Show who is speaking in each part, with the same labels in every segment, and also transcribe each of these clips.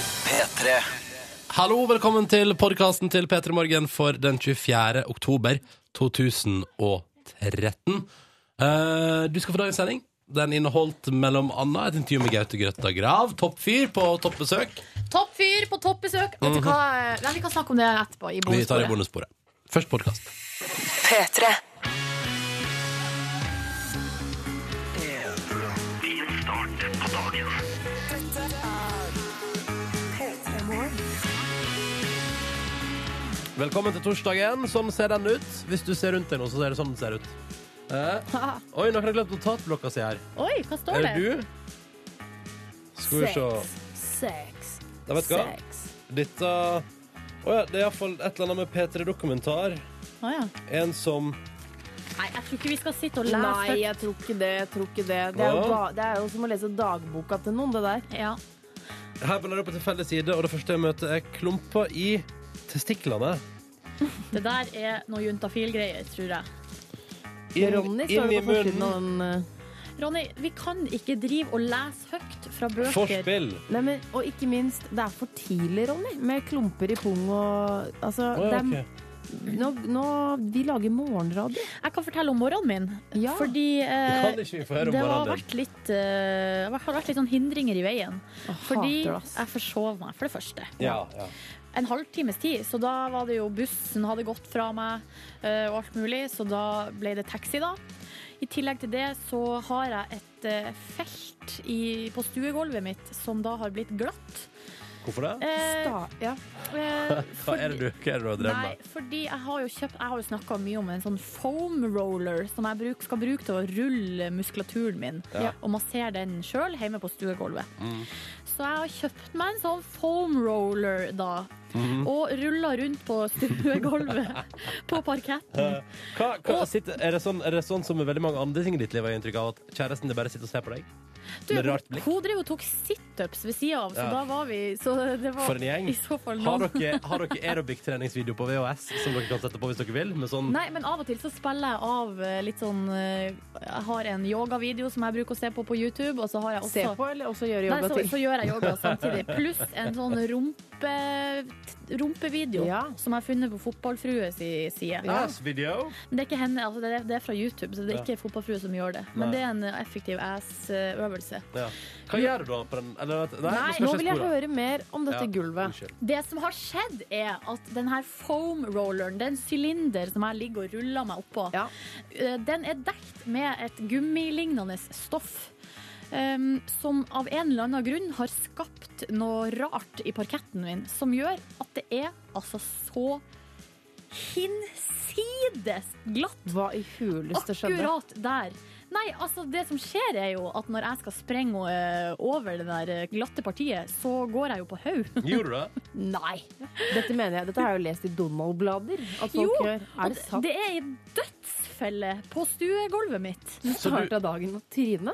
Speaker 1: P3.
Speaker 2: Hallo, velkommen til podkasten til P3 Morgen for den 24. oktober 2013. Eh, du skal få dagens sending. Den inneholdt mellom annet et intervju med Gaute Grøtta Grav, toppfyr på toppbesøk.
Speaker 3: Topp fyr på topp besøk. Vet du hva? Nei, vi kan snakke om det etterpå. Mhm. I
Speaker 2: Vi tar det i
Speaker 3: bonusbordet.
Speaker 2: bonussporet. Først podkast.
Speaker 4: P3.
Speaker 2: Velkommen til torsdagen. Sånn ser den ut. Hvis du ser rundt deg nå, så ser det sånn den ser ut. Eh,
Speaker 3: Haha.
Speaker 2: oi, noen har glemt notatblokka si her.
Speaker 3: Oi, hva står
Speaker 2: Er
Speaker 3: det?
Speaker 2: det du? Skal vi se.
Speaker 3: Sex.
Speaker 2: Da vet du hva. Dette Å ja, det er iallfall et eller annet med P3-dokumentar.
Speaker 3: Å, ja.
Speaker 2: En som
Speaker 3: Nei, jeg tror ikke vi skal sitte og lese
Speaker 5: Nei, jeg tror ikke det. Jeg tror ikke det. Det er, jo
Speaker 2: Hva?
Speaker 5: ba det er jo som å lese dagboka til noen, det der.
Speaker 3: Ja.
Speaker 2: Her blander jeg på tilfeldig side, og det første jeg møter, er klumper i testiklene.
Speaker 3: Det der er noe juntafil-greier, tror jeg.
Speaker 2: Inn,
Speaker 5: Ronny
Speaker 2: inn
Speaker 5: står
Speaker 2: i
Speaker 5: det på forsiden av
Speaker 2: munnen.
Speaker 5: den eh,
Speaker 3: Ronny, vi kan ikke drive og lese høyt fra bøker.
Speaker 2: Forspill.
Speaker 5: Nei, men, Og ikke minst, det er for tidlig, Ronny, med klumper i pung og Altså,
Speaker 2: Å, ja,
Speaker 5: det
Speaker 2: ok.
Speaker 5: er, nå, nå Vi lager morgenradio.
Speaker 3: Jeg kan fortelle om morgenen min.
Speaker 5: Ja.
Speaker 3: Fordi eh,
Speaker 2: Kan ikke vi få høre om
Speaker 3: det har
Speaker 2: morgenen din?
Speaker 3: vært litt, eh, det har vært litt sånn hindringer i veien. Fordi
Speaker 5: hater det, ass.
Speaker 3: jeg forsov meg, for det første.
Speaker 2: Ja, ja.
Speaker 3: en halvtimes tid, så da var det jo bussen hadde gått fra meg eh, og alt mulig, så da ble det taxi da. I tillegg til det så har jeg et eh, felt i, på stuegulvet mitt som da har blitt glatt.
Speaker 2: Hvorfor det?
Speaker 3: Eh,
Speaker 5: Sta, ja.
Speaker 3: eh,
Speaker 2: Hva er det du, hva er det du har drevet
Speaker 3: Nei,
Speaker 2: med?
Speaker 3: fordi jeg har jo kjøpt Jeg har jo snakka mye om en sånn foam roller som jeg bruk, skal bruke til å rulle muskulaturen min.
Speaker 2: Ja. Mm.
Speaker 3: Og massere den sjøl hjemme på stuegulvet. Så jeg har kjøpt meg en sånn foam roller da.
Speaker 2: Mm.
Speaker 3: Og rulla rundt på stuegulvet på parketten.
Speaker 2: Hva, hva,
Speaker 3: Og-
Speaker 2: sitter, er, det sånn, er det sånn som med veldig mange andre ting i ditt liv har jeg inntrykk av, at kjæresten din bare sitter og ser på deg?
Speaker 3: Du,
Speaker 2: Med rart blikk.
Speaker 3: Hun drev og tok situps ved sida av, så
Speaker 2: Ja.
Speaker 3: da var vi så det var,
Speaker 2: For en gjeng.
Speaker 3: I så fall
Speaker 2: Har
Speaker 3: noen-
Speaker 2: dere, har dere aerobic-treningsvideo på VHS som dere kan sette på hvis dere vil? Med sånn
Speaker 3: Nei, men av og til så spiller jeg av eh, litt sånn eh, Jeg har en yogavideo som jeg bruker å se på på YouTube, og så har jeg også
Speaker 5: Se på, eller også gjøre
Speaker 3: Nei,
Speaker 5: yoga
Speaker 3: så,
Speaker 5: til.
Speaker 3: så gjør jeg yoga samtidig. Pluss en sånn rumpe, rumpevideo
Speaker 5: Ja.
Speaker 3: som jeg har funnet på Fotballfrue si side.
Speaker 2: ass-video?
Speaker 3: Men Det er ikke henne, altså det, er, det er fra YouTube, så det er
Speaker 2: Ja.
Speaker 3: ikke Fotballfrue som gjør det. Men
Speaker 2: Nei.
Speaker 3: det er en effektiv ass-øvelse.
Speaker 2: Ja. Hva gjør du da på den eller, vet- Nei,
Speaker 3: Nei,
Speaker 2: nå skal
Speaker 5: Nå
Speaker 2: ikke
Speaker 5: vil jeg
Speaker 2: spore.
Speaker 5: høre mer om dette
Speaker 2: Ja,
Speaker 5: gulvet.
Speaker 2: Unnskyld.
Speaker 3: Det som har skjedd, er at den her foam rolleren, den sylinder som jeg ligger og ruller meg oppå,
Speaker 5: Ja.
Speaker 3: eh, den er dekt med et gummilignende stoff. ehm, som av en eller annen grunn har skapt noe rart i parketten min, som gjør at det er altså så hinsides glatt
Speaker 5: Hva i huleste skjedde?
Speaker 3: Akkurat der. Nei, altså det som skjer er jo at når jeg skal sprenge eh, over det der eh, glatte partiet, så går jeg jo på haug.
Speaker 2: Gjorde du det?
Speaker 3: Nei.
Speaker 5: Dette mener jeg, dette har jeg jo lest i Donald-blader. At folk
Speaker 3: Jo,
Speaker 5: gjør. Er det sant?
Speaker 3: Det er ei dødsfelle på stuegulvet mitt.
Speaker 5: Du
Speaker 2: Så du-
Speaker 5: starta dagen med Trine?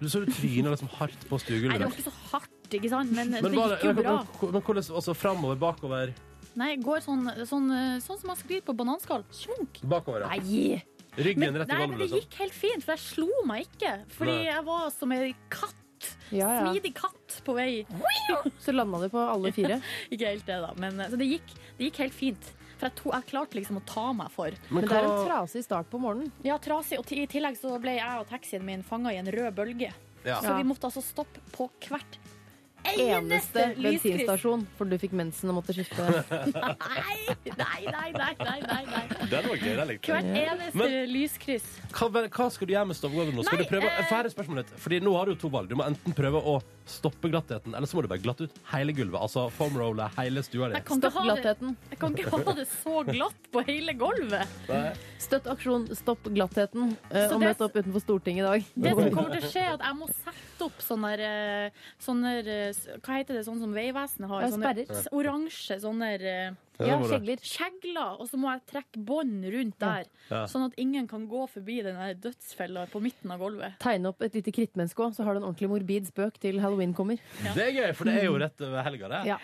Speaker 2: Du så du tryna liksom hardt på
Speaker 3: Nei, det
Speaker 2: stuegulvet.
Speaker 3: var ikke så hardt, ikke sant? Men,
Speaker 2: Men,
Speaker 3: det
Speaker 2: var
Speaker 3: gikk jo
Speaker 2: det-
Speaker 3: bra.
Speaker 2: men, men hvordan altså, framover, bakover,
Speaker 3: Nei, går sånn, sånn, eh, sånn som man sklir på bananskall. Slunk.
Speaker 2: bakover? ja.
Speaker 3: Nei.
Speaker 2: Ryggen
Speaker 3: Men,
Speaker 2: rett i
Speaker 3: nei, men
Speaker 2: gulvet,
Speaker 3: det
Speaker 2: liksom.
Speaker 3: gikk helt fint, for jeg slo meg ikke. Fordi
Speaker 2: Nei.
Speaker 3: jeg var som ei katt.
Speaker 5: Ja, ja.
Speaker 3: Smidig katt på vei.
Speaker 5: Så landa det på alle fire.
Speaker 3: Ikke helt det, da. Men eh, så det, gikk, det gikk helt fint. For jeg, to, jeg klarte liksom å ta meg for.
Speaker 5: Men det er en trasig start på morgenen.
Speaker 3: Ja, trasig. Og ti- i tillegg så ble jeg og taxien min fanga i en rød bølge.
Speaker 2: Ja.
Speaker 3: Så vi måtte altså stoppe på hvert
Speaker 5: Eneste
Speaker 3: eneste lyskryss.
Speaker 5: bensinstasjon, for du fikk mensen og måtte skifte.
Speaker 3: Nei, nei, nei, nei, nei, nei, nei.
Speaker 2: Den var gøy, den likte
Speaker 3: Hvert eneste
Speaker 2: Men-
Speaker 3: lyskryss.
Speaker 2: Hva, vel, hva skal du gjøre med stoppgulvet nå? Skal
Speaker 3: Nei,
Speaker 2: du prøve,
Speaker 3: eh,
Speaker 2: Få høre spørsmålet ditt. Fordi nå har du jo to valg. Du må enten prøve å stoppe glattheten, eller så må du bare glatte ut hele gulvet. Altså foamrolle hele stua di.
Speaker 3: Jeg kan, ikke
Speaker 5: Stopp
Speaker 3: ha det,
Speaker 5: glattheten.
Speaker 3: jeg kan ikke ha det så glatt på hele gulvet.
Speaker 5: Støtt aksjon Stopp glattheten. eh,
Speaker 3: Så
Speaker 5: Og
Speaker 3: det-
Speaker 5: møt opp utenfor Stortinget i dag.
Speaker 3: Det som kommer til å skje, er at jeg må sette opp sånne, der, eh, sånne der, eh, Hva heter det, sånn som Vegvesenet har?
Speaker 5: Ja,
Speaker 3: Sånne
Speaker 5: sperrer.
Speaker 3: s- oransje sånne eh,
Speaker 2: det
Speaker 5: Ja,
Speaker 2: må du.
Speaker 5: skjegler.
Speaker 3: kjegler, og så må jeg trekke bånd rundt der.
Speaker 2: Ja.
Speaker 3: Sånn at ingen kan gå forbi den der dødsfella på midten av gulvet.
Speaker 5: Tegne opp et lite krittmenneske òg, så har du en ordentlig morbid spøk til halloween kommer.
Speaker 2: Det er gøy, for det er jo rett over helga, det.
Speaker 5: Ja.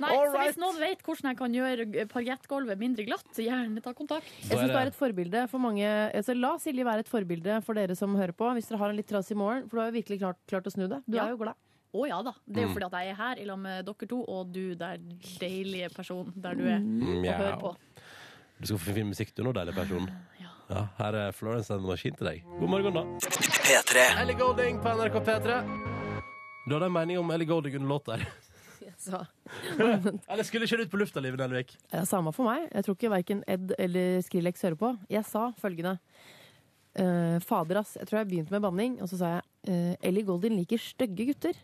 Speaker 3: Nei,
Speaker 2: All
Speaker 3: så
Speaker 2: right.
Speaker 3: Hvis noen vet hvordan jeg kan gjøre parjettgulvet mindre glatt, så gjerne ta kontakt.
Speaker 5: Jeg syns du er et forbilde for mange altså, La Silje være et forbilde for dere som hører på, hvis dere har en litt trasig morgen, for du har jo virkelig klart, klart å snu det. Du
Speaker 3: Ja.
Speaker 5: er jo glad.
Speaker 3: Å ja da. Det er jo
Speaker 2: Mm.
Speaker 3: fordi at jeg er her i lag med dere to, og du der deilige person der du er.
Speaker 2: Mm,
Speaker 3: Og hører på.
Speaker 2: Du skal få fin musikk, du nå, deilig person. Ja, her er Florence and the Machine til deg. God morgen, da.
Speaker 6: P3.
Speaker 2: Ellie Golding på NRK P3. Du hadde en mening om Ellie Golding under låt der.
Speaker 7: Så,
Speaker 2: Eller skulle ikke du ut på lufta, Liv Nelvik?
Speaker 7: det er samme for meg. Jeg tror ikke verken Ed eller Skrillex hører på. Jeg sa følgende. eh, fader, ass. Jeg tror jeg begynte med banning, og så sa jeg eh, Ellie Goldin liker stygge gutter.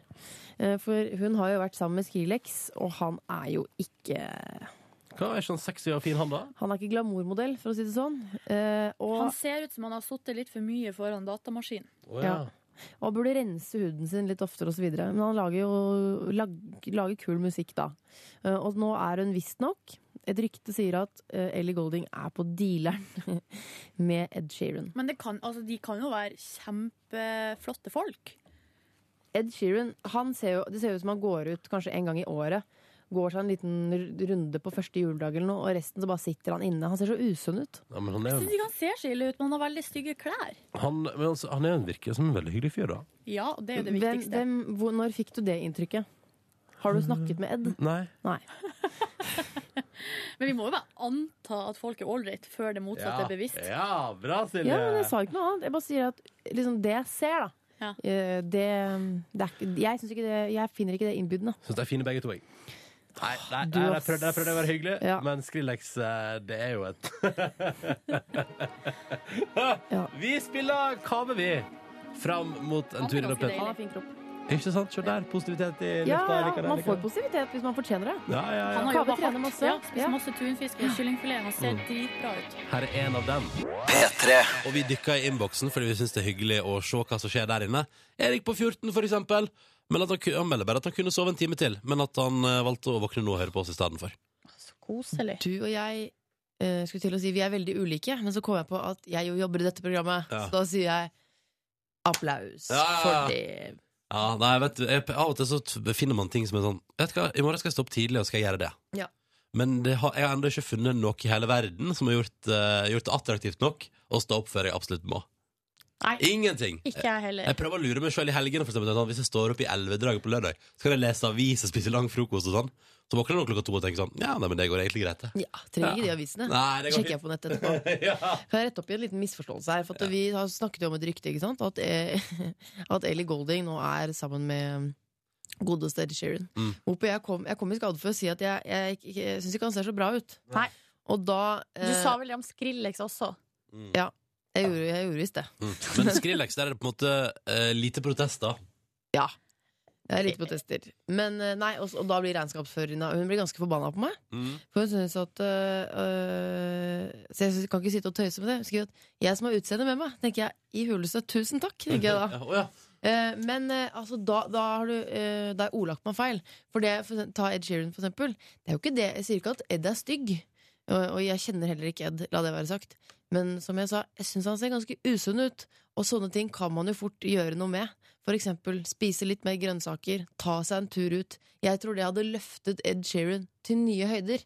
Speaker 7: Eh, for hun har jo vært sammen med Skrillex, og han er jo ikke
Speaker 2: Hva er sånn sexy og fin han, da?
Speaker 7: Han er ikke glamourmodell, for å si det sånn. Eh, og
Speaker 3: Han ser ut som han har sittet litt for mye foran datamaskin.
Speaker 2: Å,
Speaker 7: Ja. Og burde rense huden sin litt oftere osv. Men han lager jo lag, lager kul musikk da. Eh, Og nå er hun visstnok Et rykte sier at eh, Ellie Golding er på dealeren med Ed Sheeran.
Speaker 3: Men det kan, altså, de kan jo være kjempeflotte folk.
Speaker 7: Ed Sheeran han ser jo, det ser jo ut som han går ut kanskje en gang i året. Går seg en liten r- runde på første juledag eller noe, og resten så bare sitter han inne. Han ser så usunn ut.
Speaker 2: Ja, men han er,
Speaker 3: Jeg synes ikke han ser så ille ut, men han har veldig stygge klær.
Speaker 2: han, men altså, han er en virker som en veldig hyggelig fyr, da.
Speaker 3: Ja, og det er jo det
Speaker 7: Hvem,
Speaker 3: viktigste.
Speaker 7: hvem, hvor, når fikk du det inntrykket? Har du snakket med Ed?
Speaker 2: Nei.
Speaker 7: Nei.
Speaker 3: Men vi må jo bare anta at folk er ålreit før det motsatte er bevisst.
Speaker 2: ja bra, Silje.
Speaker 7: Ja, men jeg sa ikke noe annet. Jeg bare sier at liksom, det jeg ser, da
Speaker 3: Ja.
Speaker 7: eh, det, det er, ikke- jeg, synes ikke det, jeg finner ikke det innbydende.
Speaker 2: Syns de er fine begge to, jeg. Nei, nei,
Speaker 7: Du,
Speaker 2: nei jeg,
Speaker 7: ass.
Speaker 2: prøvde, jeg prøvde å være hyggelig,
Speaker 7: Ja.
Speaker 2: men Skrillex, eh, det er jo et
Speaker 7: Ja.
Speaker 2: Vi spiller kave, vi! Fram mot en
Speaker 3: Han er
Speaker 2: tur i
Speaker 3: ganske
Speaker 2: løpet.
Speaker 3: deilig.
Speaker 7: Han har fin kropp.
Speaker 2: Ikke sant? Se der, positivitet i
Speaker 7: Ja,
Speaker 2: lufta. jeg liker
Speaker 7: ja,
Speaker 2: det, jeg
Speaker 7: man
Speaker 2: liker
Speaker 7: får
Speaker 2: det.
Speaker 7: positivitet hvis man fortjener det.
Speaker 2: ja, ja, ja.
Speaker 3: Han har
Speaker 7: Kaveh
Speaker 3: jobba
Speaker 7: trener
Speaker 3: hardt.
Speaker 7: masse.
Speaker 3: Ja, spist
Speaker 7: Ja.
Speaker 3: masse tunfisk og kyllingfilet. Han ser
Speaker 2: Mm.
Speaker 3: dritbra ut.
Speaker 2: Her er en av dem.
Speaker 6: P3.
Speaker 2: Og vi dykker i innboksen fordi vi syns det er hyggelig å se hva som skjer der inne. Erik på 14, for eksempel. Men at han, ku- han melder bare at han kunne sove en time til, men at han eh, valgte å våkne nå og høre på oss i stedet for.
Speaker 3: Koselig.
Speaker 5: Du og jeg eh, skulle til å si vi er veldig ulike, men så kom jeg på at jeg jo jobber i dette programmet.
Speaker 2: Ja.
Speaker 5: Så da sier jeg applaus
Speaker 2: Ja.
Speaker 5: for det.
Speaker 2: Ja, nei, vet du, jeg, Av og til så t- befinner man ting som er sånn Vet du hva, I morgen skal jeg stå opp tidlig og skal gjøre det.
Speaker 5: Ja.
Speaker 2: Men det har, jeg har ennå ikke funnet noe i hele verden som har gjort, eh, gjort det attraktivt nok å stå opp før jeg absolutt må.
Speaker 3: Nei.
Speaker 2: Ingenting.
Speaker 3: Ikke jeg heller.
Speaker 2: Jeg prøver å lure meg sjøl i helgene. For eksempel, sånn, hvis jeg står opp i elvedraget på lørdag, så kan jeg lese avis og spise lang frokost og sånn. Så våkner jeg nå klokka to og tenker sånn Ja, nei, men det går egentlig greit, det.
Speaker 5: Ja, trenger ikke de avisene.
Speaker 2: Nei, det går
Speaker 5: Hm. Sjekker jeg på nettet etterpå. Kan jeg rette opp i en liten misforståelse her? For at Vi har snakket jo om et rykte, ikke sant? At, eh, at Ellie Golding nå er sammen med godeste Eddie Sheeran.
Speaker 2: Mm.
Speaker 5: Hvorpå jeg kom, jeg kom i skade for å si at jeg, jeg, ikke- jeg syns ikke han ser så bra ut.
Speaker 3: Nei.
Speaker 5: Og da
Speaker 3: Du
Speaker 5: eh,
Speaker 3: sa vel det om Skrillex også?
Speaker 5: Jeg gjorde, jeg gjorde visst det.
Speaker 2: Mm. Men Skrillex, der er det på en måte eh, lite protester.
Speaker 5: Ja. Jeg er lite protester. Men eh, nei, og, og da blir regnskapsføreringa Hun blir ganske forbanna på meg.
Speaker 2: Hm.
Speaker 5: For hun synes at øh, øh, Så jeg synes, kan ikke sitte og tøyse med det. Hun skriver at 'jeg som har utseendet med meg', tenker jeg. I huleste. Tusen takk, tenker jeg da.
Speaker 2: Ja, å ja.
Speaker 5: Eh, men eh, altså, da, da har du eh, Da har jeg ordlagt meg feil. For det, for, eksempel- ta Ed Sheeran, for eksempel. Det er jo ikke det. Jeg sier ikke at Ed er stygg. Og, og jeg kjenner heller ikke Ed, la det være sagt. Men som jeg sa, jeg syns han ser ganske usunn ut. Og sånne ting kan man jo fort gjøre noe med. For eksempel spise litt mer grønnsaker, ta seg en tur ut. Jeg tror det hadde løftet Ed Sheeran til nye høyder.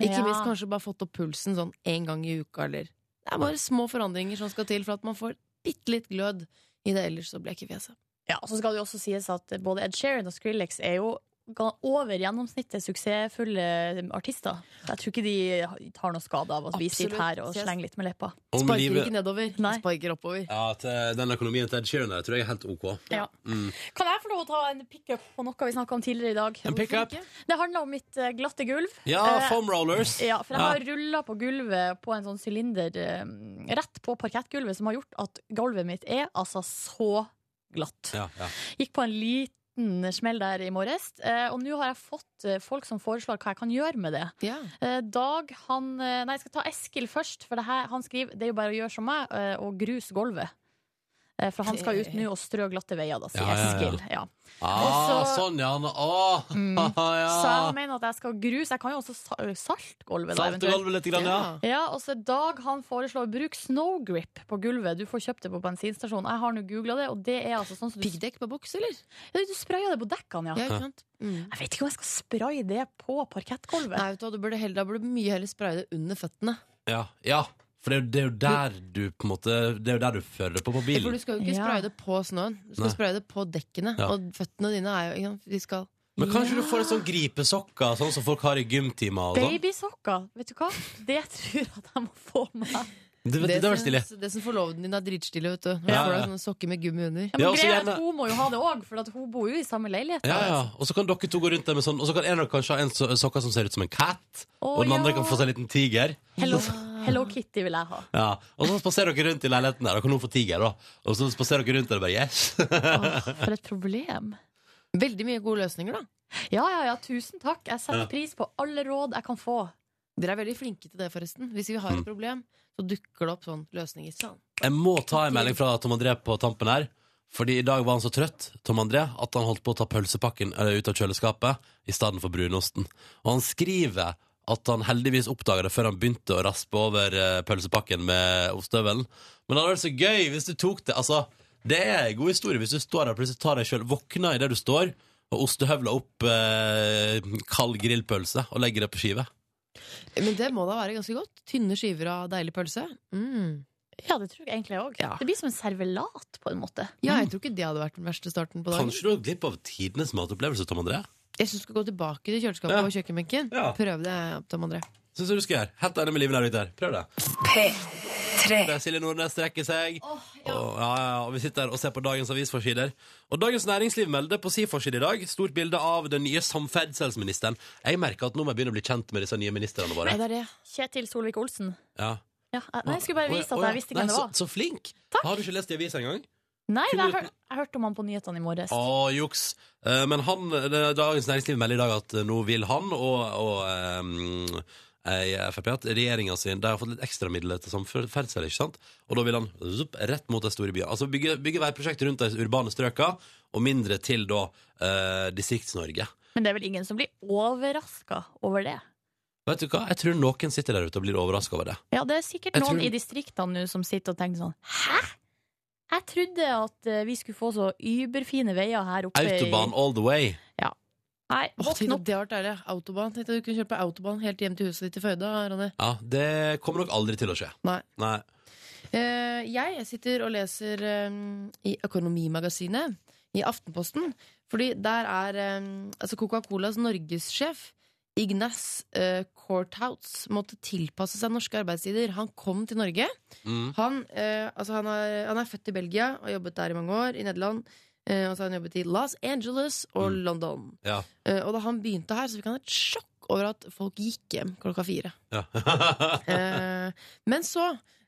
Speaker 5: Ikke
Speaker 3: Ja.
Speaker 5: minst kanskje bare fått opp pulsen sånn én gang i uka, eller Det er bare små forandringer som skal til for at man får bitte litt glød i det ellers så bleke fjeset.
Speaker 3: Ja, og så skal det jo også sies at både Ed Sheeran og Skrillex er jo ga- over gjennomsnittet suksessfulle artister. Så jeg tror ikke de tar noe skade av at vi sitter
Speaker 5: Absolutt.
Speaker 3: her og
Speaker 5: Så jeg-
Speaker 3: slenger litt med leppa.
Speaker 2: Om
Speaker 5: Sparker
Speaker 2: livet
Speaker 5: ikke nedover,
Speaker 3: Nei.
Speaker 5: sparker oppover.
Speaker 2: Ja, til den økonomien til Ed Sheeran der tror jeg er helt OK.
Speaker 3: Ja.
Speaker 2: Mm.
Speaker 3: Kan jeg få lov å ta en pickup på noe vi snakka om tidligere i dag?
Speaker 2: En pickup?
Speaker 3: Det handler om mitt eh, glatte gulv.
Speaker 2: Ja,
Speaker 3: Eh,
Speaker 2: foam rollers.
Speaker 3: Ja, for jeg
Speaker 2: Ja.
Speaker 3: har rulla på gulvet på en sånn sylinder eh, rett på parkettgulvet, som har gjort at gulvet mitt er altså så glatt.
Speaker 2: Ja, ja.
Speaker 3: Gikk på en liten smell der i morges, eh, og nå har jeg fått eh, folk som foreslår hva jeg kan gjøre med det.
Speaker 5: Ja.
Speaker 3: Eh, Dag, han eh, Nei, jeg skal ta Eskil først, for det her, han skriver det er jo bare å gjøre som meg eh, og gruse gulvet. Eh, For han skal ut nå og strø glatte veier, da, sier
Speaker 2: Ja, ja, ja.
Speaker 3: Eskil. Ja.
Speaker 2: Ah,
Speaker 3: Og så-
Speaker 2: sånn, ja. nå- Åh,
Speaker 3: Mm. Så
Speaker 2: ja.
Speaker 3: han mener at jeg skal gruse. Jeg kan jo også sa- salte gulvet, da,
Speaker 2: Salte
Speaker 3: eventuelt.
Speaker 2: gulvet litt, grann, ja.
Speaker 3: Ja, og så Dag han foreslår bruk snowgrip på gulvet. Du får kjøpt det på bensinstasjonen. Jeg har nå googla det, og det er altså sånn som du,
Speaker 5: Piggdekk på boks, eller?
Speaker 3: ja, du sprayer det på dekkene,
Speaker 5: Ja,
Speaker 3: ja.
Speaker 5: ikke sant? Mm.
Speaker 3: Jeg vet ikke om jeg skal spraye det på
Speaker 5: Nei,
Speaker 3: parkettgulvet.
Speaker 5: vet du, hva, du burde heller, da burde du mye heller spraye det under føttene.
Speaker 2: Ja, ja. For det er, jo, det er jo der du på en måte Det er jo der du fører det på på
Speaker 5: For
Speaker 2: bilen.
Speaker 5: du skal jo ikke
Speaker 3: Ja.
Speaker 5: spraye det på snøen. Du skal
Speaker 2: Nei.
Speaker 5: spraye det på dekkene.
Speaker 2: Ja.
Speaker 5: Og føttene dine er jo ikke sant, De skal
Speaker 2: Men kanskje du får et sånn gripesokker, sånn som folk har i gymtimer og sånn.
Speaker 3: Babysokker, vet du hva? Det tror jeg at jeg må få meg.
Speaker 2: Det, det, det var stilig.
Speaker 5: syns- det som forloveden din er dritstille, vet du. Nå
Speaker 2: Ja,
Speaker 5: får du
Speaker 2: ja.
Speaker 5: sånne sokker med gummi under.
Speaker 3: Ja,
Speaker 2: Ja,
Speaker 3: men
Speaker 2: og så
Speaker 3: greia er
Speaker 2: gjerne-
Speaker 3: at hun må jo ha det òg, for at hun bor jo i samme leilighet.
Speaker 2: Ja, ja. Og så kan dere to gå rundt der med sånn Og så kan en av dere kanskje ha en so sokker som ser ut som en cat,
Speaker 3: Å,
Speaker 2: og den andre
Speaker 3: ja.
Speaker 2: kan få seg en liten tiger.
Speaker 3: Hello, Hello Kitty vil jeg ha.
Speaker 2: Ja. Og så spaserer dere rundt i leiligheten der. Da kan hun få tiger, da. Og så spaserer dere rundt der og bare yes.
Speaker 3: Åh, for et problem.
Speaker 5: Veldig mye gode løsninger, da.
Speaker 3: Ja, ja, ja, tusen takk. Jeg setter
Speaker 2: Ja.
Speaker 3: pris på alle råd jeg kan få.
Speaker 5: Dere er veldig flinke til det, forresten. Hvis vi har
Speaker 2: Mm.
Speaker 5: et problem, så dukker det opp sånne løsninger. Sånn.
Speaker 2: Jeg må ta en melding fra Tom André på tampen her. Fordi i dag var han så trøtt Tom André, at han holdt på å ta pølsepakken eh, ut av kjøleskapet i stedet for brunosten. Og han skriver at han heldigvis oppdaga det før han begynte å raspe over eh, pølsepakken med ostehøvelen. Men det hadde vært så gøy hvis du tok det. Altså, det er en god historie hvis du står der og plutselig tar deg sjøl, våkner idet du står, og ostehøvler opp eh, kald grillpølse og legger det på skive.
Speaker 5: Men det må da være ganske godt. Tynne skiver av deilig pølse. Mm.
Speaker 3: Ja, det tror jeg egentlig jeg òg.
Speaker 5: Ja.
Speaker 3: Det blir som en servelat, på en måte.
Speaker 5: Ja, jeg tror ikke det hadde vært den verste starten på dagen.
Speaker 2: Mm. Kanskje du har glipp av tidenes matopplevelse, Tom André?
Speaker 5: Jeg syns du skal gå tilbake til kjøleskapet
Speaker 2: Ja.
Speaker 5: og kjøkkenbenken.
Speaker 2: Ja.
Speaker 5: Prøv det, Tom André.
Speaker 2: Syns du du skal gjøre. Helt enig med Liven Ervik der. Prøv det.
Speaker 8: P3
Speaker 2: Der Silje Nordnes strekker seg. Og, ja, ja, og vi sitter og ser på dagens avisforsider. Og Dagens Næringsliv melder på si forside i dag stort bilde av den nye samferdselsministeren. Jeg merker at nå må jeg begynne å bli kjent med disse nye ministrene våre.
Speaker 5: Ja, det er det.
Speaker 3: Kjetil Solvik-Olsen.
Speaker 2: Ja.
Speaker 3: Ja, jeg- nei, jeg skulle bare vise at jeg visste
Speaker 2: Nei,
Speaker 3: hvem det var.
Speaker 2: Så, så flink! Har du ikke lest i avisa engang?
Speaker 3: Nei,
Speaker 2: Kunne
Speaker 3: jeg,
Speaker 2: du-
Speaker 3: hør, jeg hørte om han på nyhetene i morges.
Speaker 2: Å, juks. Eh, Men han, det- Dagens Næringsliv melder i dag at eh, nå vil han og, og ehm, eh, i Frp at regjeringa sin De har fått litt ekstra midler til samferdsel, ikke sant? Og da vil han zup, rett mot de store byene. Altså bygge, bygge veiprosjekter rundt de urbane strøka, og mindre til da eh, Distrikts-Norge.
Speaker 3: Men det er vel ingen som blir overraska over det?
Speaker 2: Vet du hva? Jeg tror noen sitter der ute og blir overraska over det.
Speaker 3: Ja, det er sikkert
Speaker 2: Jeg
Speaker 3: noen
Speaker 2: tror-
Speaker 3: i distriktene nå som sitter og tenker sånn Hæ? Jeg trodde at eh, vi skulle få så überfine veier her oppe
Speaker 2: Autobahn all the way.
Speaker 3: i Nei,
Speaker 5: Åh, tenk
Speaker 3: våkn
Speaker 5: at
Speaker 3: opp.
Speaker 5: det har vært deilig. Autobahn. Tenkte at du kunne kjøre på autobahn helt hjem til huset ditt i Føyda, Ronny.
Speaker 2: Ja, Det kommer nok aldri til å skje.
Speaker 5: Nei.
Speaker 2: Nei.
Speaker 5: Eh, jeg sitter og leser eh, i Økonomimagasinet, i Aftenposten, fordi der er eh, altså Coca-Colas norgessjef Ignaz eh, Courthouse måtte tilpasse seg norske arbeidstider. Han kom til Norge.
Speaker 2: Mm.
Speaker 5: Han, eh, altså han, er, han er født i Belgia og har jobbet der i mange år, i Nederland. Eh, og så har han jobbet i Los Angeles og
Speaker 2: Mm.
Speaker 5: London.
Speaker 2: Ja.
Speaker 5: Eh, og da han begynte her, så fikk han et sjokk over at folk gikk hjem klokka fire.
Speaker 2: ja.
Speaker 5: Eh, men så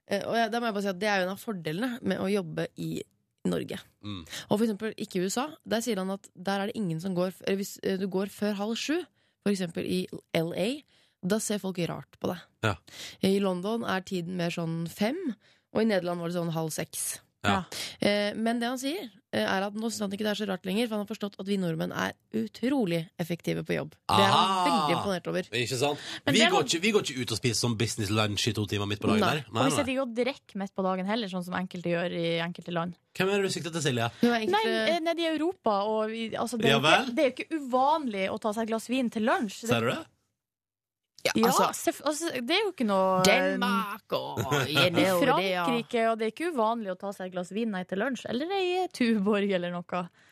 Speaker 5: eh, Og jeg- da må jeg bare si at det er jo en av fordelene med å jobbe i Norge.
Speaker 2: Mm.
Speaker 5: Og for eksempel ikke i USA. Der sier han at der er det ingen som går eller Hvis eh, du går før halv sju, for eksempel i LA, da ser folk rart på deg.
Speaker 2: Ja.
Speaker 5: I London er tiden mer sånn fem, og i Nederland var det sånn halv seks.
Speaker 2: Ja.
Speaker 5: Eh, Men det han sier, eh, er at nå syns han ikke det er så rart lenger, for han har forstått at vi nordmenn er utrolig effektive på jobb. Det er han
Speaker 2: Aha!
Speaker 5: veldig imponert over.
Speaker 2: Ikke sant?
Speaker 3: Men
Speaker 2: Vi
Speaker 3: det
Speaker 2: går,
Speaker 3: var-
Speaker 2: ikke, vi går ikke ut og spiser sånn business lunch i to timer midt på dagen
Speaker 5: Nei.
Speaker 2: der.
Speaker 3: Og vi sitter ikke og drikker midt på dagen heller, sånn som enkelte gjør i enkelte land.
Speaker 2: Hvem er det du sikter til, Silje?
Speaker 5: Det var egentlig-
Speaker 3: Nei, eh, nede i Europa og i- altså, det, er
Speaker 2: Ja
Speaker 3: jo ikke,
Speaker 2: vel?
Speaker 3: det er jo ikke uvanlig å ta seg et glass vin til lunsj. Det,
Speaker 2: Ser du det?
Speaker 5: ja,
Speaker 3: ja,
Speaker 5: altså,
Speaker 3: selvf- altså, det er jo ikke noe
Speaker 5: Denmark og
Speaker 3: eh, I Frankrike, og det er ikke uvanlig å ta seg et glass vin nei, til lunsj. Eller ei Tuborg, eller noe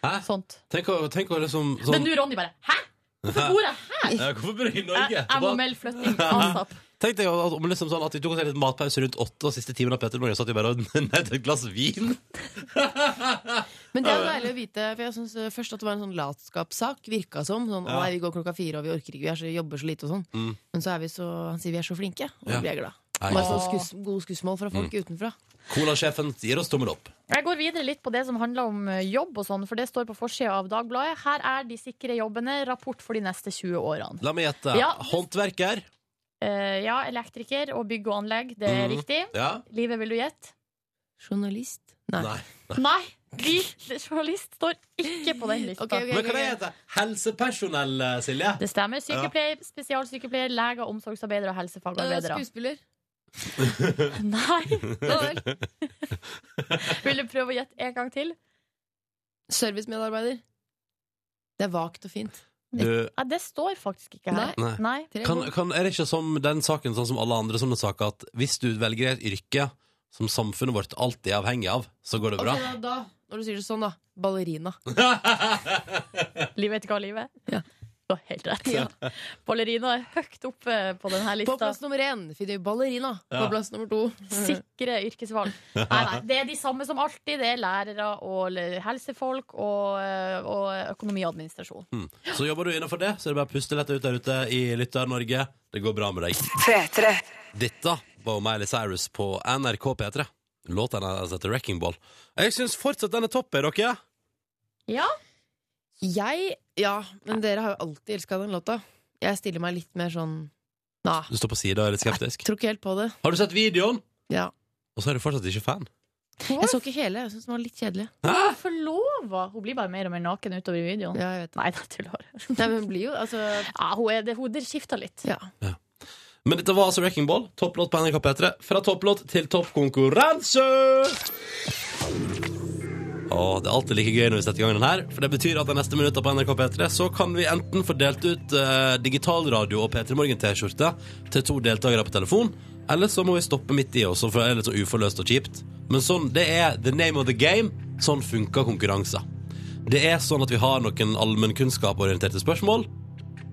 Speaker 2: Hæ?
Speaker 3: sånt.
Speaker 2: Tenk å, tenk å liksom
Speaker 3: Men
Speaker 2: sånn,
Speaker 3: nå, Ronny, bare Hæ?! Hvorfor bor jeg her?!
Speaker 2: ja, Hvorfor bor du i
Speaker 3: Jeg,
Speaker 2: Norge?
Speaker 3: jeg må melde flytting asap.
Speaker 2: Tenk deg at, om liksom sånn at vi tok oss en liten matpause rundt åtte, og siste timen av Petter Morgen satt vi bare og nøt et glass vin.
Speaker 5: Men det er jo deilig å vite, for jeg syns først at det var en sånn latskapssak. Virka som. Sånn,
Speaker 2: Ja.
Speaker 5: å nei, vi går klokka fire, og vi orker ikke, vi er så, jobber så lite og sånn.
Speaker 2: Mm.
Speaker 5: Men så er vi så Han sier vi er så flinke, og
Speaker 2: Ja.
Speaker 5: så blir jeg glad.
Speaker 2: Nei, Mm.
Speaker 5: Bare
Speaker 2: ikke
Speaker 5: sånn
Speaker 2: sant.
Speaker 5: skuss, god skussmål fra folk utenfra.
Speaker 2: Colasjefen gir oss tommel opp.
Speaker 3: Jeg går videre litt på det som handler om eh, jobb og sånn, for det står på forsida av Dagbladet. Her er de sikre jobbene. Rapport for de neste 20 årene.
Speaker 2: La meg gjette.
Speaker 3: Ja.
Speaker 2: Håndverker.
Speaker 3: Eh, ja, elektriker og bygg og anlegg, det er
Speaker 2: Mhm.
Speaker 3: riktig.
Speaker 2: Ja.
Speaker 3: Livet, vil du gjette?
Speaker 5: Journalist? Nei.
Speaker 2: Nei.
Speaker 3: Nei! Vi, journalist står ikke på den lista.
Speaker 5: Ok, ok,
Speaker 2: Men hva heter helsepersonell, Silje?
Speaker 3: Det stemmer. Sykepleier, spesialsykepleier, leger, omsorgsarbeidere og
Speaker 5: Øh,
Speaker 3: helsefagarbeidere.
Speaker 5: Skuespiller?
Speaker 3: Nei!
Speaker 5: Ja vel.
Speaker 3: Vil du prøve å gjette en gang til?
Speaker 5: Servicemedarbeider? Det er vagt og fint.
Speaker 2: Du,
Speaker 3: Nei, det står faktisk ikke her.
Speaker 2: Nei.
Speaker 3: Nei.
Speaker 2: kan, kan, er det ikke som den saken, sånn som alle andre sånne saker, at hvis du velger et yrke som samfunnet vårt alltid er avhengig av, så går det
Speaker 5: Ok,
Speaker 2: bra?
Speaker 5: da, da, når du sier det sånn, da. Ballerina.
Speaker 3: Livet heter hva livet?
Speaker 5: Ja.
Speaker 3: Du har helt rett. Ballerina er høyt oppe på denne
Speaker 5: På
Speaker 3: lista. Mm.
Speaker 5: plass nummer én finner vi ballerina. På plass nummer to
Speaker 3: Sikre yrkesvalg. Nei, nei, det er de samme som alltid. Det er lærere og l- helsefolk og, eh, og økonomi og administrasjon.
Speaker 5: Mm.
Speaker 2: Hmm. Så jobber du innenfor det, så er det bare å puste lett ut der ute i Lytter-Norge. Det går bra med deg.
Speaker 8: P3.
Speaker 2: Dette var Miley Cyrus på NRK P3. Låta hennes heter Wrecking Ball. Jeg syns fortsatt den er topp, er dere?
Speaker 3: Ja,
Speaker 5: Jeg Ja, men dere har jo alltid elska den låta. Jeg stiller meg litt mer sånn Nei,
Speaker 2: Du står på sida og er litt skeptisk.
Speaker 5: tror ikke helt på det.
Speaker 2: Har du sett videoen?
Speaker 5: Ja.
Speaker 2: Og så er du fortsatt ikke fan.
Speaker 5: Jeg så ikke hele. Jeg syns den var litt kjedelig.
Speaker 3: forlova! Hun blir bare mer og mer naken utover i videoen.
Speaker 5: Ja, jeg vet det.
Speaker 3: Nei, da tuller jeg.
Speaker 5: Nei, men blir jo altså
Speaker 3: Ja, hun er det. Hodet skifter litt.
Speaker 5: Ja.
Speaker 2: Men dette var altså Wrecking Ball, topplåt på NRK P3. Fra topplåt til toppkonkurranse! Og det er alltid like gøy når vi setter i gang den her, for det betyr at de neste minuttene på NRK P3 så kan vi enten få delt ut eh, digitalradio og P3 Morgen-T-skjorte til to deltakere på telefon, eller så må vi stoppe midt i oss, for det er litt så uforløst og kjipt. Men sånn, det er the name of the game. Sånn funker konkurranser. Det er sånn at vi har noen allmennkunnskapsorienterte spørsmål,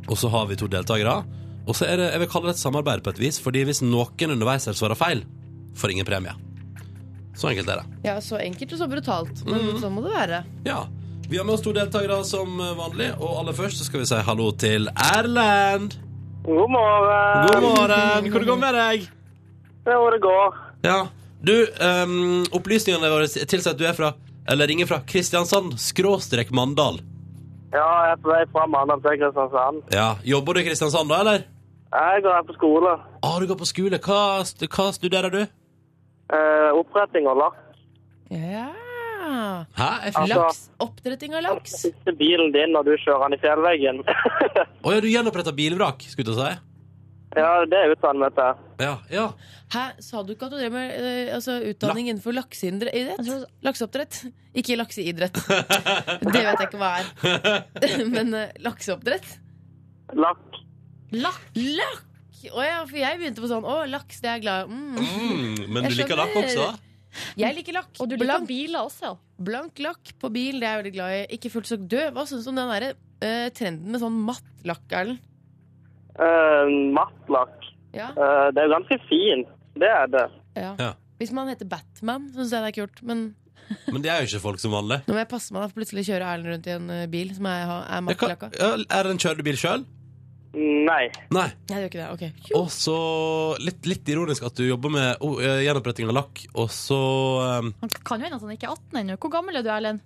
Speaker 2: og så har vi to deltakere. Og så er det, jeg vil kalle det et samarbeid på et vis, fordi hvis noen underveis her svarer feil, får ingen premie. Så enkelt er det.
Speaker 5: ja, så enkelt og så brutalt. Men sånn må det være.
Speaker 2: Ja. Vi har med oss to deltakere som vanlig, og aller først så skal vi si hallo til Erlend.
Speaker 9: God morgen.
Speaker 2: God morgen! Hvordan går det med deg?
Speaker 9: Det er hvor det går.
Speaker 2: Ja. Du, ehm, opplysningene våre tilsier at du er fra, eller ringer fra Kristiansand skråstrek Mandal.
Speaker 9: Ja, jeg er på vei fra Mandal til Kristiansand.
Speaker 2: Ja. Jobber du i Kristiansand da, eller?
Speaker 9: Jeg går her på skole.
Speaker 2: Ah, du går på skole. Hva, st- hva studerer du?
Speaker 9: Eh, oppretting og lakk.
Speaker 5: Ja.
Speaker 2: Hæ? Jeg fikk...
Speaker 9: Altså-
Speaker 5: Laks. Oppdretting av laks.
Speaker 9: Siste bilen din når du kjører den i fjellveggen.
Speaker 2: Å ja, du gjenoppretter bilvrak, skulle jeg til å si.
Speaker 9: ja, det er jo sånn, vet du.
Speaker 2: Ja, ja.
Speaker 5: Hæ, sa du ikke at du drev med eh, altså, utdanning innenfor lakseidrett? Lakseoppdrett? Ikke lakseidrett. Det vet jeg ikke hva er. Men eh, lakseoppdrett?
Speaker 9: Lakk.
Speaker 5: Lakk! Lakk! Å ja, for jeg begynte på sånn. Å, laks, det er jeg glad i. Mm.
Speaker 2: Mm, men du
Speaker 5: Jeg
Speaker 2: liker lakk
Speaker 5: skjønner.
Speaker 2: også?
Speaker 5: Jeg liker lakk.
Speaker 3: Og du liker
Speaker 5: blank,
Speaker 3: biler også.
Speaker 5: blank lakk på bil, det er jeg veldig glad i. Ikke fullt så død. Hva syns du om den derre eh, trenden med sånn matt lakk, Erlend?
Speaker 9: Eh, mattlakk.
Speaker 5: Ja.
Speaker 9: Eh, det er jo ganske fint. Det er det.
Speaker 5: ja.
Speaker 2: Ja.
Speaker 5: Hvis man heter Batman, syns jeg det er kult. Men
Speaker 2: Men det er jo ikke folk som vanlig.
Speaker 5: nå må jeg passe meg, da, for plutselig kjører Erlend rundt i en eh, bil som er, er
Speaker 2: Jeg
Speaker 5: matt
Speaker 2: kan-
Speaker 5: lakka.
Speaker 2: Ja, Er det en kjører du bil sjøl?
Speaker 9: Nei.
Speaker 2: Nei.
Speaker 5: Nei, det gjør ikke det. Ok.
Speaker 2: Og så litt, litt ironisk at du jobber med oh, eh, gjenoppretting av lakk, og så um,
Speaker 3: Han kan jo hende at han ikke er 18 ennå. Hvor gammel er du, Erlend?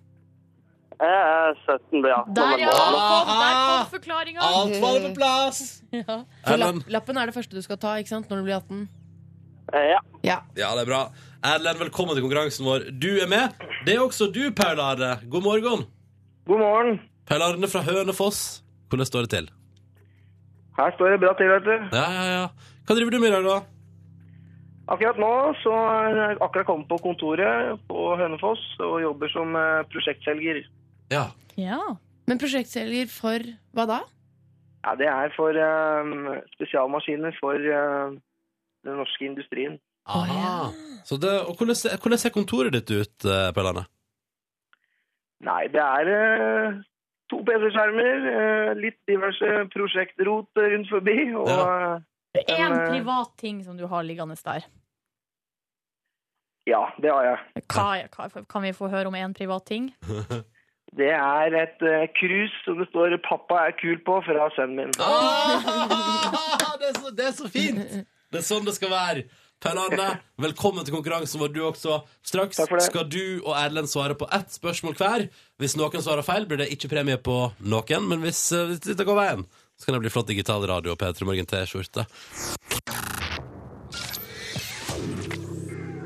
Speaker 9: Jeg er 17, blir 18
Speaker 3: Der,
Speaker 9: om en
Speaker 3: ja!
Speaker 9: måned.
Speaker 3: Kom, der
Speaker 5: Ah!
Speaker 3: kom forklaringa!
Speaker 2: Alt var på plass!
Speaker 5: For
Speaker 2: Erlend.
Speaker 5: lapp, lappen er det første du skal ta ikke sant, når du blir 18.
Speaker 9: Eh, ja.
Speaker 2: Ja, det er bra. Erlend, velkommen til konkurransen vår. Du er med. Det er også du, Paul Arne. God morgen.
Speaker 10: God morgen.
Speaker 2: Paul Arne fra Hønefoss. Hvordan står det til?
Speaker 10: Her står det bra til, vet du.
Speaker 2: Ja, ja, ja. Hva driver du med i dag, da?
Speaker 10: Akkurat nå så har jeg akkurat kommet på kontoret på Hønefoss og jobber som eh, prosjektselger.
Speaker 2: Ja.
Speaker 3: Ja.
Speaker 5: Men prosjektselger for hva da?
Speaker 10: Ja, det er for eh, spesialmaskiner for eh, den norske industrien.
Speaker 2: Aha. Så det, og hvordan, ser- hvordan ser kontoret ditt ut, eh, Paul Arne?
Speaker 10: Nei, det er eh, to PC-skjermer, eh, litt diverse prosjektrot rundt forbi, og
Speaker 2: Ja.
Speaker 10: ja.
Speaker 3: Én
Speaker 10: Men, eh,
Speaker 3: privat ting som du har liggende der.
Speaker 10: ja, det har jeg.
Speaker 3: Hva, er- hva, kan vi få høre om én privat ting?
Speaker 10: Det er et eh, krus som det står 'Pappa er kul' på fra sønnen min.
Speaker 2: Ah, det, er så, det er så fint! Det er sånn det skal være. Per Arne, velkommen til konkurransen vår, du også. Straks
Speaker 10: Takk for det.
Speaker 2: skal du og Erlend svare på ett spørsmål hver. Hvis noen svarer feil, blir det ikke premie på noen, men hvis, eh, hvis dette går veien, så kan det bli flott digital radio og P3 Morgen T-skjorte.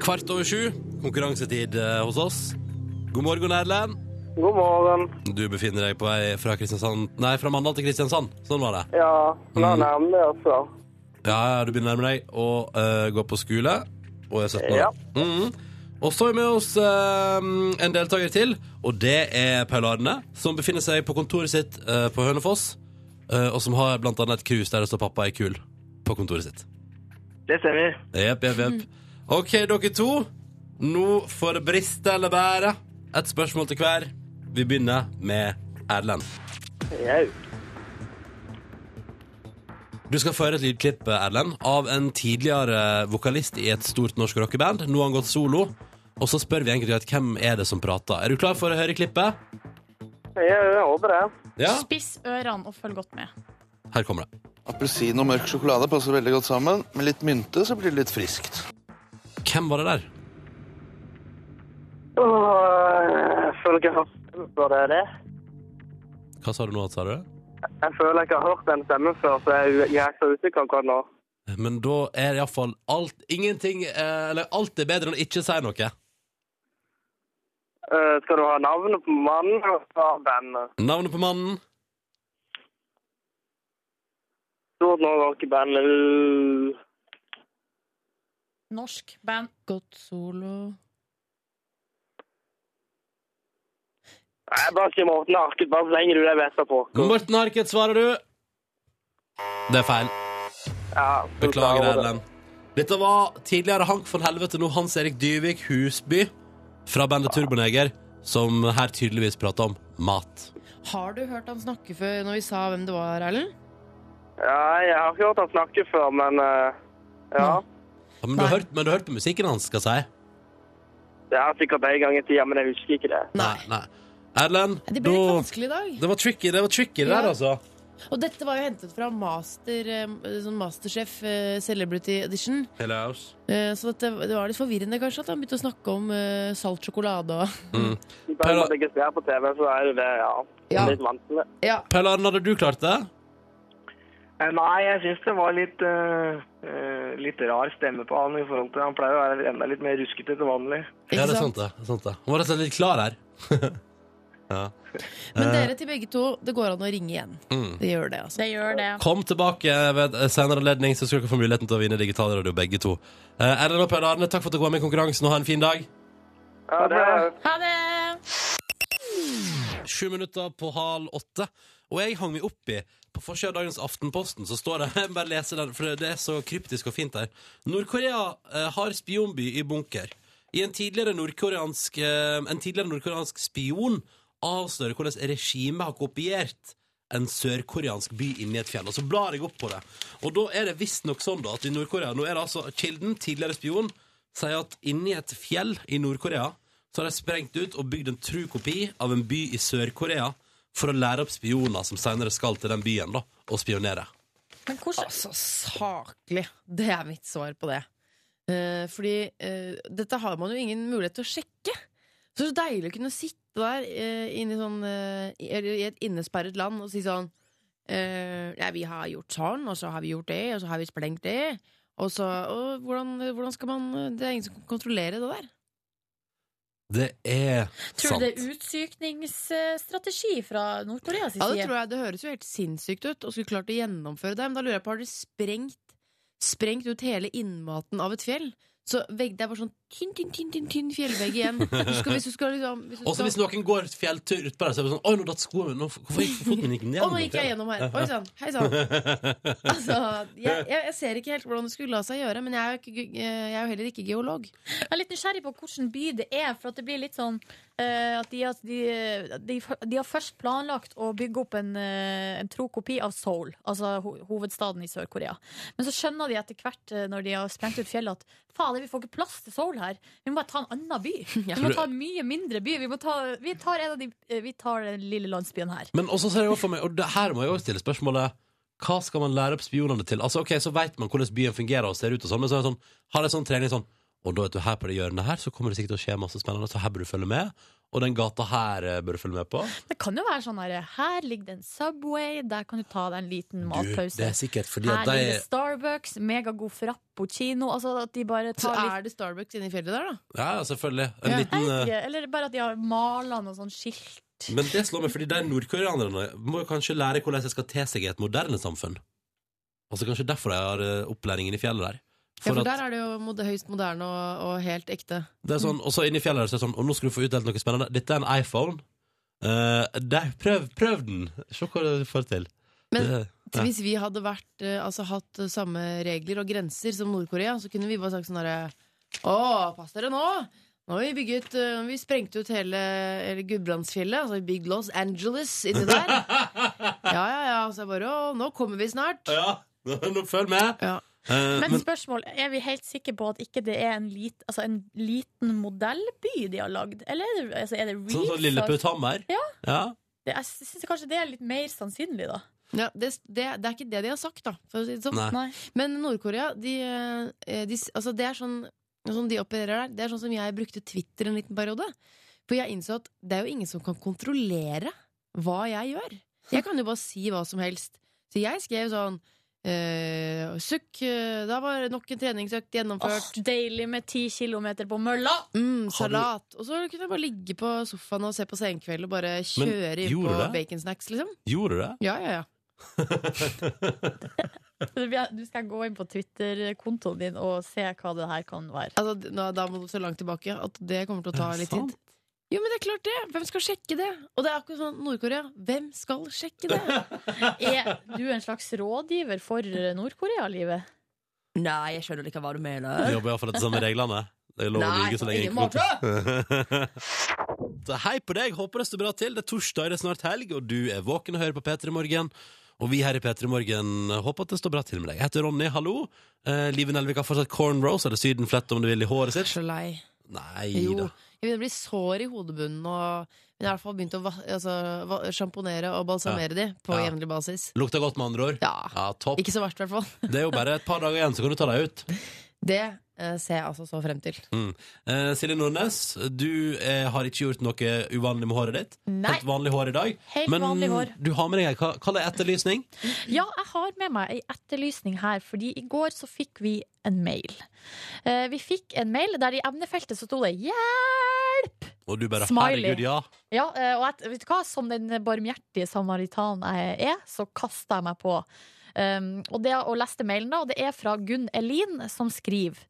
Speaker 2: Kvart over sju, konkurransetid eh, hos oss. God morgen, Erlend.
Speaker 9: God morgen.
Speaker 2: Du befinner deg på vei fra Kristiansand Nei, fra Mandal til Kristiansand. Sånn var det.
Speaker 9: Ja, nå altså.
Speaker 2: Mm.
Speaker 9: nærmer vi oss, da.
Speaker 2: Ja, ja, du begynner å nærme deg og eh, går på skole og er 17 år.
Speaker 9: Ja.
Speaker 2: Mhm. Og så har vi med oss eh, en deltaker til, og det er Paul Arne, som befinner seg på kontoret sitt eh, på Hønefoss. eh, og som har blant annet et krus der det står 'pappa er kul' på kontoret sitt.
Speaker 10: Det stemmer.
Speaker 2: Jepp, jepp, jepp. OK, dere to. Nå får det briste eller bære. Ett spørsmål til hver. Vi begynner med Erlend.
Speaker 10: Jau.
Speaker 2: Du skal få høre et lydklipp Erlend, av en tidligere vokalist i et stort norsk rockeband. Nå har han gått solo. Og så spør vi egentlig at hvem er det som prater. Er du klar for å høre klippet?
Speaker 10: Jeg håper det.
Speaker 2: Ja.
Speaker 3: Spiss ørene og følg godt med.
Speaker 2: Her kommer det.
Speaker 11: Appelsin og mørk sjokolade passer veldig godt sammen. Med litt mynte så blir det litt friskt.
Speaker 2: Hvem var det der?
Speaker 9: Åh, jeg føler ikke jeg har stemt på det, det.
Speaker 2: Hva sa du nå, sa du?
Speaker 9: Jeg føler ikke jeg har hørt den stemmen før, så jeg er u- jeg er så usikker akkurat nå.
Speaker 2: Men da er iallfall alt Ingenting eh, Eller alt er bedre enn å ikke si noe.
Speaker 9: Eh, skal du ha navnet på mannen og hva er bandet?
Speaker 2: Navnet på mannen?
Speaker 9: Stort nå rockeband. Uh,
Speaker 3: Norsk band.
Speaker 5: Godt solo
Speaker 9: Jeg bare sier Morten Arket, bare slenger du det beste på.
Speaker 2: Morten Harket, svarer du? Det er feil.
Speaker 9: Ja,
Speaker 2: Beklager, Erlend. Dette var tidligere Hank von Helvete, nå Hans Erik Dyvik Husby fra bandet Turboneger, som her tydeligvis prater om mat.
Speaker 5: Har du hørt han snakke før når vi sa hvem det var, Erlend?
Speaker 9: Ja, jeg har ikke hørt han snakke før, men eh, ja.
Speaker 2: Ja, men, du har
Speaker 5: Nei.
Speaker 2: hørt, men du har hørt på musikken hans, skal jeg si?
Speaker 9: Det har sikkert en gang i tida, men jeg husker ikke det.
Speaker 5: Nei.
Speaker 2: nei. Erlend,
Speaker 5: Det ble litt
Speaker 2: da
Speaker 5: vanskelig i dag.
Speaker 2: Det var tricky, det var tricky det
Speaker 5: Ja.
Speaker 2: der, altså.
Speaker 5: Og dette var jo hentet fra master, eh, sånn Masterchef eh, Celebrity Edition. Eh, Så dette, det var litt forvirrende kanskje at han begynte å snakke om eh, salt sjokolade og
Speaker 9: Bare når jeg ser på TV, så er det det, ja.
Speaker 5: Ja.
Speaker 9: Litt vanskelig.
Speaker 5: Ja.
Speaker 2: Pelle Arne, hadde du klart det?
Speaker 10: Eh, Nei, jeg syns det var litt eh, eh, litt rar stemme på han i forhold til Han pleier å være enda litt mer ruskete til vanlig.
Speaker 2: Ja, det er
Speaker 5: sant?
Speaker 2: sant, det. det, er sant det. Han var rett og slett litt klar her. ja.
Speaker 5: Men dere til begge to, det går an å ringe igjen.
Speaker 2: Eh. Mm.
Speaker 5: Det gjør det, altså.
Speaker 3: Det gjør det.
Speaker 2: Kom tilbake ved senere anledning, så skal dere få muligheten til å vinne digitalradio, begge to. Eh, Erlend og Per Arne, takk for at dere var med i konkurransen, og ha en fin dag.
Speaker 9: Ja, det er
Speaker 3: Ha det!
Speaker 2: Sju minutter på hal åtte. Og jeg hang meg opp i På forsida av dagens Aftenposten så står det Jeg bare leser den, for det er så kryptisk og fint der. Nord-Korea eh, har spionby i bunker. I en tidligere nordkoreansk eh, En tidligere nordkoreansk spion avslører hvordan regimet har kopiert en sørkoreansk by inni et fjell. Og så blar jeg opp på det. Og da er det visstnok sånn da at i Nord-Korea Nå er det altså Kilden, tidligere spion, sier at inni et fjell i Nord-Korea så har de sprengt ut og bygd en tru kopi av en by i Sør-Korea for å lære opp spioner som senere skal til den byen da, og spionere.
Speaker 3: Men hvordan
Speaker 5: Altså, saklig. Det er mitt svar på det. Eh, fordi eh, dette har man jo ingen mulighet til å sjekke. Så det er så deilig å kunne sitte der eh, inne i, sånn, eh, i, eller i et innesperret land og si sånn eh, Ja, vi har gjort sånn, og så har vi gjort det, og så har vi sprengt det. Og så og hvordan, hvordan skal man eh, Det er ingen som kan kontrollere det der.
Speaker 2: Det er
Speaker 3: Tror
Speaker 2: sant.
Speaker 3: du det er utsykningsstrategi fra Nord-Koreas
Speaker 5: Ja, det
Speaker 3: side?
Speaker 5: tror jeg. Det høres jo helt sinnssykt ut, og skulle klart å gjennomføre det. Men da lurer jeg på, har dere sprengt, sprengt ut hele innmaten av et fjell? Så vegg, det er bare sånn tynn, tynn, tynn, tynn, tynn fjellvegg igjen. Du skal, hvis du skal liksom hvis du
Speaker 2: Og så hvis
Speaker 5: skal,
Speaker 2: noen går fjelltur utpå der, så er det sånn Oi, nå datt skoen min. Nå- Hvorfor gikk foten min ikke ned?
Speaker 5: Å, nå gikk jeg gjennom her. Oi sann. Hei sann. Altså, jeg, jeg, jeg ser ikke helt hvordan det skulle la seg gjøre, men jeg er jo, ikke, ge- jeg er jo heller ikke geolog.
Speaker 3: Jeg er litt nysgjerrig på hvilken by det er. For at det blir litt sånn eh, at de, at de, de, de har først planlagt å bygge opp en, eh, en tro kopi av Seoul, altså ho hovedstaden i Sør-Korea. Men så skjønner de etter hvert, eh, når de har sprengt ut fjellet, at fader, vi får ikke plass til Seoul her. Vi må bare ta en annen by. Vi må ta en mye mindre by. Vi, må ta, vi, tar, en av de, eh, vi tar den lille landsbyen her.
Speaker 2: Men også ser jeg også for meg, og det her må jeg også stille spørsmålet Hva skal man lære opp spionene til? Altså, ok, så vet man hvordan byen fungerer og ser ut og sånn, men så er det sånn, har jeg sånn trening sånn Og da vet du, her på det hjørnet her, så kommer det sikkert til å skje masse spennende, så her bør du følge med. Og den gata her eh, bør du følge med på.
Speaker 3: Det kan jo være sånn her Her ligger det en Subway, der kan du ta deg en liten
Speaker 2: Du,
Speaker 3: matpause.
Speaker 2: det er sikkert fordi
Speaker 3: her
Speaker 2: at de
Speaker 3: ligger det Starbucks, megagod frappuccino. Altså at de bare
Speaker 5: Så
Speaker 3: tar litt
Speaker 5: er det Starbucks inne i fjellet der, da.
Speaker 2: Ja, ja, selvfølgelig. En
Speaker 5: Ja.
Speaker 2: liten
Speaker 3: Jeg vet
Speaker 2: eh,
Speaker 3: ikke, Eller bare at de har mala noe sånn skilt.
Speaker 2: Men det slår meg fordi de nordkoreanerne må jo kanskje lære hvordan jeg skal te seg i et moderne samfunn. Altså Kanskje derfor de har eh, opplæringen i fjellet der.
Speaker 5: Ja,
Speaker 2: For
Speaker 5: for
Speaker 2: at
Speaker 5: der er det jo mod- høyst moderne og, og helt ekte.
Speaker 2: det er sånn, Og så inni fjellet der så er det sånn Og nå skal du få utdelt noe spennende. Dette er en iPhone. Eh, der, prøv, prøv den! Se hva du får til.
Speaker 5: Men-
Speaker 2: det,
Speaker 5: Så Hvis vi hadde vært, eh, altså, hatt eh, samme regler og grenser som Nord-Korea, så kunne vi bare sagt sånn herre Å, pass dere nå! Nå har vi bygget eh, Vi sprengte ut hele, hele Gudbrandsfjellet. Altså vi bygd Los Angeles inni der. Ja, ja, ja. Så jeg bare Å, nå kommer vi snart.
Speaker 2: Ja, nå følg med.
Speaker 5: Ja.
Speaker 2: Eh,
Speaker 3: Men
Speaker 2: men,
Speaker 3: spørsmål, er vi helt sikre på at ikke det er en, lit, altså en liten modellby de har lagd? Eller er det, altså, er det real?
Speaker 2: sånn som Lille
Speaker 3: size?
Speaker 2: Putthammer?
Speaker 3: Ja.
Speaker 2: ja.
Speaker 3: Det- Jeg syns kanskje det er litt mer sannsynlig, da.
Speaker 5: Ja, det, det, det er ikke det de har sagt, da. For å si det sånn.
Speaker 2: Nei.
Speaker 3: Nei.
Speaker 5: Men Nord-Korea, de, eh, de, altså det er sånn sånn de opererer der, det er sånn som jeg brukte Twitter en liten periode. For jeg innså at det er jo ingen som kan kontrollere hva jeg gjør. Jeg kan jo bare si hva som helst. Så jeg skrev sånn eh, Sukk, eh, da var nok en treningsøkt
Speaker 3: Åh,
Speaker 5: gjennomført.
Speaker 3: deilig med ti kilometer på mølla!
Speaker 5: Mm,
Speaker 2: Har du-
Speaker 5: salat. Og så kunne jeg bare ligge på sofaen og se på Senkveld og bare
Speaker 2: Men
Speaker 5: kjøre inn
Speaker 2: gjorde
Speaker 5: på
Speaker 2: du det?
Speaker 5: baconsnacks, liksom.
Speaker 2: Gjorde du det?
Speaker 5: Ja, ja, ja.
Speaker 3: Det blir- Nå skal jeg gå inn på Twitter-kontoen din og se hva det her kan være.
Speaker 5: Altså, d- nå, da må du så langt tilbake at det kommer til å ta
Speaker 2: Er det
Speaker 5: litt tid.
Speaker 2: sant?
Speaker 5: Jo, men det er klart det! Hvem skal sjekke det? Og det er akkurat sånn Nord-Korea. Hvem skal sjekke det?
Speaker 3: Er du en slags rådgiver for Nord-Korea-livet?
Speaker 7: Nei, jeg skjønner ikke hva du mener.
Speaker 2: Jeg jobber iallfall etter samme reglene. Det er lov å lyge så lenge
Speaker 7: ingen
Speaker 2: måte! så hei på deg, håper det står bra til. Det er torsdag, det er snart helg, og du er våken og hører på P3 Morgen. Og vi her i P3 Morgen eh, håper at det står bra til med deg. Jeg heter Ronny, hallo. Eh, Live Nelvik har fortsatt cornrows, eller sydenflett om du vil, i håret sitt.
Speaker 5: Så lei.
Speaker 2: Nei
Speaker 5: Jo.
Speaker 2: da.
Speaker 5: Jeg begynner å bli sår i hodebunnen og men jeg har i hvert fall begynt å va- altså, va- sjamponere og balsamere de på
Speaker 2: Ja.
Speaker 5: jevnlig basis.
Speaker 2: Lukter godt, med andre ord.
Speaker 5: Ja.
Speaker 2: topp.
Speaker 5: Ikke så verst, i hvert fall.
Speaker 2: Det er jo bare et par dager igjen, så kan du ta deg ut.
Speaker 5: Det eh, ser jeg altså så frem til.
Speaker 2: Eh, Silje Nordnes, du eh, har ikke gjort noe uvanlig med håret ditt.
Speaker 3: Nei.
Speaker 2: Helt vanlig hår i dag.
Speaker 3: Helt
Speaker 2: Men
Speaker 3: vanlig hår.
Speaker 2: du har med deg hva, hva er etterlysning?
Speaker 3: Ja, jeg har med meg ei etterlysning her, fordi i går så fikk vi en mail. Eh, Vi fikk en mail der i emnefeltet så sto det 'hjelp'!
Speaker 2: Og du bare
Speaker 3: Smiley.
Speaker 2: herregud, ja.
Speaker 3: Ja, eh, og jeg, vet du hva? Som den barmhjertige samaritan jeg er, så kaster jeg meg på. Um, og, det, og leste mailen da, og det er fra Gunn Elin som skriver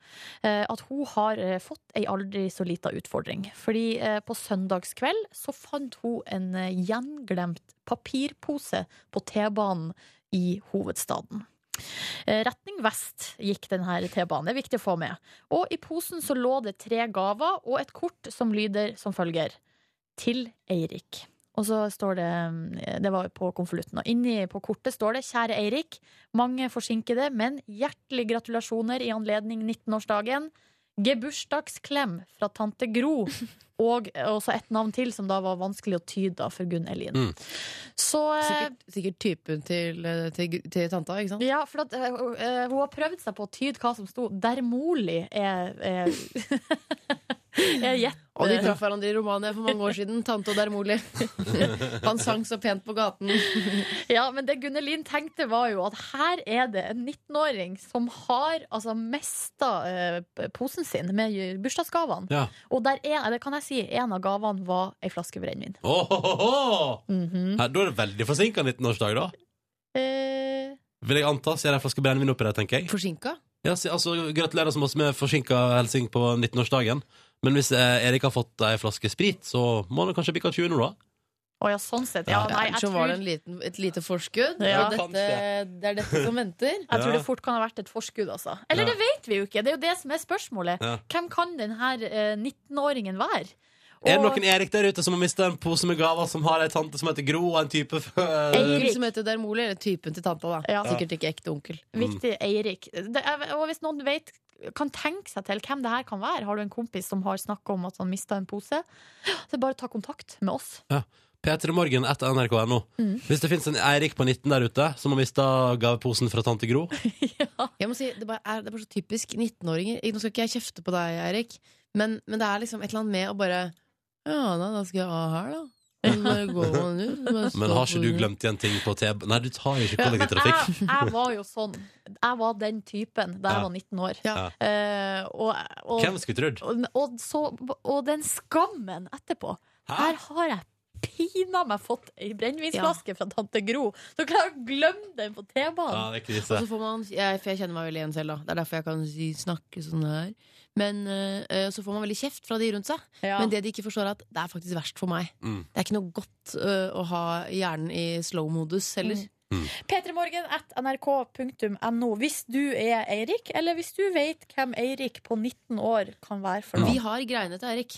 Speaker 3: eh, at hun har eh, fått ei aldri så lita utfordring. Fordi eh, på søndagskveld så fant hun en eh, gjenglemt papirpose på T-banen i hovedstaden. Eh, Retning vest gikk denne T-banen. Det er viktig å få med. Og i posen så lå det tre gaver og et kort som lyder som følger til Eirik. Og så står det eh, Det var på konvolutten. Og inni på kortet står det 'Kjære Eirik. Mange forsinkede, men hjertelig gratulasjoner i anledning 19-årsdagen. Gebursdagsklem fra tante Gro. Og også et navn til som da var vanskelig å tyde da for Gunn Elin.
Speaker 2: Mm.
Speaker 3: Så eh,
Speaker 5: Sikkert, sikkert typen til, eh, til, gr- til tanta, ikke sant?
Speaker 3: ja, for at, eh, eh, hun har prøvd seg på å tyde hva som sto. Der Moli er, er, er gjett.
Speaker 5: Og de traff hverandre i Romania for mange år siden. Tante og Dermoli. Han sang så pent på gaten.
Speaker 3: Ja, men det Gunnelin tenkte var jo at her er det en 19-åring som har altså mista eh, p- posen sin med ju- bursdagsgavene.
Speaker 2: ja.
Speaker 3: Og der en, det kan jeg si, en av gavene var ei flaske brennevin.
Speaker 2: Åhåhå!
Speaker 3: Mhm.
Speaker 2: Her, Da er det veldig forsinka 19-årsdag, da.
Speaker 3: Eh,
Speaker 2: Vil jeg anta, så er det en flaske brennevin oppi der, tenker jeg.
Speaker 5: Forsinka.
Speaker 2: Ja, så, altså, gratulerer så masse med forsinka hilsing på 19-årsdagen. Men hvis eh, Erik har fått ei flaske sprit, så må han kanskje bikke 20 nå, da.
Speaker 3: Å ja, sånn sett. Ja,
Speaker 5: Ja,
Speaker 3: nei, jeg
Speaker 5: så var det
Speaker 3: tror,
Speaker 5: en liten, et lite forskudd.
Speaker 3: Ja.
Speaker 5: og dette, det er dette som venter.
Speaker 3: jeg tror
Speaker 2: Ja.
Speaker 3: det fort kan ha vært et forskudd, altså. Eller
Speaker 2: Ja.
Speaker 3: det vet vi jo ikke! Det er jo det som er spørsmålet.
Speaker 2: Ja.
Speaker 3: Hvem kan denne 19-åringen være?
Speaker 2: Er det
Speaker 3: Og-
Speaker 2: noen Erik der ute som har mista en pose med gaver, som har ei tante som heter Gro, og en type f-
Speaker 5: Onkel
Speaker 3: Eirik.
Speaker 5: som heter Dermoli, eller typen til tanta, da.
Speaker 3: Ja.
Speaker 5: Sikkert ikke ekte onkel.
Speaker 2: Mm.
Speaker 3: Viktig, Eirik. Det er, og hvis noen vet, kan tenke seg til hvem det her kan være, har du en kompis som har snakka om at han mista en pose, så bare ta kontakt med oss.
Speaker 2: P3morgen etter nrk.no. Hvis det fins en Eirik på 19 der ute som har mista gaveposen fra tante Gro
Speaker 5: Jeg må si, det, bare er, det er bare så typisk 19-åringer. Ikke- Nå skal ikke jeg kjefte på deg, Eirik, men, men det er liksom et eller annet med å bare Ja, nei, da skal jeg av her, da. Men bare går man ut, bare står
Speaker 2: Men har ikke
Speaker 5: på
Speaker 2: du
Speaker 5: den.
Speaker 2: glemt igjen ting på T... Nei, du tar jo ikke
Speaker 3: Ja, men
Speaker 2: kollektivtrafikk.
Speaker 3: jeg, jeg var jo sånn. Jeg var den typen da
Speaker 2: Ja.
Speaker 3: jeg var 19 år.
Speaker 5: Ja.
Speaker 3: Eh, og,
Speaker 2: Hvem
Speaker 3: og,
Speaker 2: skulle trodd?
Speaker 3: og, og, så, og den skammen etterpå.
Speaker 2: Hæ?
Speaker 3: Her har jeg pinadø meg fått ei brennevinsflaske fra tante Gro. Så klarer jeg å glemme den på
Speaker 2: Ja,
Speaker 3: T-banen.
Speaker 2: det er krise.
Speaker 5: Og så får man, jeg, for jeg kjenner meg veldig igjen selv, da. Det er derfor jeg kan si, snakke sånn her. Men eh, eh, så får man veldig kjeft fra de rundt seg.
Speaker 3: Ja.
Speaker 5: Men det de ikke forstår, er at det er faktisk verst for meg.
Speaker 2: Mm.
Speaker 5: eh, Det er ikke noe godt øh, å ha hjernen i slow-modus heller.
Speaker 2: Mm.
Speaker 3: P3morgen at nrk.no hvis du er Eirik, eller hvis du vet hvem Eirik på 19 år kan være for
Speaker 5: Vi
Speaker 3: noe.
Speaker 5: har greiene til Erik.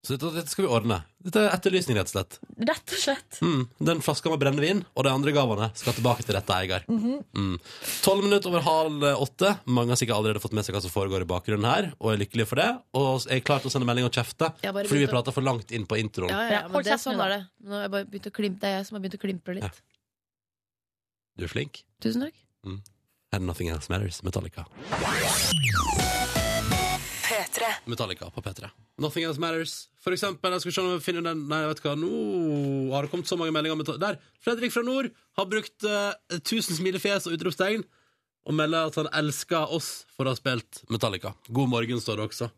Speaker 2: Så dette, dette skal vi ordne. Dette er etterlysning, rett og slett.
Speaker 3: Rett og slett.
Speaker 2: Mm. Den flaska med brennevin og de andre gavene skal tilbake til rette eier. Mm. Tolv minutter over halv åtte. Mange har sikkert allerede fått med seg hva som foregår i bakgrunnen her, og er lykkelige for det. Og er klar til å sende melding og kjefte
Speaker 5: Jeg bare
Speaker 2: fordi vi
Speaker 5: begynte-
Speaker 2: prater for langt inn på introen.
Speaker 5: Ja, ja,
Speaker 3: Ja,
Speaker 5: ja, men
Speaker 3: hold
Speaker 5: det,
Speaker 3: kjeften
Speaker 5: sånn
Speaker 3: din,
Speaker 5: er det. Nå har jeg bare begynt å klim- det er jeg som har begynt å klimpre litt.
Speaker 2: Du er flink.
Speaker 5: Tusen takk.
Speaker 2: And Nothing Else Matters, Metallica. Metallica på P3. Nothing Else Matters. For eksempel, jeg skal se om jeg finner den Nei, vet du hva, nå har det kommet så mange meldinger om Metallica. Der! Fredrik fra nord har brukt eh, 1000 smilefjes og utropstegn og melder at han elsker oss for å ha spilt Metallica. God morgen, står det også.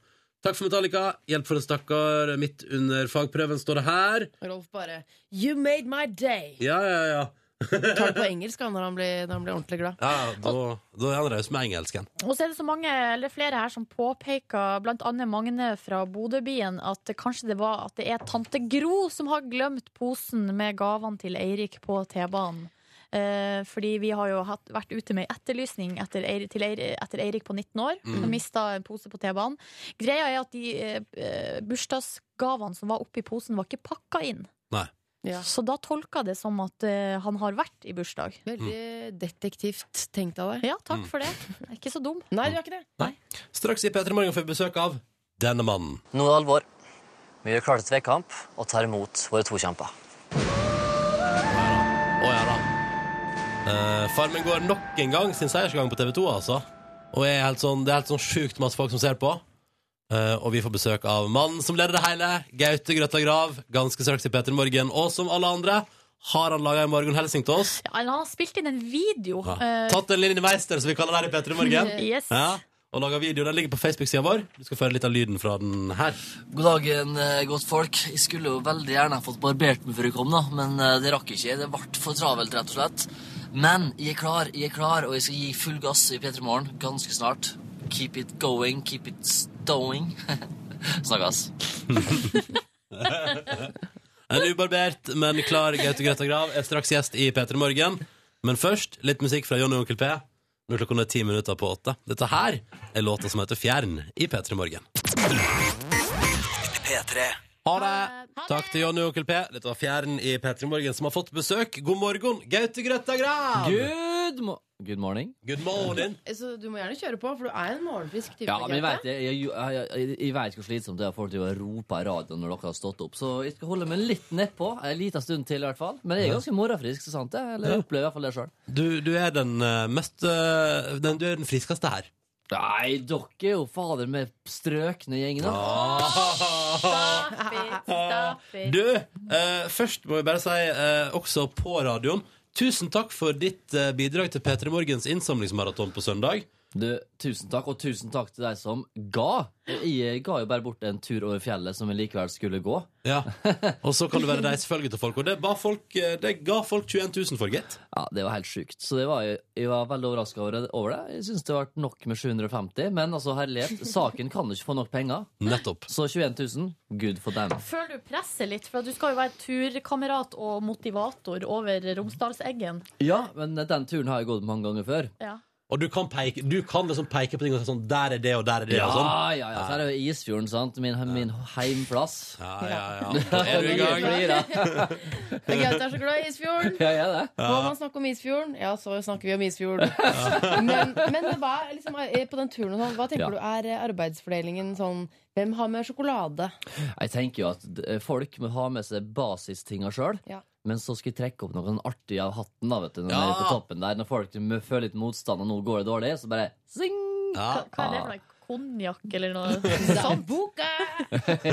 Speaker 2: Takk for Metallica. Hjelp for en stakkar midt under fagprøven, står det her.
Speaker 5: Rolf bare You made my day!
Speaker 2: Ja, ja, ja.
Speaker 5: Tar det på engelsk han, når han blir, når han blir ordentlig glad.
Speaker 2: ja da, da er han raus med engelsken.
Speaker 3: Og så er det så mange, eller flere her som påpeker, blant annet Magne fra Bodøbyen, at det kanskje det var at det er tante Gro som har glemt posen med gavene til Eirik på T-banen. Eh, fordi vi har jo hatt, vært ute med etterlysning etter, Eir, til Eir, etter Eirik på 19 år.
Speaker 2: Mm.
Speaker 3: Som mista en pose på T-banen. Greia er at de eh, eh, bursdagsgavene som var oppi posen, var ikke pakka inn.
Speaker 2: Nei.
Speaker 5: Ja.
Speaker 3: Så da tolka det som at eh, han har vært i bursdag.
Speaker 5: Veldig detektivt tenkt av deg.
Speaker 3: Ja, takk for det. Jeg er Ikke så dum.
Speaker 5: Nei, du er ikke det.
Speaker 2: Straks i P3 Morgen får vi besøk av denne mannen.
Speaker 12: Nå er det alvor. Vi gjør klare til vekkamp og tar imot våre to kjemper.
Speaker 2: Å ja da. Eh, Farmen går nok en gang sin seiersgang på TV2, altså. Og er helt sånn, det er helt sånn sjukt masse folk som ser på. Eh, og vi får besøk av mannen som leder det hele, Gaute Grøtta Grav. Ganske straks i P3 Morgen. Og som alle andre har han laga en morgenhelsing til oss.
Speaker 3: Ja, Han har spilt inn en video.
Speaker 2: Ja.
Speaker 3: eh,
Speaker 2: Tatt en Linni Meister, som vi kaller det her i P3 Morgen.
Speaker 3: Yes.
Speaker 2: Ja. Og laga video. Den ligger på Facebook-sida vår. Du skal få høre litt av lyden fra den her.
Speaker 12: God dagen, eh, godt folk. Jeg skulle jo veldig gjerne ha fått barbert meg før jeg kom, da, men eh, det rakk jeg ikke. Det ble for travelt, rett og slett. Men jeg er klar, jeg er klar, og jeg skal gi full gass i P3 Morgen ganske snart. Keep it going, keep it stowing. Snakkes.
Speaker 2: En ubarbert, men klar Gaute Grøtta Grav er straks gjest i P3 Morgen. Men først litt musikk fra Johnny og Onkel P. Nå er klokka nå ti minutter på åtte. Dette her er låta som heter Fjern i P3 Morgen.
Speaker 6: P3.
Speaker 2: Ha det! Takk til Johnny og Onkel P. Dette var Fjern i P3 Morgen som har fått besøk. God morgen, Gaute Grøtta Grav!
Speaker 1: Good, mo good morning.
Speaker 2: Good morning.
Speaker 5: Så du må gjerne kjøre på, for du er en morgenfrisk type.
Speaker 1: Ja, men jeg vet,
Speaker 5: Gaute.
Speaker 1: jeg, jeg, jeg, jeg, jeg vet hvor slitsomt det er for folk driver og roper i radioen når dere har stått opp. Så jeg skal holde meg litt nedpå en liten stund til, i hvert fall. Men jeg er ganske morgenfrisk, så sant det. Eller jeg opplever i hvert fall det sjøl.
Speaker 2: Du, du er den eh, mest eh, den, Du er den friskeste her.
Speaker 1: Nei, dere er jo fader med strøkne gjengen, da.
Speaker 3: Stop it, stop it.
Speaker 2: Du, eh, først må vi bare si, eh, også på radioen Tusen takk for ditt eh, bidrag til P3 Morgens innsamlingsmaraton på søndag.
Speaker 1: Du, tusen takk, og tusen takk til deg som ga. Jeg ga jo bare bort en tur over fjellet som jeg likevel skulle gå.
Speaker 2: Ja. Og så kan du være reisefølge til folk. Og det, ba folk, eh, det ga folk 21 000 for, gitt.
Speaker 1: Ja, Det var helt sjukt. Så det var, jeg var veldig overraska over, det- over det. Jeg syns det ble nok med 750, men altså, herlighet, saken kan jo ikke få nok penger.
Speaker 2: Nettopp.
Speaker 1: Så 21 000, good for them.
Speaker 3: Føler du presset litt? For at du skal jo være turkamerat og motivator over Romsdalseggen.
Speaker 1: Ja, men den turen har jeg gått mange ganger før.
Speaker 3: Ja.
Speaker 2: Og du kan, peke, du kan liksom peke på ting og si sånn Der er det, og der er det, og sånn.
Speaker 1: ja, ja, ja. Så er det jo Isfjorden, sant. Min, min heimplass.
Speaker 2: Ja, ja, ja. Da er du i gang.
Speaker 1: Blir det.
Speaker 5: Men Gaute er så glad i Isfjorden.
Speaker 1: Ja, jeg er det.
Speaker 5: Må man snakke om Isfjorden? Ja, så snakker vi om Isfjorden. Men, men hva, er liksom, er- på den turen og sånn, hva tenker
Speaker 1: Ja.
Speaker 5: du er eh, arbeidsfordelingen sånn Hvem har med sjokolade?
Speaker 1: Jeg tenker jo at d- folk må ha med seg basistinga sjøl.
Speaker 5: Ja.
Speaker 1: Men så skal jeg trekke opp noe sånn artig av hatten da, vet du, når,
Speaker 2: Ja.
Speaker 1: nede på toppen der, når folk m- føler litt motstand, og nå går det dårlig, så bare zing!
Speaker 2: Ja.
Speaker 3: Hva, hva er det for noe? Konjakk eller noe sånt?
Speaker 5: Sambuca!
Speaker 1: Ja,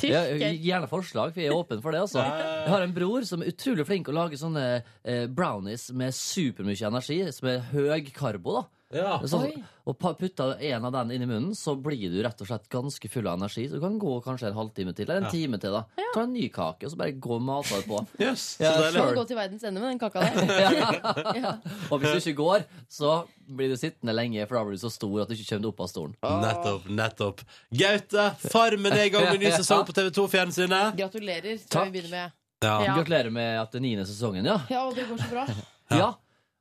Speaker 3: Tyrker?
Speaker 1: gjerne forslag, for jeg er åpen for det. altså Jeg har en bror som er utrolig flink å lage sånne eh, brownies med supermye energi, som er høy karbo. da
Speaker 2: Ja.
Speaker 1: Sånn, og pa- putta en av den inn i munnen, så blir du rett og slett ganske full av energi. Så du kan gå kanskje en halvtime til, eller en time til. da Ta en ny kake, og så bare gå og mate på.
Speaker 2: Yes. Så
Speaker 1: Ja,
Speaker 2: deilig.
Speaker 5: Kan du gå til verdens ende med den kaka der?
Speaker 1: Og hvis du ikke går, så blir du sittende lenge, for da blir du så stor at du ikke kommer deg opp av stolen.
Speaker 2: Nettopp, nettopp. Gaute, Farmen er i gang med ny sesong på TV2 Fjernsynet.
Speaker 5: Gratulerer, skal vi begynne med.
Speaker 2: Ja.
Speaker 3: Ja.
Speaker 1: Gratulerer med at det er niende sesongen, ja.
Speaker 5: Ja, og det går så bra.
Speaker 1: Ja.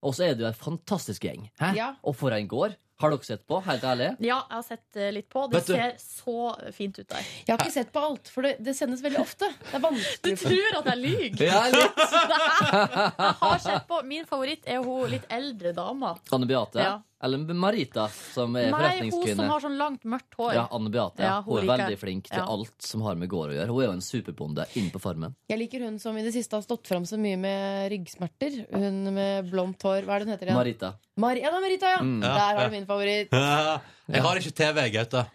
Speaker 1: Og så er det jo en fantastisk gjeng. Hæ?
Speaker 3: Ja.
Speaker 1: Og for en gård. Har dere sett på? Helt ærlig?
Speaker 3: Ja, jeg har sett eh, litt på. Det
Speaker 1: Vet du-
Speaker 3: ser så fint ut der.
Speaker 5: Jeg har ikke sett på alt, for det, det sendes veldig ofte. Det
Speaker 3: Du
Speaker 5: er vanskelig for-
Speaker 3: tror at jeg lyver!
Speaker 1: Ja, litt.
Speaker 3: jeg har sett på. Min favoritt er jo hun litt eldre dama.
Speaker 1: Anne Beate?
Speaker 3: Ja.
Speaker 1: Eller Marita, som er
Speaker 3: Nei, hun
Speaker 1: Eh,
Speaker 3: som
Speaker 1: forretningskvinne.
Speaker 3: har sånn langt, mørkt hår.
Speaker 1: Ja, Anne Beate.
Speaker 3: Ja,
Speaker 1: hun,
Speaker 3: hun
Speaker 1: er
Speaker 3: liker jeg.
Speaker 1: veldig flink til
Speaker 3: Ja.
Speaker 1: alt som har med gård å gjøre. Hun er jo en superbonde inne på farmen.
Speaker 5: Jeg liker hun som i det siste har stått fram så mye med ryggsmerter. Hun med blondt hår. Hva er det hun heter igjen?
Speaker 1: Marita.
Speaker 5: Mar ja, det er Marita, ja.
Speaker 1: Mm.
Speaker 5: Der har du min favoritt.
Speaker 2: Jeg har ikke TV, Gaute.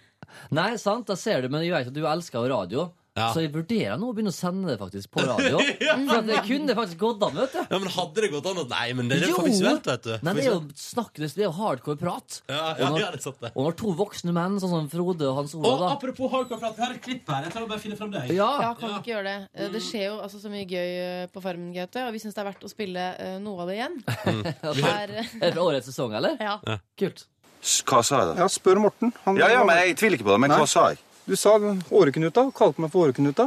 Speaker 1: Nei, sant, da ser du, men jeg vet at du elsker jo radio. Så jeg vurderer nå å begynne å sende det faktisk på radio.
Speaker 2: Ja.
Speaker 1: For at det kunne faktisk gått an, vet du.
Speaker 2: Ja, men Hadde det gått an? å- Nei, men det er
Speaker 1: Jo.
Speaker 2: for visuelt, vet du.
Speaker 1: Nei, det er jo snakk, det er jo hardcore prat.
Speaker 2: Ja, ja,
Speaker 1: og,
Speaker 2: ja,
Speaker 1: når,
Speaker 2: det er sant det.
Speaker 1: og når to voksne menn, sånn som Frode og Hans
Speaker 2: Og
Speaker 1: Olav da,
Speaker 2: apropos hardcore-prat, vi har et klipp her. Jeg tror jeg bare finner frem det. jeg.
Speaker 1: Ja.
Speaker 5: Ja, kan vi ikke gjøre det. Eh, Det skjer jo altså, så mye gøy eh, på Farmen, Gaute, og vi syns det er verdt å spille eh, noe av det igjen. Her, eh,
Speaker 1: Er det fra årets sesong, eller?
Speaker 3: Ja.
Speaker 1: Kult.
Speaker 13: Hva sa jeg da? Ja, spør Morten.
Speaker 11: Ja, ja, men jeg tviler ikke på det, men hva sa jeg?
Speaker 13: Du sa åreknuta, og kalte meg for åreknuta.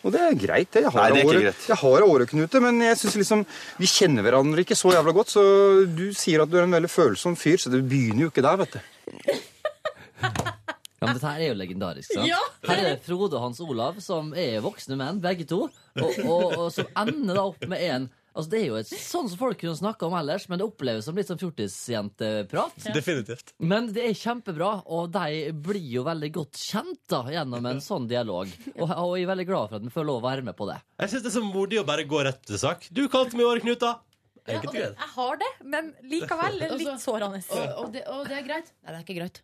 Speaker 13: Og det er greit, det. Jeg har
Speaker 11: Nei, det er ikke
Speaker 13: åre-
Speaker 11: greit.
Speaker 13: Jeg har åreknute, men jeg synes liksom Vi kjenner hverandre ikke så jævla godt, så du sier at du er en veldig følsom fyr, så det begynner jo ikke der, vet du.
Speaker 1: Ja, men Dette her er jo legendarisk. sant?
Speaker 13: Ja.
Speaker 1: Her er Frode og Hans Olav, som er voksne menn, begge to, og, og, og som ender da opp med en Altså, Det er jo et sånn som folk kunne snakke om ellers, men det oppleves som litt sånn fjortisjenteprat.
Speaker 2: Ja. Definitivt.
Speaker 1: Men det er kjempebra, og de blir jo veldig godt kjent da, gjennom en sånn dialog. Og, og jeg er veldig glad for at vi får lov å være med på det.
Speaker 2: Jeg syns det er så modig å bare gå rett til sak. Du kalte meg Åreknuta.
Speaker 3: Ja, og det,
Speaker 2: Enkelt og greit.
Speaker 3: jeg har det, men likevel er det
Speaker 5: Altså,
Speaker 3: litt sårende.
Speaker 5: og, og, det, og det er greit? Nei, det er ikke greit.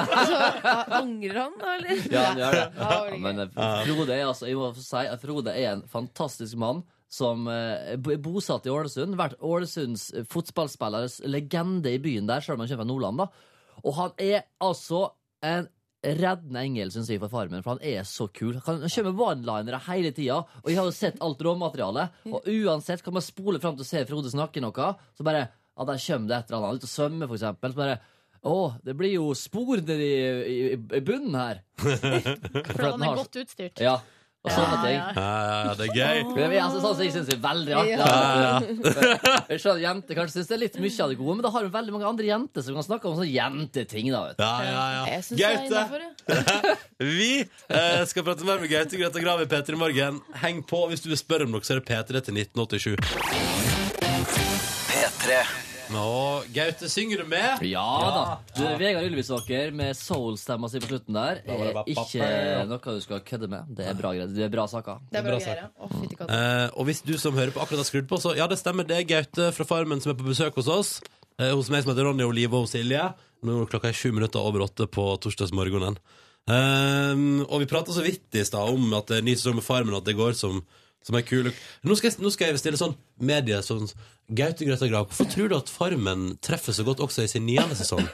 Speaker 5: Altså, a- angrer han, da, eller?
Speaker 1: Ja, han gjør det.
Speaker 5: Ja, det
Speaker 1: Ja,
Speaker 5: er
Speaker 1: men eh, Frode er, altså, jeg må få si at Frode er en fantastisk mann som eh, bo- er bosatt i Ålesund. Vært Ålesunds eh, fotballspillers legende i byen der, selv om han kommer fra Nordland. da. Og han er altså en reddende engel, syns jeg, for Farmen, for han er så kul. Han han kommer med one-linere hele tida, og jeg har jo sett alt råmaterialet. Og uansett, kan man spole fram til å se Frode snakke noe, så bare Ja, der kommer det et eller annet. Han er ute og svømmer, for eksempel. Så bare Å, det blir jo spor nedi i, i, i bunnen her.
Speaker 3: For han er godt utstyrt.
Speaker 1: Ja, og sånne
Speaker 3: Ja,
Speaker 1: ting.
Speaker 3: ja.
Speaker 2: det er gøy.
Speaker 1: Men jeg- altså, sånn som jeg syns er veldig artig.
Speaker 3: Ja.
Speaker 2: Ja,
Speaker 1: da. Jeg skjønner at Jenter kanskje syns det er litt mye av det gode, men da har hun veldig mange andre jenter som kan snakke om sånne jenteting. da, vet du.
Speaker 2: Ja, ja, ja.
Speaker 5: Jeg syns det er
Speaker 2: Gaute.
Speaker 5: innafor, ja.
Speaker 2: Vi eh, skal prate mer med Gaute Grøtta Grav i P3 Morgen. Heng på hvis du vil spørre om noe, så er det P3 til 1987. P3 Nå, Gaute, synger du med?
Speaker 1: Ja da. Du, Vegard Ylvisåker med soul-stemma si på slutten der er ikke noe du skal kødde med. Det er bra, greier. det er bra saker.
Speaker 5: Det er bra
Speaker 2: sak.
Speaker 5: greier. Å, fytti katta.
Speaker 2: Eh, og hvis du som hører på akkurat har skrudd på, så ja, det stemmer. Det er Gaute fra Farmen som er på besøk hos oss. Eh, hos meg som heter Ronny Olive og hos Silje. Nå er klokka er sju minutter over åtte på torsdagsmorgenen. Eh, og vi prata så vidt i stad om at det er ny sesong med Farmen, at det går som, som ei kule nå skal, jeg, nå skal jeg stille sånn medie sånn Gaute Grøtta Grav, hvorfor tror du at Farmen treffer så godt også i sin niende sesong?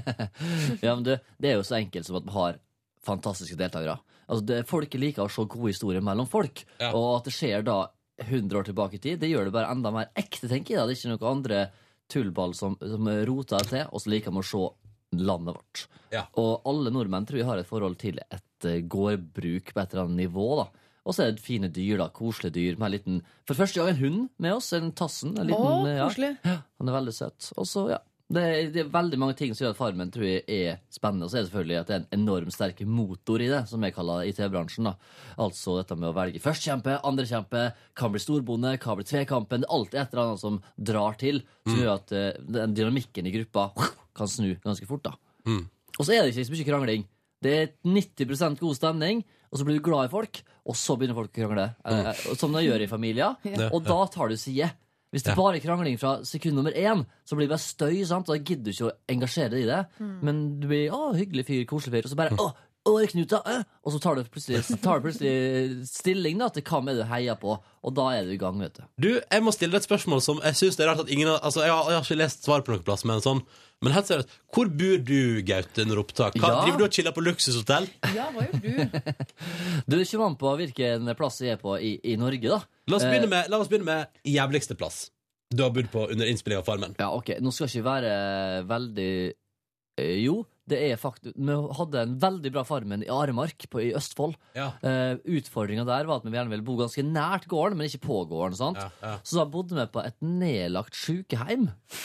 Speaker 1: Ja, men du, Det er jo så enkelt som at vi har fantastiske deltakere. Altså, det, folk liker å se gode historier mellom folk. Og at det skjer da 100 år tilbake i tid, det gjør det bare enda mer ekte, tenker jeg. da. Det er ikke noen andre tullball som, som roter det til, og så liker vi å se landet vårt. Og alle nordmenn tror jeg har et forhold til et eh, gårdbruk på et eller annet nivå. da. Og så er det fine dyr, da, koselige dyr. Med en liten, for første gang en hund med oss. En Tassen. En liten,
Speaker 5: Å,
Speaker 1: eh, ja.
Speaker 5: koselig.
Speaker 1: Han er veldig søt. Og så, ja. Det er, det er veldig mange ting som gjør at Farmen tror jeg er spennende. Og så er det selvfølgelig at det er en enormt sterk motor i det, som jeg kaller IT-bransjen. da. Altså dette med å velge førstkjempe, andrekjempe, kan bli storbonde, kan bli tvekampen. Alt er et eller annet som drar til, som gjør at eh, den dynamikken i gruppa kan snu ganske fort. da. Og så er det ikke så mye krangling. Det er 90 god stemning, og så blir du glad i folk, og så begynner folk å krangle. Eh, eh, Som de gjør i familier.
Speaker 2: Ja.
Speaker 1: Og da tar du side. Hvis det bare er krangling fra sekund nummer én, så blir det bare støy. sant? Da gidder du ikke å engasjere deg i det. Men du blir 'Å, hyggelig fyr, koselig fyr', og så bare 'Å, å Knuta', øh. og så tar du plutselig, tar du plutselig stilling da, til hva med du heier på, og da er du i gang, vet du.
Speaker 2: Du, jeg må stille deg et spørsmål som jeg synes det er rart at ingen har- altså, jeg, har, jeg har ikke lest svar på noen plass, men sånn Men helt seriøst, hvor bor du, Gaute, under opptak? Hva,
Speaker 1: Ja.
Speaker 2: Driver du og chiller på luksushotell?
Speaker 5: Ja, hva gjør du?
Speaker 1: Du det kommer an på hvilken plass jeg er på i, i Norge, da.
Speaker 2: La oss,
Speaker 1: Eh,
Speaker 2: begynne med, la oss begynne med jævligste plass du har bodd på under innspilling av Farmen.
Speaker 1: Ja, ok, Nå skal jeg ikke være veldig eh, Jo, Det er faktisk, Vi hadde en veldig bra Farmen i Aremark på, i Østfold.
Speaker 2: Ja.
Speaker 1: Eh, Utfordringa der var at vi gjerne ville bo ganske nært gården, men ikke på gården. sant? Så da bodde vi på et nedlagt sykehjem.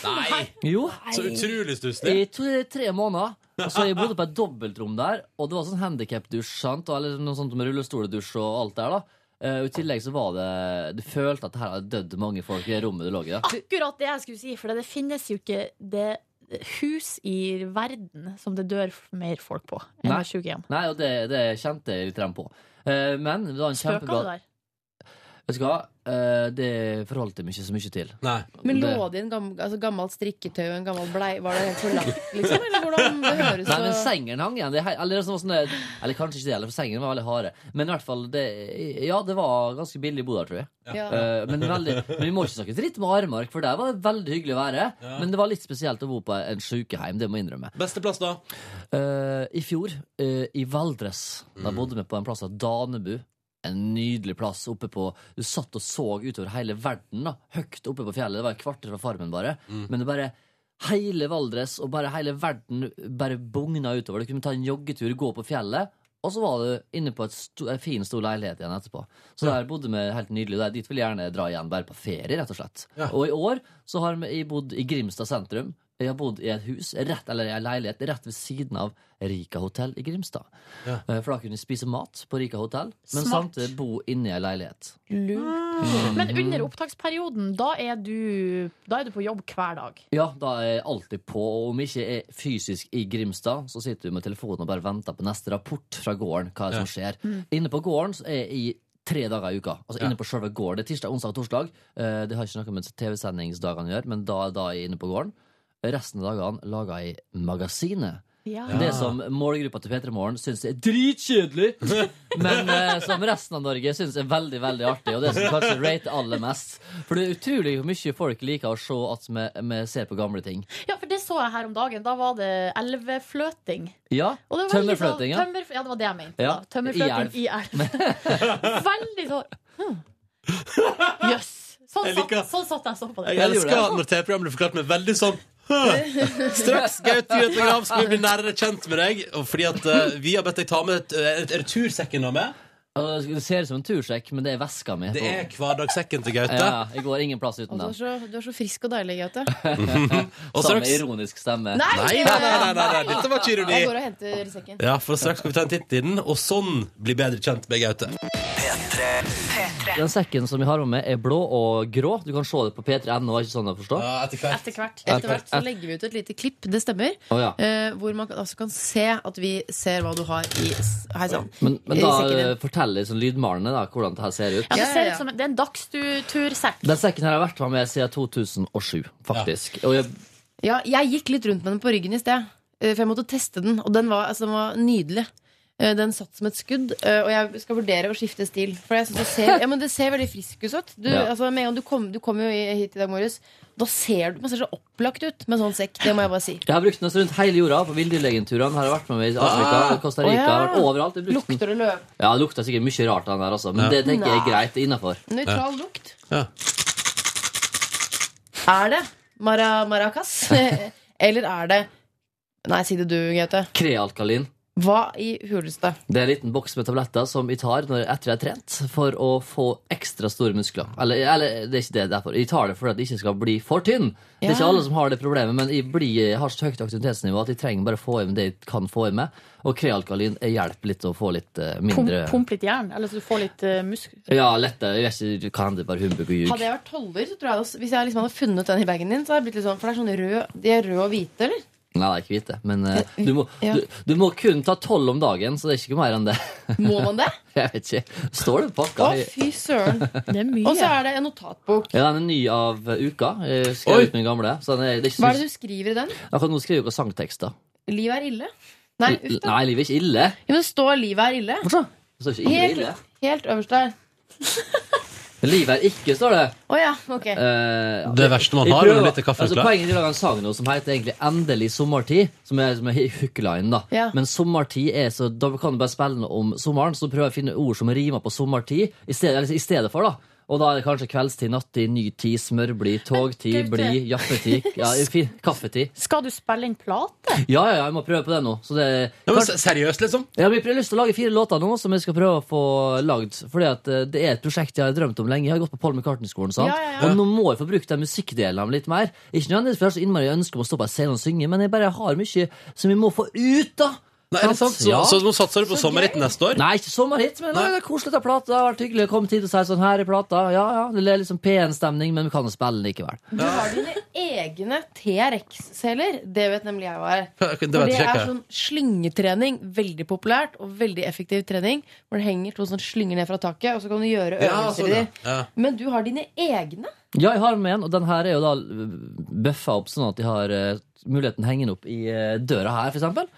Speaker 2: Nei!
Speaker 1: Jo.
Speaker 2: Så utrolig
Speaker 1: I
Speaker 2: stusslig.
Speaker 1: to, tre måneder. Og så Jeg bodde på et dobbeltrom der, og det var sånn handikapdusj. sant? Og- Eller noe sånt med rullestoledusj og alt der. da. Eh, og I tillegg så var det Du følte at her hadde dødd mange folk i det rommet du lå i. da.
Speaker 3: Akkurat det jeg skulle si, for det finnes jo ikke det hus i verden som det dør mer folk på enn
Speaker 1: Nei.
Speaker 3: et sykehjem.
Speaker 1: Nei, og det, det kjente jeg litt grann på. Eh, men det var en
Speaker 3: Spøker
Speaker 1: kjempebra
Speaker 3: du der?
Speaker 1: Vet du hva? Eh, det forholdt jeg meg ikke så mye til.
Speaker 5: Men
Speaker 1: Det-
Speaker 5: lå det i en gammel, altså, gammelt strikketøy og en gammel blei? Var det helt for langt, liksom? Eller hvordan det høres
Speaker 1: Nei, men
Speaker 5: så-
Speaker 1: sengen hang igjen. Det, er hei- eller, sånn, sånn, eh, eller kanskje ikke det, eller, for sengen var veldig harde. Men i hvert fall, det, ja, det var ganske billig å bo der, tror jeg.
Speaker 5: Ja.
Speaker 1: Eh, men, veldig, men vi må ikke snakke dritt med Aremark, for der var det veldig hyggelig å være.
Speaker 2: Ja.
Speaker 1: Men det var litt spesielt å bo på en sjukeheim, det må jeg innrømme.
Speaker 2: Beste plass, da?
Speaker 1: Eh, I fjor, eh, i Valdres, da bodde vi på en plass av Danebu. En nydelig plass oppe på Du satt og så utover hele verden, da. Høyt oppe på fjellet. Det var et kvarter fra farmen, bare. Men det bare Hele Valdres og bare hele verden bare bugna utover. Du kunne ta en joggetur, gå på fjellet, og så var du inne på et sto, en fin, stor leilighet igjen etterpå. Så der bodde vi helt nydelig. Der, dit vil jeg gjerne dra igjen, bare på ferie, rett og slett. Og i år så har vi- jeg bodd i Grimstad sentrum. Jeg har bodd i et hus, rett, eller i en leilighet, rett ved siden av Rika hotell i Grimstad. Eh, For da kunne jeg spise mat på Rika hotell, men
Speaker 3: Smart.
Speaker 1: samtidig bo inne i en leilighet.
Speaker 3: Lurt. Men under opptaksperioden, da er du, da er du på jobb hver dag.
Speaker 1: Ja, da er jeg alltid på. Og om jeg ikke er fysisk i Grimstad, så sitter du med telefonen og bare venter på neste rapport fra gården. Hva er det som skjer?
Speaker 2: Mm.
Speaker 1: Inne på gården så er jeg i tre dager i uka. Altså inne på selve gården. Det er tirsdag, onsdag og torsdag. Eh, Det har ikke noe med TV-sendingsdagene å gjøre, men da, da er jeg inne på gården. Resten av dagene lager jeg Magasinet.
Speaker 3: Ja.
Speaker 1: Det som målgruppa til P3 Morgen syns er dritkjedelig, men eh, som resten av Norge syns er veldig veldig artig. Og det som kanskje rater aller mest. For det er utrolig hvor mye folk liker å se at vi, vi ser på gamle ting.
Speaker 3: Ja, for det så jeg her om dagen. Da var det elvefløting.
Speaker 1: Ja,
Speaker 3: Og det var veldig sånn-
Speaker 1: Tømmerfløting, ja.
Speaker 3: Tømmer, ja, det var det jeg mente.
Speaker 1: Ja,
Speaker 3: da. Tømmerfløting i
Speaker 1: i
Speaker 3: elv. veldig sånn hm. Jøss. Sånn,
Speaker 2: Jeg
Speaker 3: satt-
Speaker 2: liker-
Speaker 3: sånn satt jeg og så på det.
Speaker 2: Jeg elsker når TV-programmet blir forklart med veldig sånn «Hø!» Straks Gaute Grøtegrav skal vi bli nærere kjent med deg. Og fordi at eh, vi har bedt deg ta med et, eh, et retursekken nå med.
Speaker 1: Og Det ser ut som en tursekk, men det er veska mi.
Speaker 2: Det er hverdagssekken til Gaute.
Speaker 1: Ja, jeg går ingen plass
Speaker 5: Å,
Speaker 1: uten
Speaker 5: Du er,
Speaker 1: den.
Speaker 5: så, du er så frisk og deilig, Gaute.
Speaker 2: Og
Speaker 1: Samme
Speaker 2: straks-
Speaker 1: ironisk stemme.
Speaker 5: Nei,
Speaker 2: Nei, nei, nei, nei, nei, nei, dette var ikke ironi.
Speaker 5: Jeg går og henter sekken.
Speaker 2: Ja, for straks skal vi ta en titt i den, og sånn bli bedre kjent med Gaute.
Speaker 1: Den sekken som jeg har med meg, er blå og grå. Du kan se det på p3.no. er ikke sånn å forstå?
Speaker 5: Etter hvert. Etter hvert så legger vi ut et lite klipp, det stemmer.
Speaker 1: Å, ja.
Speaker 5: eh, hvor man kan- altså kan se at vi ser hva du har i s- Hei sann.
Speaker 1: Men, men
Speaker 5: I
Speaker 1: da
Speaker 5: sekken din.
Speaker 1: eh, fortell liksom lydmalene da, hvordan det her ser ut.
Speaker 3: Ja, det ser ut som en, det er en dagstursekk.
Speaker 1: Den sekken her har vært med siden 2007, faktisk. Og jeg,
Speaker 5: Ja, jeg gikk litt rundt med den på ryggen i sted, eh, for jeg måtte teste den. Og den var, altså, den var nydelig. Eh, Den satt som et skudd, eh, og jeg skal vurdere å skifte stil. For jeg synes det ser, ja, men det ser veldig frisk ut. sant? Du,
Speaker 1: Ja.
Speaker 5: altså, med en gang du kom, du kom jo i- hit i dag morges. Da ser du man ser så opplagt ut med sånn sekk. Det må jeg bare si.
Speaker 1: jeg har brukt den rundt hele jorda på villdyr-legenturene. Her har jeg vært med meg i Afrika,
Speaker 5: Ah!
Speaker 1: Costa Rica,
Speaker 5: Å, ja.
Speaker 1: vært overalt. Jeg har brukt den.
Speaker 5: Lukter det løv?
Speaker 1: Ja, det lukter sikkert mye rart, den der, altså. Men
Speaker 2: Ja.
Speaker 1: det tenker jeg er
Speaker 5: Nei.
Speaker 1: greit innafor.
Speaker 5: Nøytral lukt.
Speaker 2: Ja.
Speaker 5: Er det Mara Maracas? Eller er det Nei, si det du, Gaute.
Speaker 1: Krealkalin.
Speaker 5: Hva i huleste?
Speaker 1: Det er en liten boks med tabletter som jeg tar når, etter jeg har trent, for å få ekstra store muskler. Eller, eller det er ikke det derfor. Jeg tar det for at jeg ikke skal bli for tynn. Det er
Speaker 2: Ja.
Speaker 1: ikke alle som har det problemet, men jeg, blir, jeg har så høyt aktivitetsnivå at jeg trenger bare å få i meg det jeg kan få i meg. Og krealkalin hjelper litt å få litt eh,
Speaker 3: Pump,
Speaker 1: mindre
Speaker 3: pump litt jern, eller så du får litt uh, musk...
Speaker 1: Ja, lettere. Jeg vet ikke, kan det bare humbug og ljug?
Speaker 5: Hadde jeg vært toller, så tror jeg også, hvis jeg liksom hadde funnet den i bagen din, så hadde jeg blitt litt sånn For det er sånn rød De er rød og hvite, eller?
Speaker 1: Nei, det er ikke hvite. Men eh, du, må,
Speaker 5: Ja.
Speaker 1: du, du må kun ta tolv om dagen, så det er ikke mer enn det.
Speaker 5: Må man det?
Speaker 1: Jeg vet ikke. Står det på
Speaker 5: Å,
Speaker 1: pakka?
Speaker 5: fy søren. Og så er det en notatbok.
Speaker 1: Ja, den er ny av eh, uka. Jeg skrev ut min gamle. Så den er, det er ikke så
Speaker 5: Hva er det du skriver i den?
Speaker 1: Akkurat nå skriver dere sangtekster.
Speaker 5: Livet er ille? Nei, uff da.
Speaker 1: Nei, livet er ikke ille.
Speaker 5: Ja, men det står 'livet er ille'.
Speaker 1: Det står ikke ille,
Speaker 5: Helt,
Speaker 1: ille.
Speaker 5: helt øverst der.
Speaker 1: Livet er ikke, står det.
Speaker 5: Å ja, ok.
Speaker 1: Eh,
Speaker 2: Det verste man
Speaker 1: jeg
Speaker 2: har,
Speaker 1: prøver-
Speaker 2: er å bli til kaffen
Speaker 1: altså,
Speaker 2: klar.
Speaker 1: Poenget er å lage en sang nå som heter egentlig 'Endelig sommertid', som er, som er hookline, da.
Speaker 2: Ja.
Speaker 1: Men sommertid er så Da kan du bare spille noe om sommeren, så prøver jeg å finne ord som rimer på sommertid, i stedet, eller, i stedet for, da. Og da er det kanskje kveldstid, nattid, nytid, smørblid, togtid, blid, jappetid, ja, fin- kaffetid.
Speaker 3: Skal du spille inn plate?
Speaker 1: Ja, ja, ja, jeg må prøve på det nå. Så det,
Speaker 2: seriøst, liksom?
Speaker 1: Ja, men Jeg har lyst til å lage fire låter nå som jeg skal prøve å få lagd. Fordi at eh, det er et prosjekt jeg har drømt om lenge. Jeg har gått på Paul McCartney-skolen. sant?
Speaker 14: Ja, ja, ja.
Speaker 1: Og nå må jeg få brukt den musikkdelen av litt mer. Ikke nødvendigvis for jeg har så innmari ønske om å stå på en scene og synge, men jeg bare har mye som vi må få ut, da.
Speaker 2: Nei, er det sant? Så, så nå satser du på sommerhit neste år?
Speaker 1: Nei, ikke sommerhit, men eh, det er koselig å ta plata. Det har vært hyggelig å komme hit og si sånn her i plata. Ja, ja, Det er liksom P1-stemning, men vi kan jo spille den likevel.
Speaker 5: Du har dine egne TRX-seler. Det vet nemlig jeg hva er.
Speaker 1: Det vet
Speaker 5: For det
Speaker 1: ikke jeg.
Speaker 5: er sånn slyngetrening. Veldig populært og veldig effektiv trening. Hvor det henger to sånne slynger ned fra taket, og så kan du gjøre øvelser i de.
Speaker 1: sånn, ja.
Speaker 5: Men du har dine egne.
Speaker 1: Ja, jeg har med en, og den her er jo da øh, bøffa opp sånn at de har øh, muligheten hengende opp i øh, døra her, for eksempel.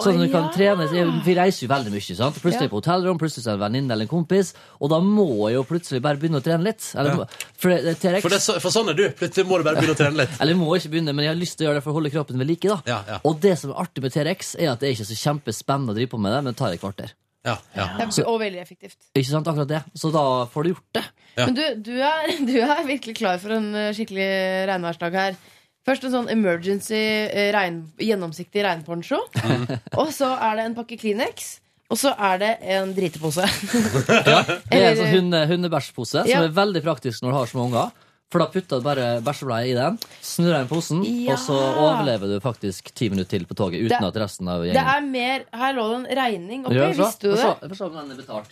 Speaker 1: Sånn at
Speaker 14: Å,
Speaker 1: du kan
Speaker 14: ja.
Speaker 1: trene. så Vi reiser jo veldig mye. sant? Plutselig er jeg på hotellrom, plutselig er det en venninne eller en kompis. Og da må jeg jo plutselig bare begynne å trene litt. Eller, for, det, det,
Speaker 2: For, det, er så- for sånn er du. Plutselig må du bare begynne å trene litt.
Speaker 1: eller jeg må ikke begynne, men jeg har lyst til å gjøre det for å holde kroppen ved like. da. Og det som er artig med TRX, er at det er ikke så kjempespennende å drive på med det, men det tar et kvarter.
Speaker 5: Det er-
Speaker 1: Så,
Speaker 5: Og veldig effektivt.
Speaker 1: ikke sant, akkurat det. Så da får du gjort det.
Speaker 5: Men du, du, er, du er virkelig klar for en eh, skikkelig regnværsdag her. Først en sånn emergency eh, regn, gjennomsiktig regnponcho.
Speaker 1: Mm.
Speaker 5: Og så er det en pakke Kleenex. Og så er det en dritepose.
Speaker 1: Det er en sånn hunde, hundebæsjpose
Speaker 5: Ja.
Speaker 1: som er veldig praktisk når du har små unger. For da putter du bare bæsjebleia i den, snurrer den i posen,
Speaker 5: Ja.
Speaker 1: og så overlever du faktisk ti minutter til på toget uten
Speaker 5: Det-
Speaker 1: at resten av
Speaker 5: Det
Speaker 1: gjengen
Speaker 5: er mer Her lå det en regning oppi.
Speaker 1: Gjør det så?
Speaker 5: Visste
Speaker 1: Få
Speaker 5: du det?
Speaker 1: se- få se om den er betalt.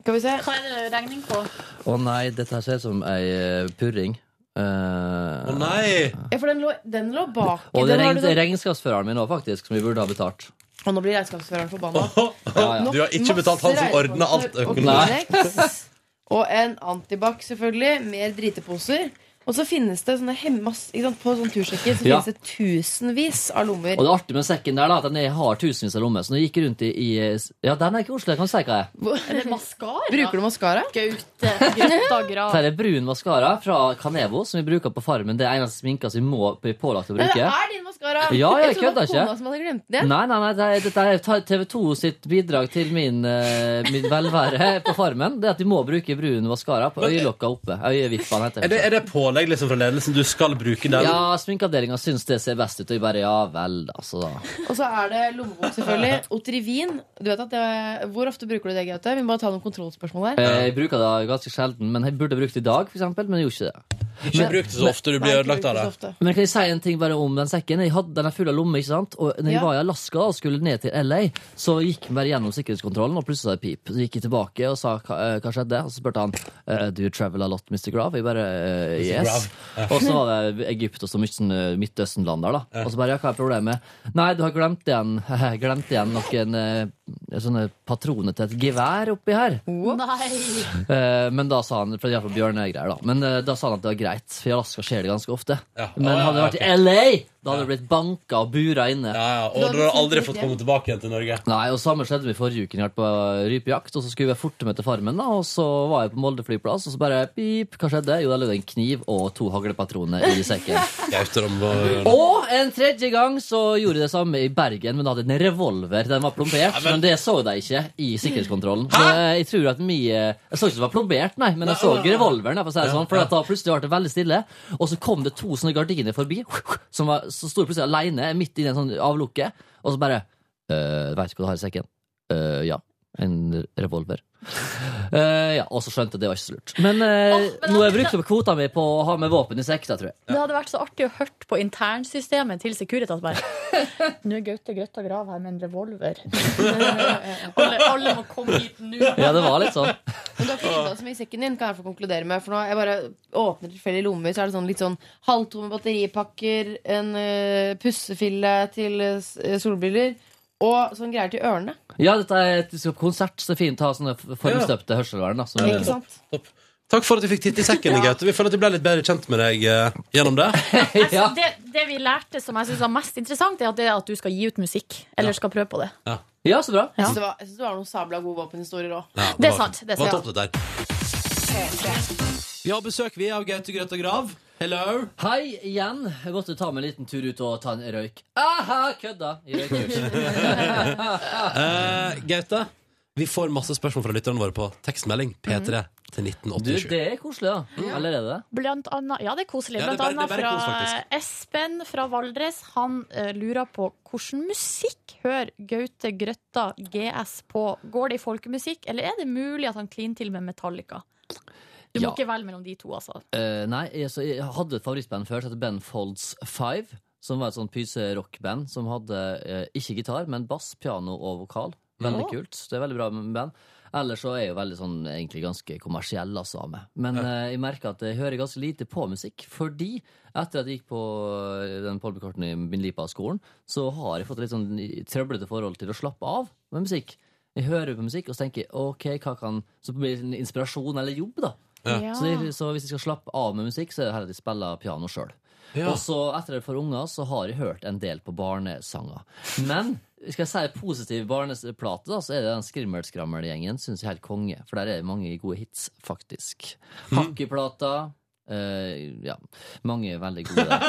Speaker 5: Skal vi se.
Speaker 3: Hva er det regning på?
Speaker 1: Å nei, dette her ser ut som ei eh, purring. Å
Speaker 2: nei!
Speaker 5: Ja, for den lå, den lå bak.
Speaker 1: Og det
Speaker 5: Den
Speaker 1: er regn,
Speaker 5: har du
Speaker 1: det er
Speaker 5: sånn-
Speaker 1: regnskapsføreren min òg, faktisk, som vi burde ha betalt.
Speaker 5: Og nå blir regnskapsføreren forbanna.
Speaker 1: Du har
Speaker 5: ikke betalt han som ordner alt
Speaker 1: Nei.
Speaker 5: Kleenex. Og en antibac, selvfølgelig. Mer driteposer. Og så finnes det sånne hemmas ikke sant? På sånn tursjekker så
Speaker 1: Ja.
Speaker 5: finnes det tusenvis av lommer.
Speaker 1: Og det artige med sekken der, da, at den er- har tusenvis av lommer. Så når jeg gikk rundt i, i Ja, den er koselig. Jeg kan si hva jeg er.
Speaker 3: Er det maskara?
Speaker 5: Bruker du maskara?
Speaker 3: Gaute. Grøtta grav.
Speaker 1: Her er brun maskara fra Canevo, som vi bruker på Farmen. Det er eneste sminka som vi må bli pålagt å
Speaker 5: Nei, det
Speaker 1: bruke.
Speaker 5: er din maskara!
Speaker 1: Ja, jeg
Speaker 5: trodde det var
Speaker 1: kødder ikke.
Speaker 5: Kona som hadde glemt den
Speaker 1: Nei,
Speaker 5: igjen.
Speaker 1: nei, nei, det er- dette er ta- TV2 sitt bidrag til min, eh, mitt velvære på Farmen. Det er at vi må bruke brun maskara på øyelokka oppe. Øyevippene heter
Speaker 2: Er det, er det pålegg liksom fra ledelsen? Du skal bruke den?
Speaker 1: Ja, sminkeavdelinga syns det ser best ut, og jeg bare ja vel, altså da.
Speaker 5: Og så er det lommebok, selvfølgelig. Otrivin. Du vet at det, hvor ofte bruker du det, Gaute? Vi må bare ta noen kontrollspørsmål her.
Speaker 1: Eh, Jeg bruker det ganske sjelden, men jeg burde brukt det i dag, for eksempel, men jeg gjorde ikke det.
Speaker 2: Ikke
Speaker 1: Men-
Speaker 2: bruk det så
Speaker 1: men-
Speaker 2: ofte, du blir Nei, ikke ødelagt bruk av det så
Speaker 1: Men kan jeg si en ting bare om den sekken? Jeg hadde, den er full av lommer, ikke sant? Og når jeg
Speaker 2: Ja.
Speaker 1: var i Alaska og skulle ned til LA, så gikk vi bare gjennom sikkerhetskontrollen, og plutselig sa det pip. Så gikk jeg tilbake og sa hva, eh, hva skjedde, og så spurte han eh, Do you travel a lot, Mr. Grav? Jeg bare eh,
Speaker 14: Mr.
Speaker 1: yes.
Speaker 14: Grav.
Speaker 1: Og så var det Egypt og så mye sånn, eh, Midtøsten-land der, da. Og så bare ja, hva er problemet? Nei, du har glemt igjen, glemt igjen noen eh, sånne patroner til et gevær oppi her.
Speaker 3: Nei!
Speaker 1: Eh, men da sa han for det er iallfall bjørnegreier da Men eh, da sa han at det var greit, for i Alaska skjer det ganske ofte. Men
Speaker 2: Å, ja,
Speaker 1: hadde det
Speaker 2: ja,
Speaker 1: vært
Speaker 2: ok.
Speaker 1: i LA, da hadde det blitt banka og bura inne.
Speaker 2: Og du har aldri fått komme tilbake igjen til Norge.
Speaker 1: Nei, og Samme skjedde med forrige uken. Jeg har vært på rypejakt, og så skulle jeg forte meg til Farmen. da Og så var jeg på Molde flyplass, og så bare pip, hva skjedde? Jo, der lå det en kniv og to haglepatroner i sekken.
Speaker 2: Gaute, de var-
Speaker 1: Og en tredje gang så gjorde jeg det samme i Bergen, men da hadde jeg en revolver. Den var plombert, men... det så de ikke i sikkerhetskontrollen. Så jeg, jeg tror at mye Jeg så ikke at det var plombert, nei, men jeg så revolveren. For, å si det sånn, for at da plutselig ble det veldig stille, og så kom det to sånne gardiner forbi, som var, så sto jeg plutselig aleine midt i en sånn avlukke, og så bare øh, Veit du hva du har i sekken? «Øh, ja. En revolver. Eh, ja, Og så skjønte jeg at det var ikke så lurt. Men, øh, nå har jeg brukt opp kvota mi på å ha med våpen i sekta, tror jeg.
Speaker 3: Det hadde vært så artig å hørt på internsystemet til Securitas bare. Nå er Gaute Grøtta Grav her med en revolver. alle, alle må komme hit nå.
Speaker 1: Ja, det var litt sånn.
Speaker 5: Men du har ikke rydda så mye i sekken din, kan jeg få konkludere med. For nå har jeg bare åpner tilfeldige lommer, så er det sånn litt sånn halvtomme batteripakker, en eh, pussefille til eh, s- eh, solbriller, og sånn greier til ørene.
Speaker 1: Ja, dette er et du skal på konsert, så det er fint å ha sånne formstøpte hørselvern. Da, som-
Speaker 5: Ikke sant?
Speaker 2: Takk for at vi fikk titte i sekken, Gaute. Vi føler at vi ble litt bedre kjent med deg eh, gjennom det.
Speaker 3: Altså, det, det vi lærte som jeg syns var mest interessant, er at, det er at du skal gi ut musikk. Eller skal prøve på det.
Speaker 1: Ja, så bra.
Speaker 5: Jeg syns det, var- jeg synes det var noen sabla gode våpenhistorier òg.
Speaker 2: Ja,
Speaker 3: Det er
Speaker 2: var-
Speaker 3: sant, det er
Speaker 2: var
Speaker 3: sant.
Speaker 2: topp, det der. Vi har besøk vi av Gaute Grøtta Grav. Hello.
Speaker 1: Hei igjen. Jeg måtte ta meg en liten tur ut og ta en røyk. Aha, kødda! I røykehus.
Speaker 3: Mhm.
Speaker 2: Eh, Gaute, vi får masse spørsmål fra lytterne våre på tekstmelding P3 til
Speaker 1: Du,
Speaker 2: 1987.
Speaker 1: det er koselig, da. Eller er det det?
Speaker 3: Blant annet, ja, det er koselig.
Speaker 2: Ja, det er
Speaker 3: Blant
Speaker 2: bare-
Speaker 3: annet
Speaker 2: det er
Speaker 3: fra
Speaker 2: bare kos, faktisk.
Speaker 3: Espen fra Valdres. Han eh, lurer på hvordan musikk hører Gaute Grøtta GS på. Går det i folkemusikk, eller er det mulig at han kliner til med Metallica? Du
Speaker 1: Ja.
Speaker 3: må ikke velge mellom de to, altså.
Speaker 1: Eh, nei, jeg, så jeg hadde et favorittband før som het Ben Folds Five. Som var et sånn pyserockband som hadde eh, ikke gitar, men bass, piano og vokal. Veldig
Speaker 14: Ja.
Speaker 1: kult. Det er veldig bra med band. Ellers så er jeg jo veldig sånn, egentlig ganske kommersiell altså, av meg. Men eh, jeg merker at jeg hører ganske lite på musikk, fordi etter at jeg gikk på eh, den Paul McCartney-Binlipa-skolen, så har jeg fått litt sånn trøblete forhold til å slappe av med musikk. Jeg hører på musikk og så tenker jeg, ok, hva kan Så blir det en inspirasjon eller jobb, da.
Speaker 14: Ja.
Speaker 1: Så, jeg, så hvis jeg skal slappe av med musikk, så er det heller at jeg spiller piano sjøl.
Speaker 14: Ja.
Speaker 1: Og så etter det for unger, så har jeg hørt en del på barnesanger. Men skal jeg si positiv barneplate, da, så er det den Skrimmelskrammel-gjengen. Synes jeg er helt konge. For der er det mange gode hits, faktisk. Hakkeplata. eh, ja. Mange er veldig gode der.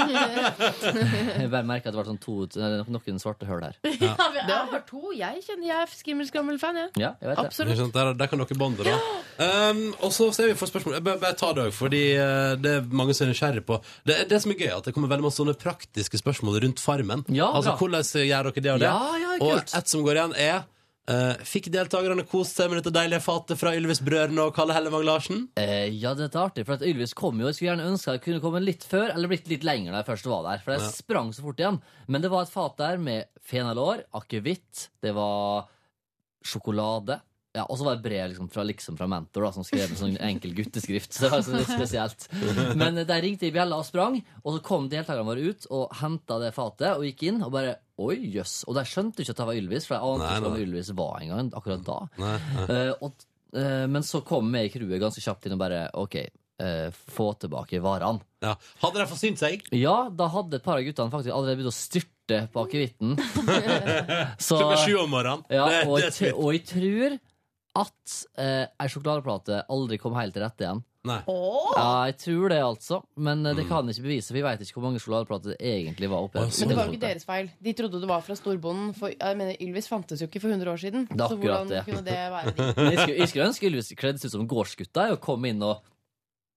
Speaker 1: Jeg bare merker at det var sånn to, eller noen svarte høl her.
Speaker 5: Ja. men jeg har to. Jeg kjenner jeg er skrimmelskrammel-fan, jeg.
Speaker 1: Ja, jeg vet det. sånn
Speaker 5: Absolutt.
Speaker 2: Ikke sant? Der, der kan dere bonde, da. Um, og så ser vi for spørsmål Jeg bare, bare ta det òg, fordi eh, det er mange som er nysgjerrige på det, det som er gøy, er at det kommer veldig masse sånne praktiske spørsmål rundt Farmen. altså
Speaker 14: bra.
Speaker 2: hvordan gjør dere det og det?
Speaker 14: Ja, ja, kult.
Speaker 2: og et som går igjen, er eh, Fikk deltakerne kost seg med dette deilige fatet fra Ylvis-brødrene og Kalle Hellevang Larsen?
Speaker 1: Eh, ja, dette er artig, for at Ylvis kom jo. Jeg skulle gjerne ønske jeg kunne komme litt før, eller blitt litt lenger da jeg først var der. For jeg
Speaker 2: Ja.
Speaker 1: sprang så fort igjen. Men det var et fat der med fenalår, akevitt, det var sjokolade. Ja, Og så var det brev liksom, fra, liksom fra mentor, da, som skrev med sånn enkel gutteskrift. Så det var sånn litt spesielt. Men eh, der ringte jeg i bjella og sprang, og så kom deltakerne våre ut og henta det fatet og gikk inn og bare Oi, jøss. Og de skjønte jo ikke at det var Ylvis, for jeg ante
Speaker 2: Nei,
Speaker 1: ikke
Speaker 2: nei.
Speaker 1: hvem Ylvis var engang akkurat da.
Speaker 2: Nei, nei.
Speaker 1: Eh, og, eh, men så kom vi i crewet ganske kjapt inn og bare OK, eh, få tilbake varene.
Speaker 2: Hadde de forsynt seg?
Speaker 1: Ja, da hadde et par av guttene faktisk allerede begynt å styrte på akevitten. Så-
Speaker 2: Klokka sju om morgenen.
Speaker 1: Ja,
Speaker 2: det,
Speaker 1: og,
Speaker 2: det er
Speaker 1: jeg,
Speaker 2: smitt.
Speaker 1: og jeg tror at eh, ei sjokoladeplate aldri kom helt til rette igjen.
Speaker 2: Nei.
Speaker 1: Ja, jeg tror det, altså. Men eh, det
Speaker 2: Mm.
Speaker 1: kan jeg ikke bevise, for vi veit ikke hvor mange sjokoladeplater det egentlig var oppi.
Speaker 2: sånn.
Speaker 5: Men det var jo ikke deres feil. De trodde det var fra storbonden. For jeg mener, Ylvis fantes jo ikke for 100 år siden.
Speaker 1: Det er
Speaker 5: Så
Speaker 1: akkurat
Speaker 5: hvordan
Speaker 1: det.
Speaker 5: kunne det være de?
Speaker 1: Men jeg skulle, jeg skulle ønske Ylvis kledde seg ut som gårdsgutta og kom inn og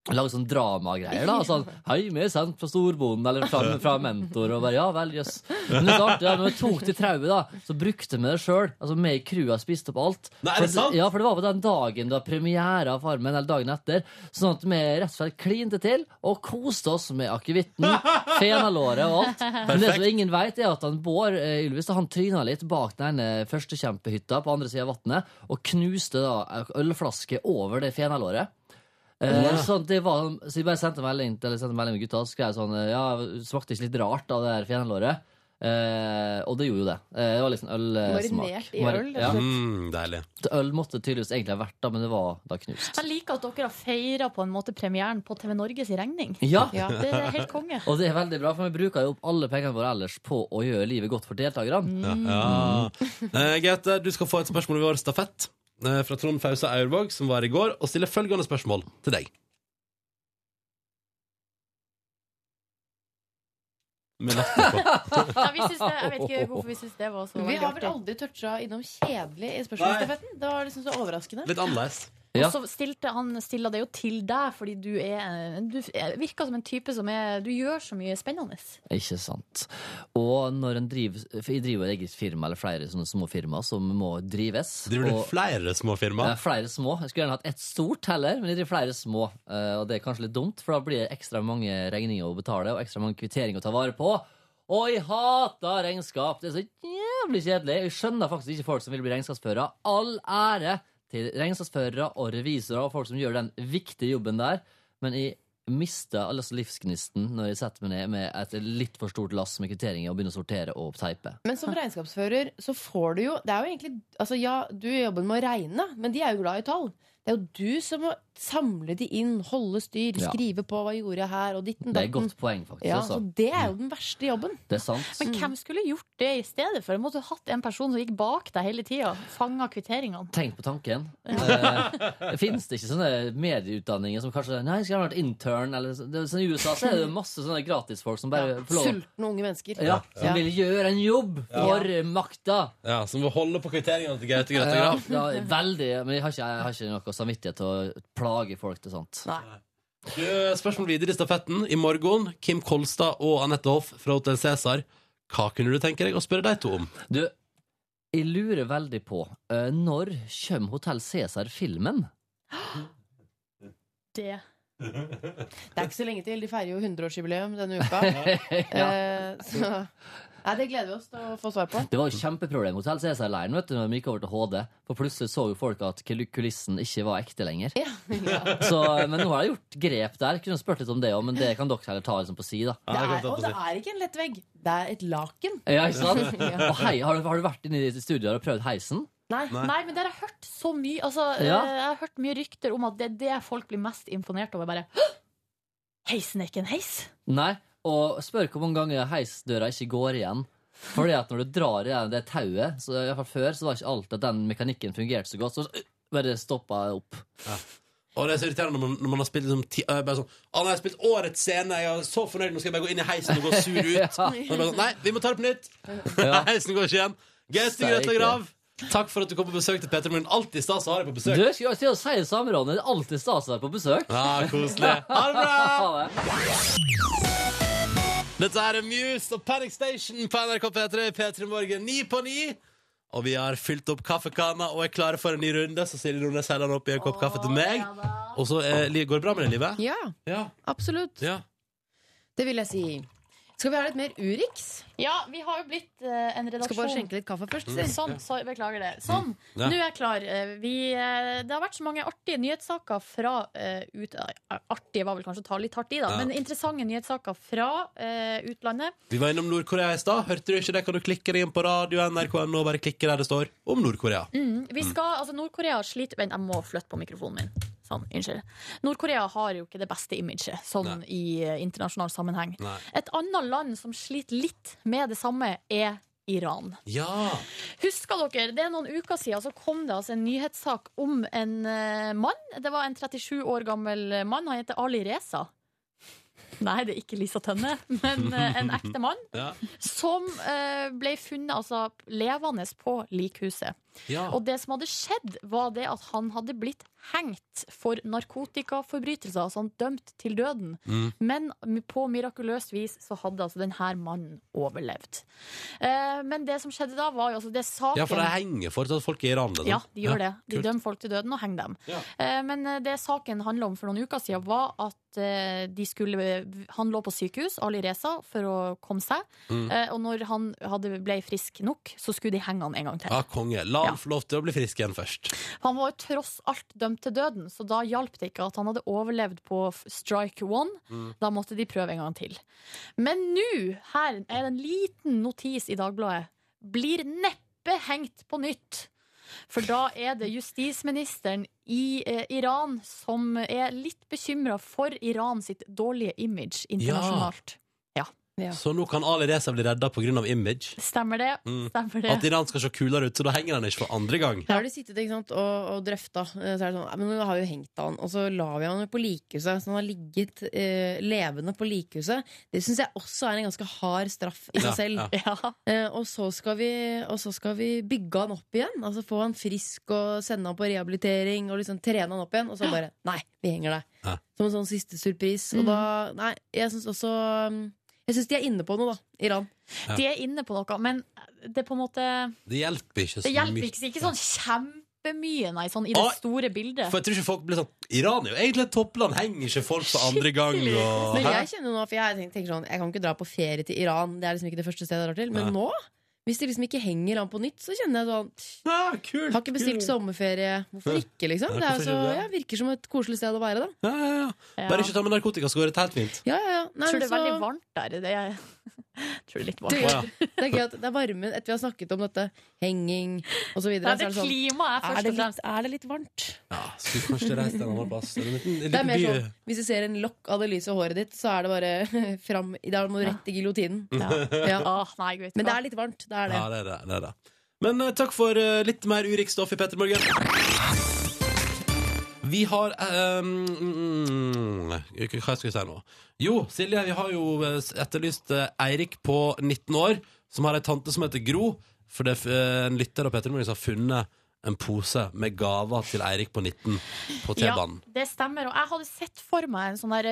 Speaker 1: lage sånn dramagreier. da, og Sånn 'Hei, vi er sendt fra storbonden', eller fra, fra mentor, og bare 'ja vel, jøss'. Men det er så artig, da, når vi tok til trauet, da, så brukte vi det sjøl. Altså, vi i crua spiste opp alt.
Speaker 2: Nei, er
Speaker 1: For
Speaker 2: det sant?
Speaker 1: Ja, for det var på den dagen det var premiere av Farmen, eller dagen etter. Sånn at vi rett og slett klinte til og koste oss med akevitten, fenalåret og alt. Men det som
Speaker 14: Perfekt.
Speaker 1: ingen vet, er at han Bård eh, Ylvis da, han tryna litt bak den ene førstekjempehytta på andre sida av vannet, og knuste da eh, ølflaske over det fenalåret. Eh,
Speaker 14: Ja.
Speaker 1: sånn, at det var, så jeg bare sendte melding, eller sendte melding med gutta og skrev sånn eh, Ja, smakte ikke litt rart av det her fenalåret? Eh, og det gjorde jo det. Eh, det var liksom ølsmak.
Speaker 3: Marinert i
Speaker 1: Mar-
Speaker 3: øl, rett og
Speaker 1: Ja.
Speaker 3: slett.
Speaker 2: Mm, deilig.
Speaker 1: Øl måtte tydeligvis egentlig ha vært da, men det var da knust.
Speaker 3: Jeg liker at dere har feira på en måte premieren på TV Norges regning.
Speaker 1: Ja.
Speaker 3: Det er helt konge.
Speaker 1: Og det er veldig bra, for vi bruker jo opp alle pengene våre ellers på å gjøre livet godt for
Speaker 3: Mm.
Speaker 1: deltakerne.
Speaker 2: Ja. Eh, Gaute, du skal få et spørsmål i vår stafett eh, fra Trond Fause Aurvåg, som var i går, og stiller følgende spørsmål til deg. Med latter på.
Speaker 3: Ja, vi syns det, jeg vet ikke hvorfor vi syns det var så
Speaker 5: Vi
Speaker 3: veldig
Speaker 5: har vel
Speaker 3: artig.
Speaker 5: aldri toucha innom kjedelig i spørsmålsstafetten. Det var liksom så overraskende.
Speaker 2: Litt annerledes.
Speaker 3: Og så stilte han stilla det jo til deg, fordi du, er, du virker som en type som er Du gjør så mye spennende.
Speaker 1: Ikke sant. Og når en driver for Jeg driver jo et eget firma, eller flere sånne små firmaer, som må drives.
Speaker 2: Driver du
Speaker 1: og-
Speaker 2: flere små firma?
Speaker 1: Eh, flere små. Jeg skulle gjerne hatt ett stort heller, men jeg driver flere små. Eh, og det er kanskje litt dumt, for da blir det ekstra mange regninger å betale, og ekstra mange kvitteringer å ta vare på. Og jeg hater regnskap! Det er så jævlig kjedelig. Jeg skjønner faktisk ikke folk som vil bli regnskapsførere. All ære til regnskapsførere og revisorer og folk som gjør den viktige jobben der. Men jeg mister altså livsgnisten når jeg setter meg ned med et litt for stort lass med kvitteringer og begynner å sortere og teipe.
Speaker 5: Men som regnskapsfører så får du jo Det er jo egentlig Altså ja, du gjør jobben med å regne, men de er jo glad i tall. Det er jo du som må samle de inn, holde styr,
Speaker 1: Ja.
Speaker 5: skrive på hva gjorde jeg her, og ditten
Speaker 1: Det er et
Speaker 5: datten.
Speaker 1: godt poeng, faktisk.
Speaker 5: Ja, så
Speaker 1: altså.
Speaker 5: det er jo den verste jobben.
Speaker 1: Det er sant.
Speaker 5: Mm.
Speaker 3: Men hvem skulle gjort det i stedet for? Måtte du hatt en person som gikk bak deg hele tida? Fanga kvitteringene?
Speaker 1: Tenk på tanken. Eh, Fins det ikke sånne medieutdanninger som kanskje Nei, skulle gjerne vært intern eller så- det, sånn I USA så er det jo masse sånne gratisfolk som bare får Mm. Eh, lov
Speaker 5: Sultne unge mennesker.
Speaker 1: ja, som
Speaker 5: Ja.
Speaker 1: vil gjøre en jobb for makta.
Speaker 2: Ja, Som må holde på kvitteringene til Gaute Grøtta
Speaker 1: Ja,
Speaker 2: Grav.
Speaker 1: ja, veldig, men jeg har ikke, jeg har ikke noe og samvittighet til å plage folk til sånt.
Speaker 2: Du, Spørsmål videre i stafetten. I morgen, Kim Kolstad og Anette Hoff fra Hotel Cæsar. Hva kunne du tenke deg å spørre de to om?
Speaker 1: Du, jeg lurer veldig på eh, Når kommer Hotell Cæsar-filmen?
Speaker 3: Det.
Speaker 5: Det er ikke så lenge til. De feirer jo 100-årsjubileum denne uka.
Speaker 1: Ja.
Speaker 5: Eh, så Nei, det gleder vi oss til å få svar på.
Speaker 1: Det var jo kjempeproblem Hotell Cæsar-leiren vet du, når de gikk over til HD. For plutselig så jo folk at kul- kulissen ikke var ekte lenger. så, men nå har jeg gjort grep der. Kunne spurt litt om det òg, men det kan dere heller ta liksom på si, da.
Speaker 5: Det er, og det er ikke en lett vegg. Det er et laken.
Speaker 1: Ja, ikke sant?
Speaker 5: Ja.
Speaker 1: Og hei, har, du, har du vært inne i studioet og prøvd heisen?
Speaker 3: Nei. men der har jeg hørt så mye altså,
Speaker 1: Ja.
Speaker 3: eh, Jeg har hørt mye rykter om at det er det folk blir mest imponert over. Bare «Hå! Heisen er ikke en heis!
Speaker 1: Nei. Og spør hvor mange ganger heisdøra ikke går igjen. Fordi at når du drar i det tauet så, i hvert fall Før så var ikke alltid at den mekanikken fungerte så godt. Så bare stoppa jeg opp.
Speaker 2: Og det er så irriterende når man, når man har spilt liksom, ti, øh, bare sånn, «Å, nå har jeg spilt årets scene, jeg er så fornøyd, nå skal jeg bare gå inn i heisen og gå sur ut.
Speaker 1: Ja.
Speaker 2: Og det er bare sånn, Nei, vi må ta det på nytt!
Speaker 1: Ja.
Speaker 2: heisen går ikke igjen. Gaute
Speaker 1: Steike.
Speaker 2: Grøtta Grav, takk for at du kom på besøk til Peter Morn. Alltid stas å ha deg på
Speaker 1: Du,
Speaker 2: besøk.
Speaker 1: jeg skulle til å si det samme, Ronny. Det er alltid stas å være på besøk.
Speaker 2: Ja, Ah, koselig. Ha det bra!
Speaker 1: Ha det.
Speaker 2: Dette her er Muse og Panic Station på NRK P3 P3 Morgen 9 på 9. Og vi har fylt opp kaffekanna og er klare for en ny runde. Så Silje Nordnes heller den opp i en kopp kaffe til meg. Og så eh, li- går det bra med det livet?
Speaker 5: Ja,
Speaker 2: Ja.
Speaker 5: absolutt.
Speaker 2: ja.
Speaker 5: Det vil jeg si. Skal vi ha litt mer Urix?
Speaker 3: Ja, vi har jo blitt eh, en redaksjon
Speaker 5: Skal bare skjenke litt kaffe først.
Speaker 3: Mm. Sånn, så, beklager det. Sånn,
Speaker 5: Ja.
Speaker 3: nå er jeg klar. Eh, Vi, eh, det har vært så mange artige nyhetssaker fra eh, ut, eh, Artige var vel kanskje å ta litt hardt i, da,
Speaker 2: Ja.
Speaker 3: men interessante nyhetssaker fra eh, utlandet.
Speaker 2: Vi var innom Nord-Korea i stad. Hørte du ikke det? Kan du klikke deg inn på radio NRK.no og bare klikke der det står om Nord-Korea?
Speaker 3: Mm. Vi skal, altså Nord-Korea sliter Vent, jeg må flytte på mikrofonen min. Sånn, unnskyld. Nord-Korea har jo ikke det beste imaget sånn i eh, internasjonal sammenheng.
Speaker 2: Nei.
Speaker 3: Et annet land som sliter litt med det samme, er Iran.
Speaker 2: Ja!
Speaker 3: Husker dere, det er noen uker siden så kom det altså en nyhetssak om en eh, mann. Det var en 37 år gammel mann. Han heter Ali Reza. Nei, det er ikke Lisa Tønne, men eh, en ekte mann
Speaker 2: Ja.
Speaker 3: som eh, ble funnet altså, levende på likhuset.
Speaker 2: Ja.
Speaker 3: Og det som hadde skjedd, var det at han hadde blitt hengt for narkotikaforbrytelser. Altså han dømt til døden.
Speaker 14: Mm.
Speaker 3: Men på mirakuløst vis så hadde altså denne mannen overlevd. Eh, men det som skjedde da, var jo altså det saken
Speaker 2: Ja, for de henger fortsatt folk i Iran. liksom.
Speaker 3: ja, de gjør det. De
Speaker 2: kult.
Speaker 3: dømmer folk til døden og henger dem. Eh, Men eh, det saken handla om for noen uker siden, var at eh, de skulle, han lå på sykehus, Ali Reza, for å komme seg.
Speaker 2: Mm.
Speaker 3: Eh, Og når han hadde, ble frisk nok, så skulle de henge han en gang til.
Speaker 2: Ja, konge. La han få lov til å bli frisk igjen først.
Speaker 3: Han var jo tross alt dømt til døden, så da hjalp det ikke at han hadde overlevd på f- strike one.
Speaker 2: Mm.
Speaker 3: Da måtte de prøve en gang til. Men nå, her er det en liten notis i Dagbladet. Blir neppe hengt på nytt. For da er det justisministeren i eh, Iran som er litt bekymra for Iran sitt dårlige image internasjonalt.
Speaker 2: Så nå kan Ali Reza bli redda pga. image.
Speaker 3: Stemmer det?
Speaker 2: Mm.
Speaker 3: Stemmer
Speaker 2: At
Speaker 3: det?
Speaker 2: Iran skal se kulere ut, så da henger han ikke for andre gang.
Speaker 5: Da har de sittet ikke sant, og, og drøfta. eh, Så er det sånn, «Nei, men nå har vi jo hengt han, og så la vi han på likhuset. Så han har ligget eh, levende på likhuset. Det syns jeg også er en ganske hard straff
Speaker 3: Ja,
Speaker 5: i seg selv.
Speaker 3: ja.
Speaker 5: Eh, og, så skal vi, og så skal vi bygge han opp igjen. Altså Få han frisk og sende han på rehabilitering og liksom trene han opp igjen. Og så bare Nei, vi henger deg. Som en sånn siste surpris.
Speaker 3: Mm.
Speaker 5: Og da Nei, jeg syns også mm, Jeg syns de er inne på noe, da. Iran.
Speaker 2: Ja.
Speaker 3: De er inne på noe, men det er på en måte
Speaker 2: Det hjelper ikke så
Speaker 3: Det hjelper
Speaker 2: mye.
Speaker 3: ikke, ikke sånn kjempemye, nei, sånn i det
Speaker 2: Å,
Speaker 3: store bildet.
Speaker 2: For jeg tror ikke folk blir sånn Iran er jo egentlig et toppland, henger ikke folk for andre gang og
Speaker 5: Men
Speaker 2: Hæ?
Speaker 5: jeg kjenner jo nå, for jeg tenker, tenker sånn Jeg kan ikke dra på ferie til Iran. Det er liksom ikke det første stedet jeg drar til. Men
Speaker 2: Nei.
Speaker 5: nå, hvis de liksom ikke henger an på nytt, så kjenner jeg sånn Har ikke bestilt
Speaker 2: kult.
Speaker 5: sommerferie. Hvorfor ikke, liksom?
Speaker 2: Nei,
Speaker 5: Det er jo
Speaker 2: hvorfor
Speaker 5: så,
Speaker 2: ikke det?
Speaker 5: ja, virker som et koselig sted å være, da.
Speaker 2: Ja, ja, ja. Bare ikke ta med narkotika, så går det helt fint.
Speaker 5: Ja, ja, ja. Nei,
Speaker 3: tror
Speaker 5: men
Speaker 3: det er
Speaker 5: så-
Speaker 3: veldig varmt der. Det er, tror det er litt
Speaker 5: Det,
Speaker 3: varmt.
Speaker 2: Å, ja.
Speaker 5: det er gøy at det er varmen etter vi har snakket om dette. Henging og så videre.
Speaker 3: Nei, det
Speaker 5: så er det sånn,
Speaker 3: klimaet er først
Speaker 5: er det
Speaker 3: og
Speaker 5: litt, er det litt varmt?
Speaker 2: Ja, Skulle kanskje reist en annen plass. En liten, en
Speaker 5: Det er
Speaker 2: liten
Speaker 5: mer
Speaker 2: by.
Speaker 5: sånn, Hvis du ser en lokk av det lyse håret ditt, så er det bare fram Da må du rett i giljotinen.
Speaker 2: Ja.
Speaker 5: Ja.
Speaker 3: Åh, nei, jeg vet
Speaker 5: Men
Speaker 3: hva.
Speaker 5: det er litt varmt. Det er det.
Speaker 2: Ja, det er det. det, er det. Men eh, takk for eh, litt mer urik stoff i Petter Morgen. Vi har eh, mm, Hva skal vi si nå? Jo, Silje, vi har jo eh, etterlyst eh, Eirik på 19 år, som har ei tante som heter Gro. For det er f- eh, en lytter av Petter Morgen som har funnet en pose med gaver til Eirik på 19 på T-banen.
Speaker 3: Ja, det stemmer. Og jeg hadde sett for meg en sånn der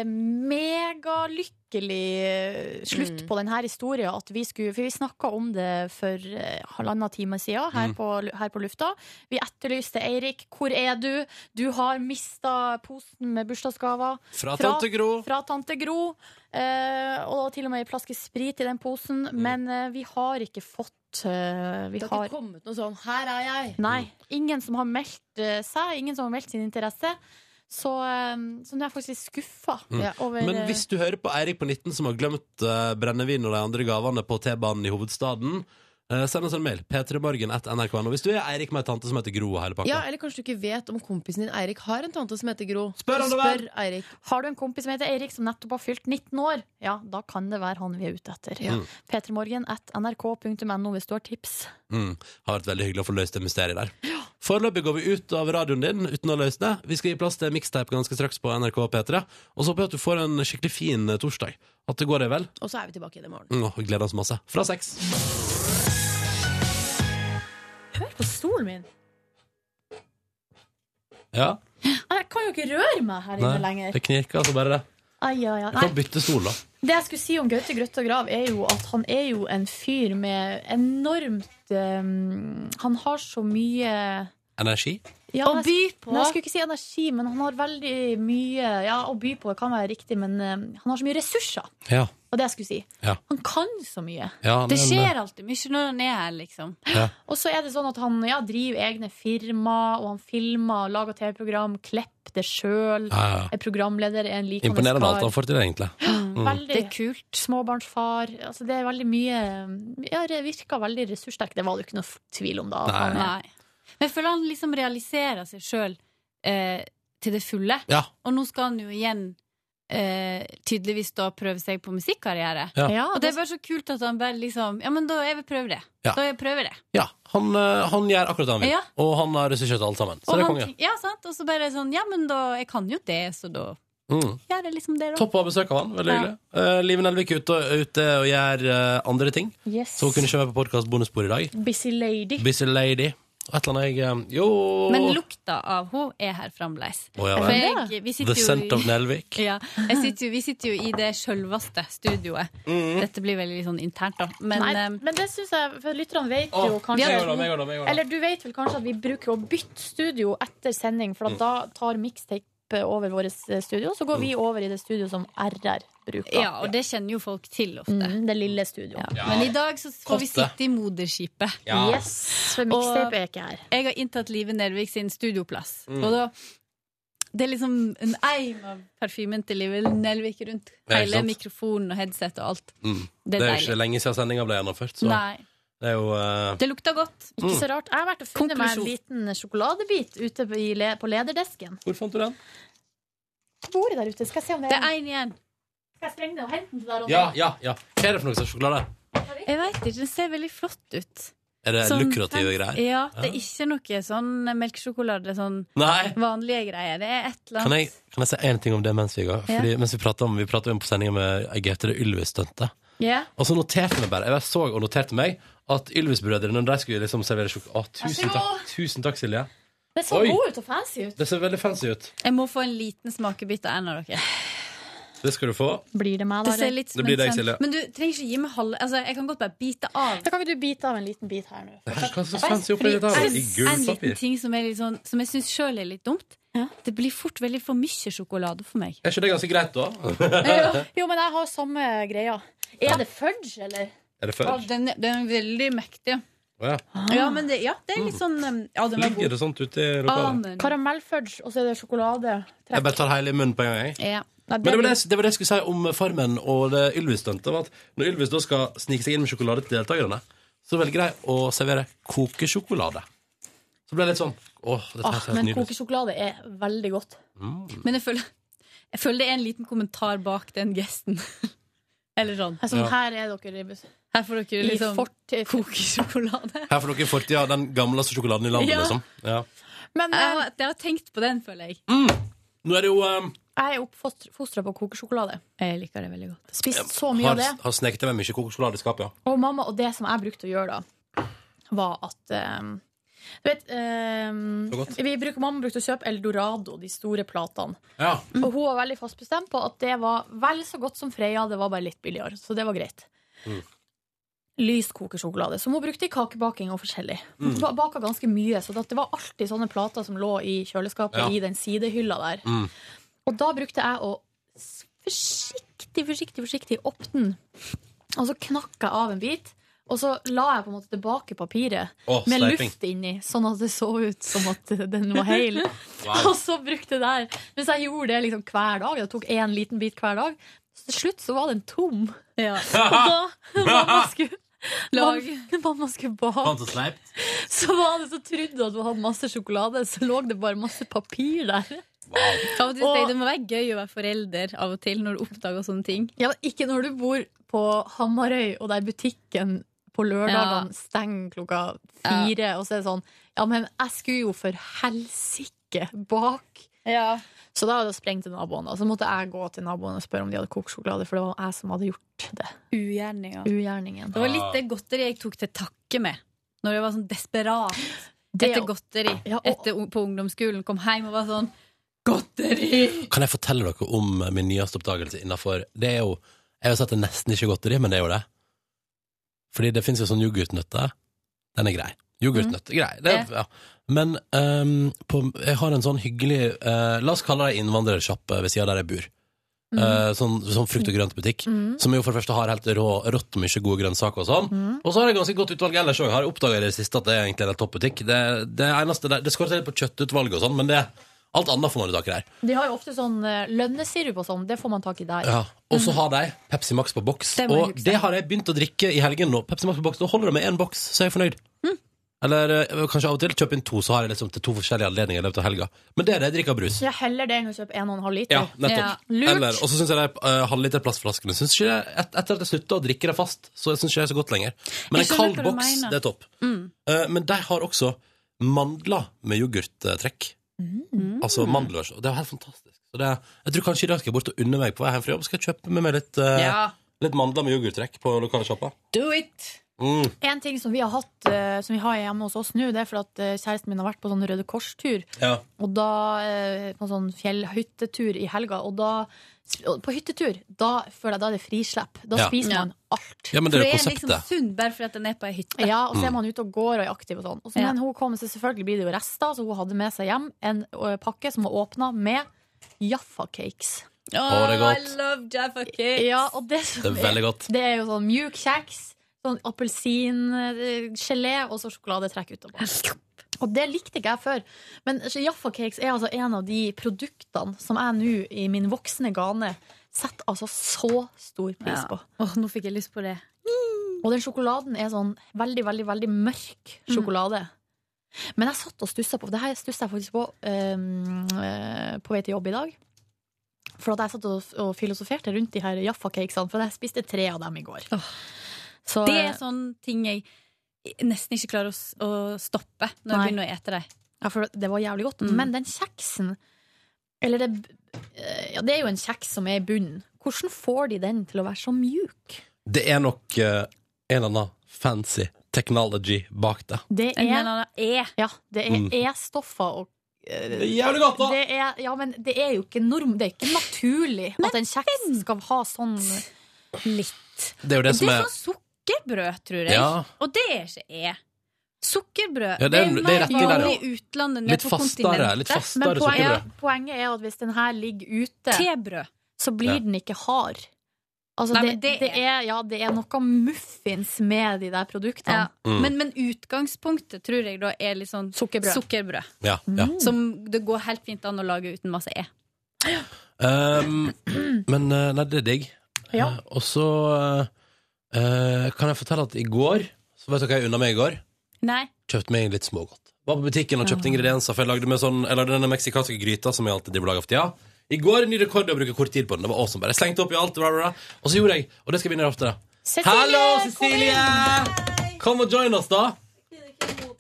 Speaker 3: megalykkelig eh, slutt på denne historien. At vi skulle, for vi snakka om det for eh, halvannen time siden her,
Speaker 14: Mm.
Speaker 3: på, lu- her på lufta. Vi etterlyste Eirik. Hvor er du? Du har mista posen med bursdagsgaver.
Speaker 2: Fra tante Gro.
Speaker 3: Fra tante Gro. Eh, og til og med ei flaske sprit i den posen.
Speaker 2: Mm.
Speaker 3: Men eh, vi har ikke fått eh, vi
Speaker 5: Det har
Speaker 3: har
Speaker 5: ikke kommet noe sånn 'her er jeg'.
Speaker 3: Nei. Ingen som har meldt eh, seg, ingen som har meldt sin interesse. Så, eh, så nå er jeg faktisk litt skuffa.
Speaker 2: Mm.
Speaker 3: over eh,
Speaker 2: Men hvis du hører på Eirik på 19 som har glemt eh, brennevin og de andre gavene på T-banen i hovedstaden, eh, send oss en mail. p3morgen.nrk.no. Hvis du er Eirik med ei tante som heter Gro og hele pakka.
Speaker 5: Ja, Eller kanskje du ikke vet om kompisen din Eirik har en tante som heter Gro.
Speaker 2: Spør han det vel!
Speaker 5: Eirik.
Speaker 3: Har du en kompis som heter Eirik som nettopp har fylt 19 år, ja, da kan det være han vi er ute etter.
Speaker 2: Ja. Mm.
Speaker 3: P3morgen at nrk.no hvis du har tips.
Speaker 2: Mm. Har vært veldig hyggelig å få løst det mysteriet der. Foreløpig går vi ut av radioen din uten å løse det. Vi skal gi plass til mixtape ganske straks på NRK P3. Og så håper jeg at du får en skikkelig fin eh, torsdag. At det går deg vel.
Speaker 5: Og så er vi tilbake igjen i morgen.
Speaker 2: Mm, og gleder oss masse. Fra seks.
Speaker 3: Hør på stolen min!
Speaker 2: Ja.
Speaker 3: Jeg kan jo ikke røre meg her inne lenger.
Speaker 2: det knirker altså bare det.
Speaker 3: Ai, ai, ai.
Speaker 2: Du kan
Speaker 3: Nei.
Speaker 2: bytte stol, da.
Speaker 3: Det jeg skulle si om Gaute Grøtta Grav, er jo at han er jo en fyr med enormt eh, Han har så mye
Speaker 2: Energi.
Speaker 3: Ja,
Speaker 5: Å
Speaker 3: nes-
Speaker 5: by på.
Speaker 3: Nei, jeg skulle ikke si energi, men han har veldig mye Ja, å by på kan være riktig, men eh, han har så mye ressurser.
Speaker 2: Ja.
Speaker 3: Og det jeg skulle si.
Speaker 2: Ja.
Speaker 3: Han kan så mye.
Speaker 2: Ja,
Speaker 14: det
Speaker 2: men, eh,
Speaker 14: skjer alltid mye når han er her, liksom.
Speaker 2: Ja.
Speaker 3: Og så er det sånn at han ja, driver egne firma, og han filmer, lager TV-program, klipper det sjøl.
Speaker 2: Ja, ja.
Speaker 3: Er programleder, er en likende
Speaker 2: Imponerende alt han
Speaker 3: kar.
Speaker 2: får til, egentlig. Mm.
Speaker 3: Veldig kult. Småbarnsfar. Altså, det er veldig mye Ja, det virker veldig ressurssterk. Det var det jo ikke noe f- tvil om, da. at han er.
Speaker 14: Nei. Men jeg føler han liksom realiserer seg sjøl eh, til det fulle.
Speaker 2: Ja.
Speaker 14: Og nå skal han jo igjen eh, tydeligvis da prøve seg på musikkarriere.
Speaker 2: Ja. Ja,
Speaker 14: og det er bare så kult at han bare liksom Ja, men da jeg vil prøve det.
Speaker 2: Ja.
Speaker 14: Da jeg prøver det.
Speaker 2: Ja, han, eh, han gjør akkurat det han vil,
Speaker 14: Ja.
Speaker 2: og han har ressurser til alt sammen. Så
Speaker 14: Og
Speaker 2: det er
Speaker 14: han,
Speaker 2: konge.
Speaker 14: ja, sant? Og så bare sånn Ja, men da Jeg kan jo det, så da
Speaker 2: Mm.
Speaker 14: gjør jeg liksom det, da.
Speaker 2: Topp å ha besøk av han. Veldig hyggelig. Eh, Liven Elvik er ute, ute og gjør eh, andre ting,
Speaker 3: Yes.
Speaker 2: så hun kunne ikke være på podkast bonusbord i dag.
Speaker 3: Busy lady.
Speaker 2: Busy Lady. Og Et eller annet jeg eh, Jo!
Speaker 14: Men lukta av henne er her fremdeles.
Speaker 2: Å, ja
Speaker 14: For
Speaker 2: vel.
Speaker 14: jeg, vi sitter
Speaker 2: The
Speaker 14: jo
Speaker 2: Scent
Speaker 14: i-
Speaker 2: of Nelvik.
Speaker 14: Ja, jeg sitter jo, vi sitter jo i det sjølveste studioet.
Speaker 2: Mhm.
Speaker 14: Dette blir veldig sånn internt, da. Men
Speaker 3: Nei,
Speaker 14: eh,
Speaker 3: men det syns jeg For lytterne vet
Speaker 14: Å,
Speaker 3: jo
Speaker 14: vi
Speaker 3: kanskje
Speaker 14: har- Jeg går da, jeg
Speaker 2: går da, jeg går da.
Speaker 3: Eller du vet vel kanskje at vi bruker å bytte studio etter sending, for at
Speaker 2: Mm.
Speaker 3: da tar mixtape over vårt eh, studio, så går vi
Speaker 2: Mm.
Speaker 3: over i det studio som RR bruker.
Speaker 14: Ja, og det kjenner jo folk til ofte.
Speaker 3: Mm, det lille studioet.
Speaker 14: Men i dag så får vi
Speaker 3: Kottet.
Speaker 14: sitte i moderskipet.
Speaker 3: Ja. Yes, for mixtape
Speaker 14: Og
Speaker 3: er ikke her.
Speaker 14: Jeg har inntatt Live Nervik sin studioplass.
Speaker 2: Mm.
Speaker 14: Og da det er liksom en eim av parfymen til Live Nelvik rundt
Speaker 2: Ja, ikke
Speaker 14: hele
Speaker 2: sant?
Speaker 14: mikrofonen og headset og alt.
Speaker 2: Mm.
Speaker 14: Det er
Speaker 2: Det er jo
Speaker 14: deilig.
Speaker 2: ikke lenge siden sendinga ble gjennomført, så
Speaker 14: Nei.
Speaker 2: det er jo eh,
Speaker 14: Det lukta godt.
Speaker 3: Ikke
Speaker 2: Mm.
Speaker 3: så rart. Jeg har vært og funnet meg en
Speaker 14: Konklusjon.
Speaker 3: liten sjokoladebit ute på, i le, på lederdesken.
Speaker 2: Hvor fant du den?
Speaker 3: På bordet der ute. Skal jeg se om det
Speaker 14: Det
Speaker 3: er
Speaker 14: er én igjen.
Speaker 3: Skal jeg slenge den og hente den der? og
Speaker 2: Ja,
Speaker 3: da?
Speaker 2: ja, ja. Hva er det for noe slags sjokolade?
Speaker 14: Jeg veit ikke, den ser veldig flott ut.
Speaker 2: Er det
Speaker 14: Sånn-
Speaker 2: lukrative greier?
Speaker 14: Ja, det er ikke noe sånn melkesjokolade, sånn
Speaker 2: Nei.
Speaker 14: vanlige greier. Det er et eller
Speaker 2: Kan jeg,
Speaker 14: annet.
Speaker 2: kan jeg si én ting om det mens vi går?
Speaker 14: Ja.
Speaker 2: Fordi, mens Vi prater om, vi prater om på sendinga med Gaute det Ylvis-stuntet.
Speaker 14: Ja.
Speaker 2: Og så noterte jeg meg bare, jeg så og noterte meg at Ylvis-brødrene, når de skulle liksom servere sjokolade Å,
Speaker 14: Vær
Speaker 2: tusen
Speaker 14: så god.
Speaker 2: takk, tusen takk, Silje.
Speaker 3: Det så
Speaker 2: Oi.
Speaker 3: god ut og fancy ut.
Speaker 2: Det ser veldig fancy ut.
Speaker 14: Jeg må få en liten smakebit av en av dere.
Speaker 2: Det skal du få.
Speaker 3: Blir det meg, da?
Speaker 14: Det ser litt som
Speaker 2: Det blir
Speaker 14: en
Speaker 2: deg,
Speaker 14: sånn-
Speaker 2: Silje.
Speaker 14: Men du trenger ikke gi meg halve altså, Jeg kan godt bare bite av.
Speaker 3: Da kan ikke du bite av en liten bit her nå.
Speaker 2: Det her, hva slags fancy opplegg er dette? her? I
Speaker 14: En liten
Speaker 2: gullpapir.
Speaker 14: ting som, er litt sånn, som jeg syns sjøl er litt dumt. Det blir fort veldig for mye sjokolade for meg.
Speaker 2: Er ikke det ganske greit, da?
Speaker 3: Jo, jo, men jeg har samme greia. Er det fudge, eller?
Speaker 2: Er det fudge?
Speaker 14: den, er veldig mektig.
Speaker 2: Å ja.
Speaker 14: Ja, men det, ja, det er litt sånn um, Ja, den var
Speaker 2: Mm. Ligger
Speaker 14: god.
Speaker 2: det sånt ute i lokalet?
Speaker 3: Karamellfudge, og så er det sjokolade.
Speaker 2: Jeg bare tar hele i munnen på en gang. jeg.
Speaker 14: Ja.
Speaker 3: Nei,
Speaker 2: Men det var det,
Speaker 3: blir-
Speaker 2: det var det jeg skulle si om Farmen og det Ylvis-stuntet. var at Når Ylvis da skal snike seg inn med sjokolade til deltakerne, så velger de å servere kokesjokolade. Så ble det litt sånn Åh, dette her
Speaker 3: Ah,
Speaker 2: ser helt
Speaker 3: men
Speaker 2: nydelig ut.
Speaker 3: kokesjokolade er veldig godt.
Speaker 2: Mm.
Speaker 14: Men jeg føler, jeg føler det er en liten kommentar bak den gesten. Eller sånn.
Speaker 3: Det er Sånn, Her er dere i,
Speaker 14: Her får dere
Speaker 3: i
Speaker 14: liksom
Speaker 3: fort...
Speaker 14: kokesjokolade.
Speaker 2: Her får dere i fortida den gamleste sjokoladen i landet,
Speaker 14: Ja.
Speaker 2: liksom. Ja.
Speaker 3: Men eh,
Speaker 14: jeg, har, jeg har tenkt på den, føler jeg.
Speaker 2: Nå er det jo um,
Speaker 3: Jeg er oppfostra på kokesjokolade.
Speaker 14: Jeg liker det veldig godt.
Speaker 3: Spist så mye av
Speaker 2: Har,
Speaker 3: det.
Speaker 2: har sneket meg mye kokesjokolade i skapet, ja.
Speaker 3: Og mamma, og det som jeg brukte å gjøre da, var at eh, Du vet, ehm,
Speaker 2: Så godt.
Speaker 3: vi bruker, Mamma brukte å kjøpe Eldorado, de store platene.
Speaker 2: Ja.
Speaker 3: Og hun var veldig fast bestemt på at det var vel så godt som Freia, det var bare litt billigere. Så det var greit.
Speaker 2: Mm.
Speaker 3: Lys kokesjokolade, som hun brukte i kakebaking og forskjellig. Hun
Speaker 2: Mm.
Speaker 3: ba- baka ganske mye, så det var alltid sånne plater som lå i kjøleskapet
Speaker 2: Ja.
Speaker 3: i den sidehylla der.
Speaker 2: Mm.
Speaker 3: Og da brukte jeg å s- forsiktig, forsiktig, forsiktig åpne den. Og så knakk jeg av en bit, og så la jeg på en måte tilbake papiret
Speaker 15: Å,
Speaker 3: med
Speaker 15: sleiping.
Speaker 3: luft inni, sånn at det så ut som at den var hel.
Speaker 15: Wow.
Speaker 3: Og så brukte jeg der. Mens jeg gjorde det liksom hver dag, jeg tok én liten bit hver dag, så til slutt så var den tom. Og da mamma skulle Mamma, mamma skulle
Speaker 2: Fant det
Speaker 3: bake.
Speaker 2: sleipt?
Speaker 3: Så var det så trodde hun at hun hadde masse sjokolade, så lå det bare masse papir der.
Speaker 14: Av og til, det må være gøy å være forelder av og til når du oppdager sånne ting.
Speaker 3: Ja, men ikke når du bor på Hamarøy, og der butikken på lørdagene
Speaker 14: Ja.
Speaker 3: stenger klokka fire, og så er det sånn Ja, men jeg skulle jo for helsike bak. Så da hadde jeg sprengt til naboen, og så måtte jeg gå til naboen og spørre om de hadde kokt sjokolade, for det var jeg som hadde gjort det.
Speaker 14: Ugjerninga.
Speaker 3: Ugjerningen.
Speaker 14: Det var
Speaker 2: Ah.
Speaker 14: litt det godteriet jeg tok til takke med. Når jeg var sånn desperat
Speaker 3: Det-
Speaker 14: etter godteri etter, på ungdomsskolen. Kom hjem og var sånn
Speaker 2: Kan jeg fortelle dere om min nyeste oppdagelse innafor Det er jo Jeg har sagt det er nesten ikke godteri, men det er jo det. Fordi det fins jo sånn yoghurtnøtte. Den er grei. Yoghurtnøtte, grei. Det, er- ja. Men ehm, på, jeg har en sånn hyggelig eh, La oss kalle det innvandrersjappe ved sida der jeg bor.
Speaker 16: Mhm.
Speaker 2: Eh, sånn, sånn frukt- og grøntbutikk.
Speaker 16: Mhm.
Speaker 2: Som jo for det første har helt rå, rått mye gode grønnsaker og sånn.
Speaker 16: Mhm.
Speaker 2: Og så har jeg ganske godt utvalg ellers òg. Har jeg oppdaga i det siste at det er egentlig en helt toppbutikk. Det, det eneste der, det skorter litt på kjøttutvalget og sånn, men det, alt annet får man jo tak i der.
Speaker 3: De har jo ofte sånn eh, lønnesirup og sånn, det får man tak i der.
Speaker 2: Ja, og så har de Pepsi Max på boks.
Speaker 3: Det må jeg
Speaker 2: og
Speaker 3: huske.
Speaker 2: det har jeg begynt å drikke i helgen nå. Pepsi Max på boks, Nå holder det med én boks, så er jeg fornøyd. Eller eh, kanskje av og til kjøpe inn to, så har jeg liksom til to forskjellige anledninger i løpet av helga. Men det er det jeg drikker av brus.
Speaker 3: Så jeg heller det enn å kjøpe en og en halv liter.
Speaker 2: Ja, nettopp.
Speaker 3: Lurt.
Speaker 2: Eller, og så syns jeg de eh, halvliterplastflaskene synes ikke jeg, et, Etter at jeg slutta å drikke det fast, så syns ikke jeg er så godt lenger. Men
Speaker 14: Jeg
Speaker 2: en
Speaker 14: skjønner
Speaker 2: kald
Speaker 14: hva du
Speaker 2: boks,
Speaker 14: mener.
Speaker 2: det er topp.
Speaker 14: Mm.
Speaker 2: Eh, men de har også mandler med yoghurttrekk. Altså mandler. Og det er helt fantastisk. Så det, jeg tror kanskje i dag skal jeg bort og unne meg på vei hjem fra jobb. Skal jeg kjøpe med meg litt, eh,
Speaker 3: Ja.
Speaker 2: litt mandler med yoghurttrekk på lokale shopper.
Speaker 3: Do it!
Speaker 2: Mm.
Speaker 3: En ting som vi har hatt eh, Som vi har hjemme hos oss nå, det er for at eh, kjæresten min har vært på sånn Røde Kors-tur.
Speaker 2: Ja.
Speaker 3: Og da eh, på sånn fjellhyttetur i helga. Og da og på hyttetur, da føler jeg da er det frislepp. Da
Speaker 2: Ja.
Speaker 3: spiser
Speaker 2: Ja.
Speaker 3: man alt.
Speaker 2: Ja, men det er jo
Speaker 14: For det er liksom
Speaker 2: konseptet.
Speaker 14: sunn bare fordi at den er på ei hytte.
Speaker 3: Ja, og så er
Speaker 14: Mm.
Speaker 3: man ute og går og er aktiv og sånn. Og så,
Speaker 14: Ja.
Speaker 3: Men hun kom, så selvfølgelig blir det jo rester, så hun hadde med seg hjem en ø, pakke som var åpna med Jaffa-cakes.
Speaker 2: Å, det er godt.
Speaker 14: I love Jaffa cakes.
Speaker 3: Ja, og det, som
Speaker 2: Det er veldig godt.
Speaker 3: Det er jo sånn mjuk kjeks, sånn appelsingelé og så sjokoladetrekk utover. Og det likte ikke jeg før. Men Jaffa Cakes er altså en av de produktene som jeg nå i min voksne gane setter altså så stor pris
Speaker 14: Ja.
Speaker 3: på.
Speaker 14: Åh, nå fikk jeg lyst på det.
Speaker 3: Og den sjokoladen er sånn veldig, veldig, veldig mørk sjokolade. Men jeg satt og stussa på Det her stussa jeg faktisk på eh, eh, på vei til jobb i dag. For at jeg satt og, og filosoferte rundt de her Jaffa-cakesene, for jeg spiste tre av dem i går. Så- eh,
Speaker 14: det er sånn ting jeg nesten ikke klarer å, s- å stoppe når
Speaker 3: Nei.
Speaker 14: jeg begynner å ete det.
Speaker 3: Ja, for det var jævlig godt. Men den kjeksen Eller det eh, Ja, det er jo en kjeks som er i bunnen. Hvordan får de den til å være så mjuk?
Speaker 2: Det er nok eh, en eller annen fancy technology bak det.
Speaker 3: Det er,
Speaker 14: Men den
Speaker 3: Ja, det er
Speaker 2: Mm.
Speaker 3: E-stoffer og eh,
Speaker 2: Det er jævlig godt, da!
Speaker 3: Det er, ja, men det er jo ikke norm Det er ikke naturlig at en kjeks skal ha sånn
Speaker 14: Litt.
Speaker 2: Det er jo det som er
Speaker 14: sånn sukkerbrød, tror jeg.
Speaker 2: Ja.
Speaker 14: Og det er ikke jeg. Sukkerbrød
Speaker 2: Ja, det er-
Speaker 14: det er,
Speaker 2: det er
Speaker 14: mer
Speaker 2: rett i der, ja.
Speaker 14: vanlig i utlandet enn det
Speaker 2: Litt
Speaker 14: er på
Speaker 2: fastere,
Speaker 14: kontinentet.
Speaker 2: litt fastere Men poenget- sukkerbrød.
Speaker 3: Poenget er at hvis den her ligger ute,
Speaker 14: Tebrød.
Speaker 3: så blir
Speaker 2: Ja.
Speaker 3: den ikke hard. Altså,
Speaker 14: Nei,
Speaker 3: det,
Speaker 14: men
Speaker 3: det,
Speaker 14: det
Speaker 3: er, ja, det er noe muffins med de der produktene.
Speaker 2: Mm.
Speaker 14: Men, men utgangspunktet tror jeg da er litt sånn
Speaker 3: Sukkerbrød.
Speaker 2: Ja, ja.
Speaker 14: Som det går helt fint an å lage uten masse E.
Speaker 2: Um, men eh, nei, det er digg.
Speaker 14: Ja.
Speaker 2: Eh, Og så eh, kan jeg fortelle at i går Så vet dere hva jeg unna meg i går?
Speaker 14: Nei.
Speaker 2: Kjøpte meg litt smågodt. Var på butikken og kjøpte ingredienser, for jeg lagde, med sånn, jeg lagde denne meksikanske gryta som jeg alltid driver og lager for tida. I går ny rekord i å bruke kort tid på den. Det var awesome. Bare Jeg slengte opp i alt, bla, bla, bla. og så gjorde jeg Og det skal vi gjøre oftere.
Speaker 16: Cecilie,
Speaker 2: Hallo,
Speaker 16: kom
Speaker 2: Cecilie! Kom og join oss, da.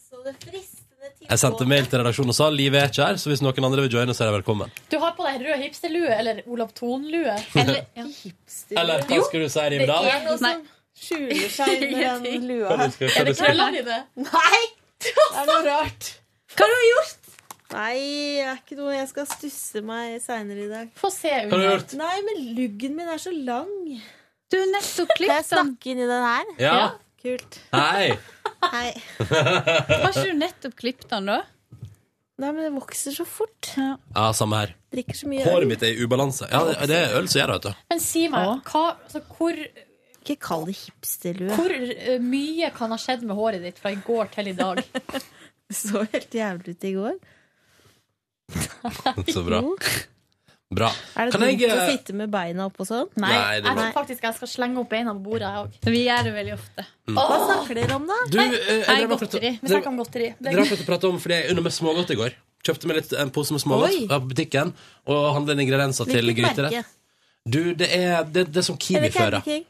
Speaker 2: Jeg sendte mail til redaksjonen og sa livet er ikke her, så hvis noen andre vil joine, så er de velkommen.
Speaker 3: Du har på deg rød hipsterlue, eller Olav Thon-lue.
Speaker 2: Eller- Eller hva
Speaker 3: Jo,
Speaker 2: skulle du si,
Speaker 3: det
Speaker 2: Rimdal?
Speaker 3: er noe som
Speaker 15: skjuler seg under den lua.
Speaker 2: Hva du skal- hva du skal-
Speaker 15: dine? Nei! Det er noe rart. Hva har du gjort? Nei, jeg er ikke noe Jeg skal stusse meg seinere i dag.
Speaker 3: Få se
Speaker 2: Hva har du gjort?
Speaker 15: Nei, men luggen min er så lang.
Speaker 14: Du er nettopp
Speaker 15: Kan
Speaker 14: klippet
Speaker 15: jeg snakke inn i den her?
Speaker 2: Ja.
Speaker 15: Kult.
Speaker 2: Hei!
Speaker 15: Hei.
Speaker 14: Har ikke du nettopp klippet den, da?
Speaker 15: Nei, men det vokser så fort.
Speaker 2: Ja, samme her.
Speaker 15: Drikker så mye
Speaker 2: Håret mitt er i ubalanse. Ja, det- det er øl som gjør det, vet du.
Speaker 3: Men si meg, hva, altså, hvor
Speaker 15: Ikke kall det hipsterlue.
Speaker 3: Hvor eh, mye kan ha skjedd med håret ditt fra i går til i dag?
Speaker 15: Det så helt jævlig ut i går.
Speaker 2: Så bra. Bra.
Speaker 15: Er det
Speaker 2: Kan
Speaker 15: dumt
Speaker 2: jeg,
Speaker 15: å
Speaker 2: eh,
Speaker 15: sitte med beina opp og sånn?
Speaker 2: Nei, Nei, det er
Speaker 3: Jeg
Speaker 2: bra.
Speaker 3: tror faktisk jeg skal slenge opp beina på bordet, jeg òg. Vi gjør det veldig ofte.
Speaker 2: Mm.
Speaker 15: Hva snakker dere om, da?
Speaker 2: Du, eh, jeg
Speaker 3: Nei,
Speaker 2: drev og pratet-
Speaker 3: godteri. Vi
Speaker 2: drev-
Speaker 3: snakker om godteri. Det-
Speaker 2: Dere har fått prate om, fordi jeg unna meg smågodt i går. Kjøpte meg litt, en pose med smågodt
Speaker 3: Oi.
Speaker 2: ja, på butikken og handlet inn ingredienser til
Speaker 15: Hvilket merke?
Speaker 2: gryterett. Du, det er det, det er som
Speaker 15: Er
Speaker 2: Kiwi
Speaker 15: det Candy
Speaker 2: fører.
Speaker 15: King?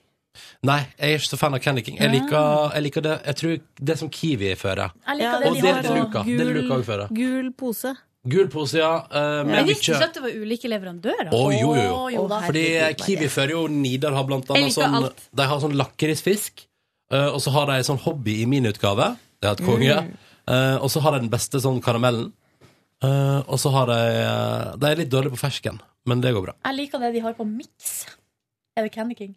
Speaker 2: Nei, jeg er ikke så fan av Candy King. Jeg
Speaker 15: Ja.
Speaker 2: liker, jeg liker det Jeg tror det som Kiwi fører.
Speaker 15: Jeg liker det
Speaker 2: og
Speaker 15: de
Speaker 2: det
Speaker 15: har
Speaker 2: er
Speaker 15: på
Speaker 2: Luca. Det er Luca også fører.
Speaker 15: Gul pose.
Speaker 2: Gul pose, ja. eh,
Speaker 14: Jeg
Speaker 2: Med
Speaker 14: visste
Speaker 2: mye
Speaker 14: ikke at det var ulike leverandører.
Speaker 2: Å, jo, jo,
Speaker 14: Å,
Speaker 2: jo.
Speaker 14: da.
Speaker 2: Fordi Kiwi fører jo Nidar har blant
Speaker 14: Jeg
Speaker 2: annet
Speaker 14: liker
Speaker 2: sånn
Speaker 14: alt.
Speaker 2: De har sånn lakrisfisk, eh, og så har de sånn hobby i min utgave. Det er et konge.
Speaker 14: Mm.
Speaker 2: Eh, og så har de den beste sånn karamellen. Eh, og så har de eh, De er litt dårlige på fersken, men det går bra.
Speaker 3: Jeg liker det de har på Mix. Er det Candy King?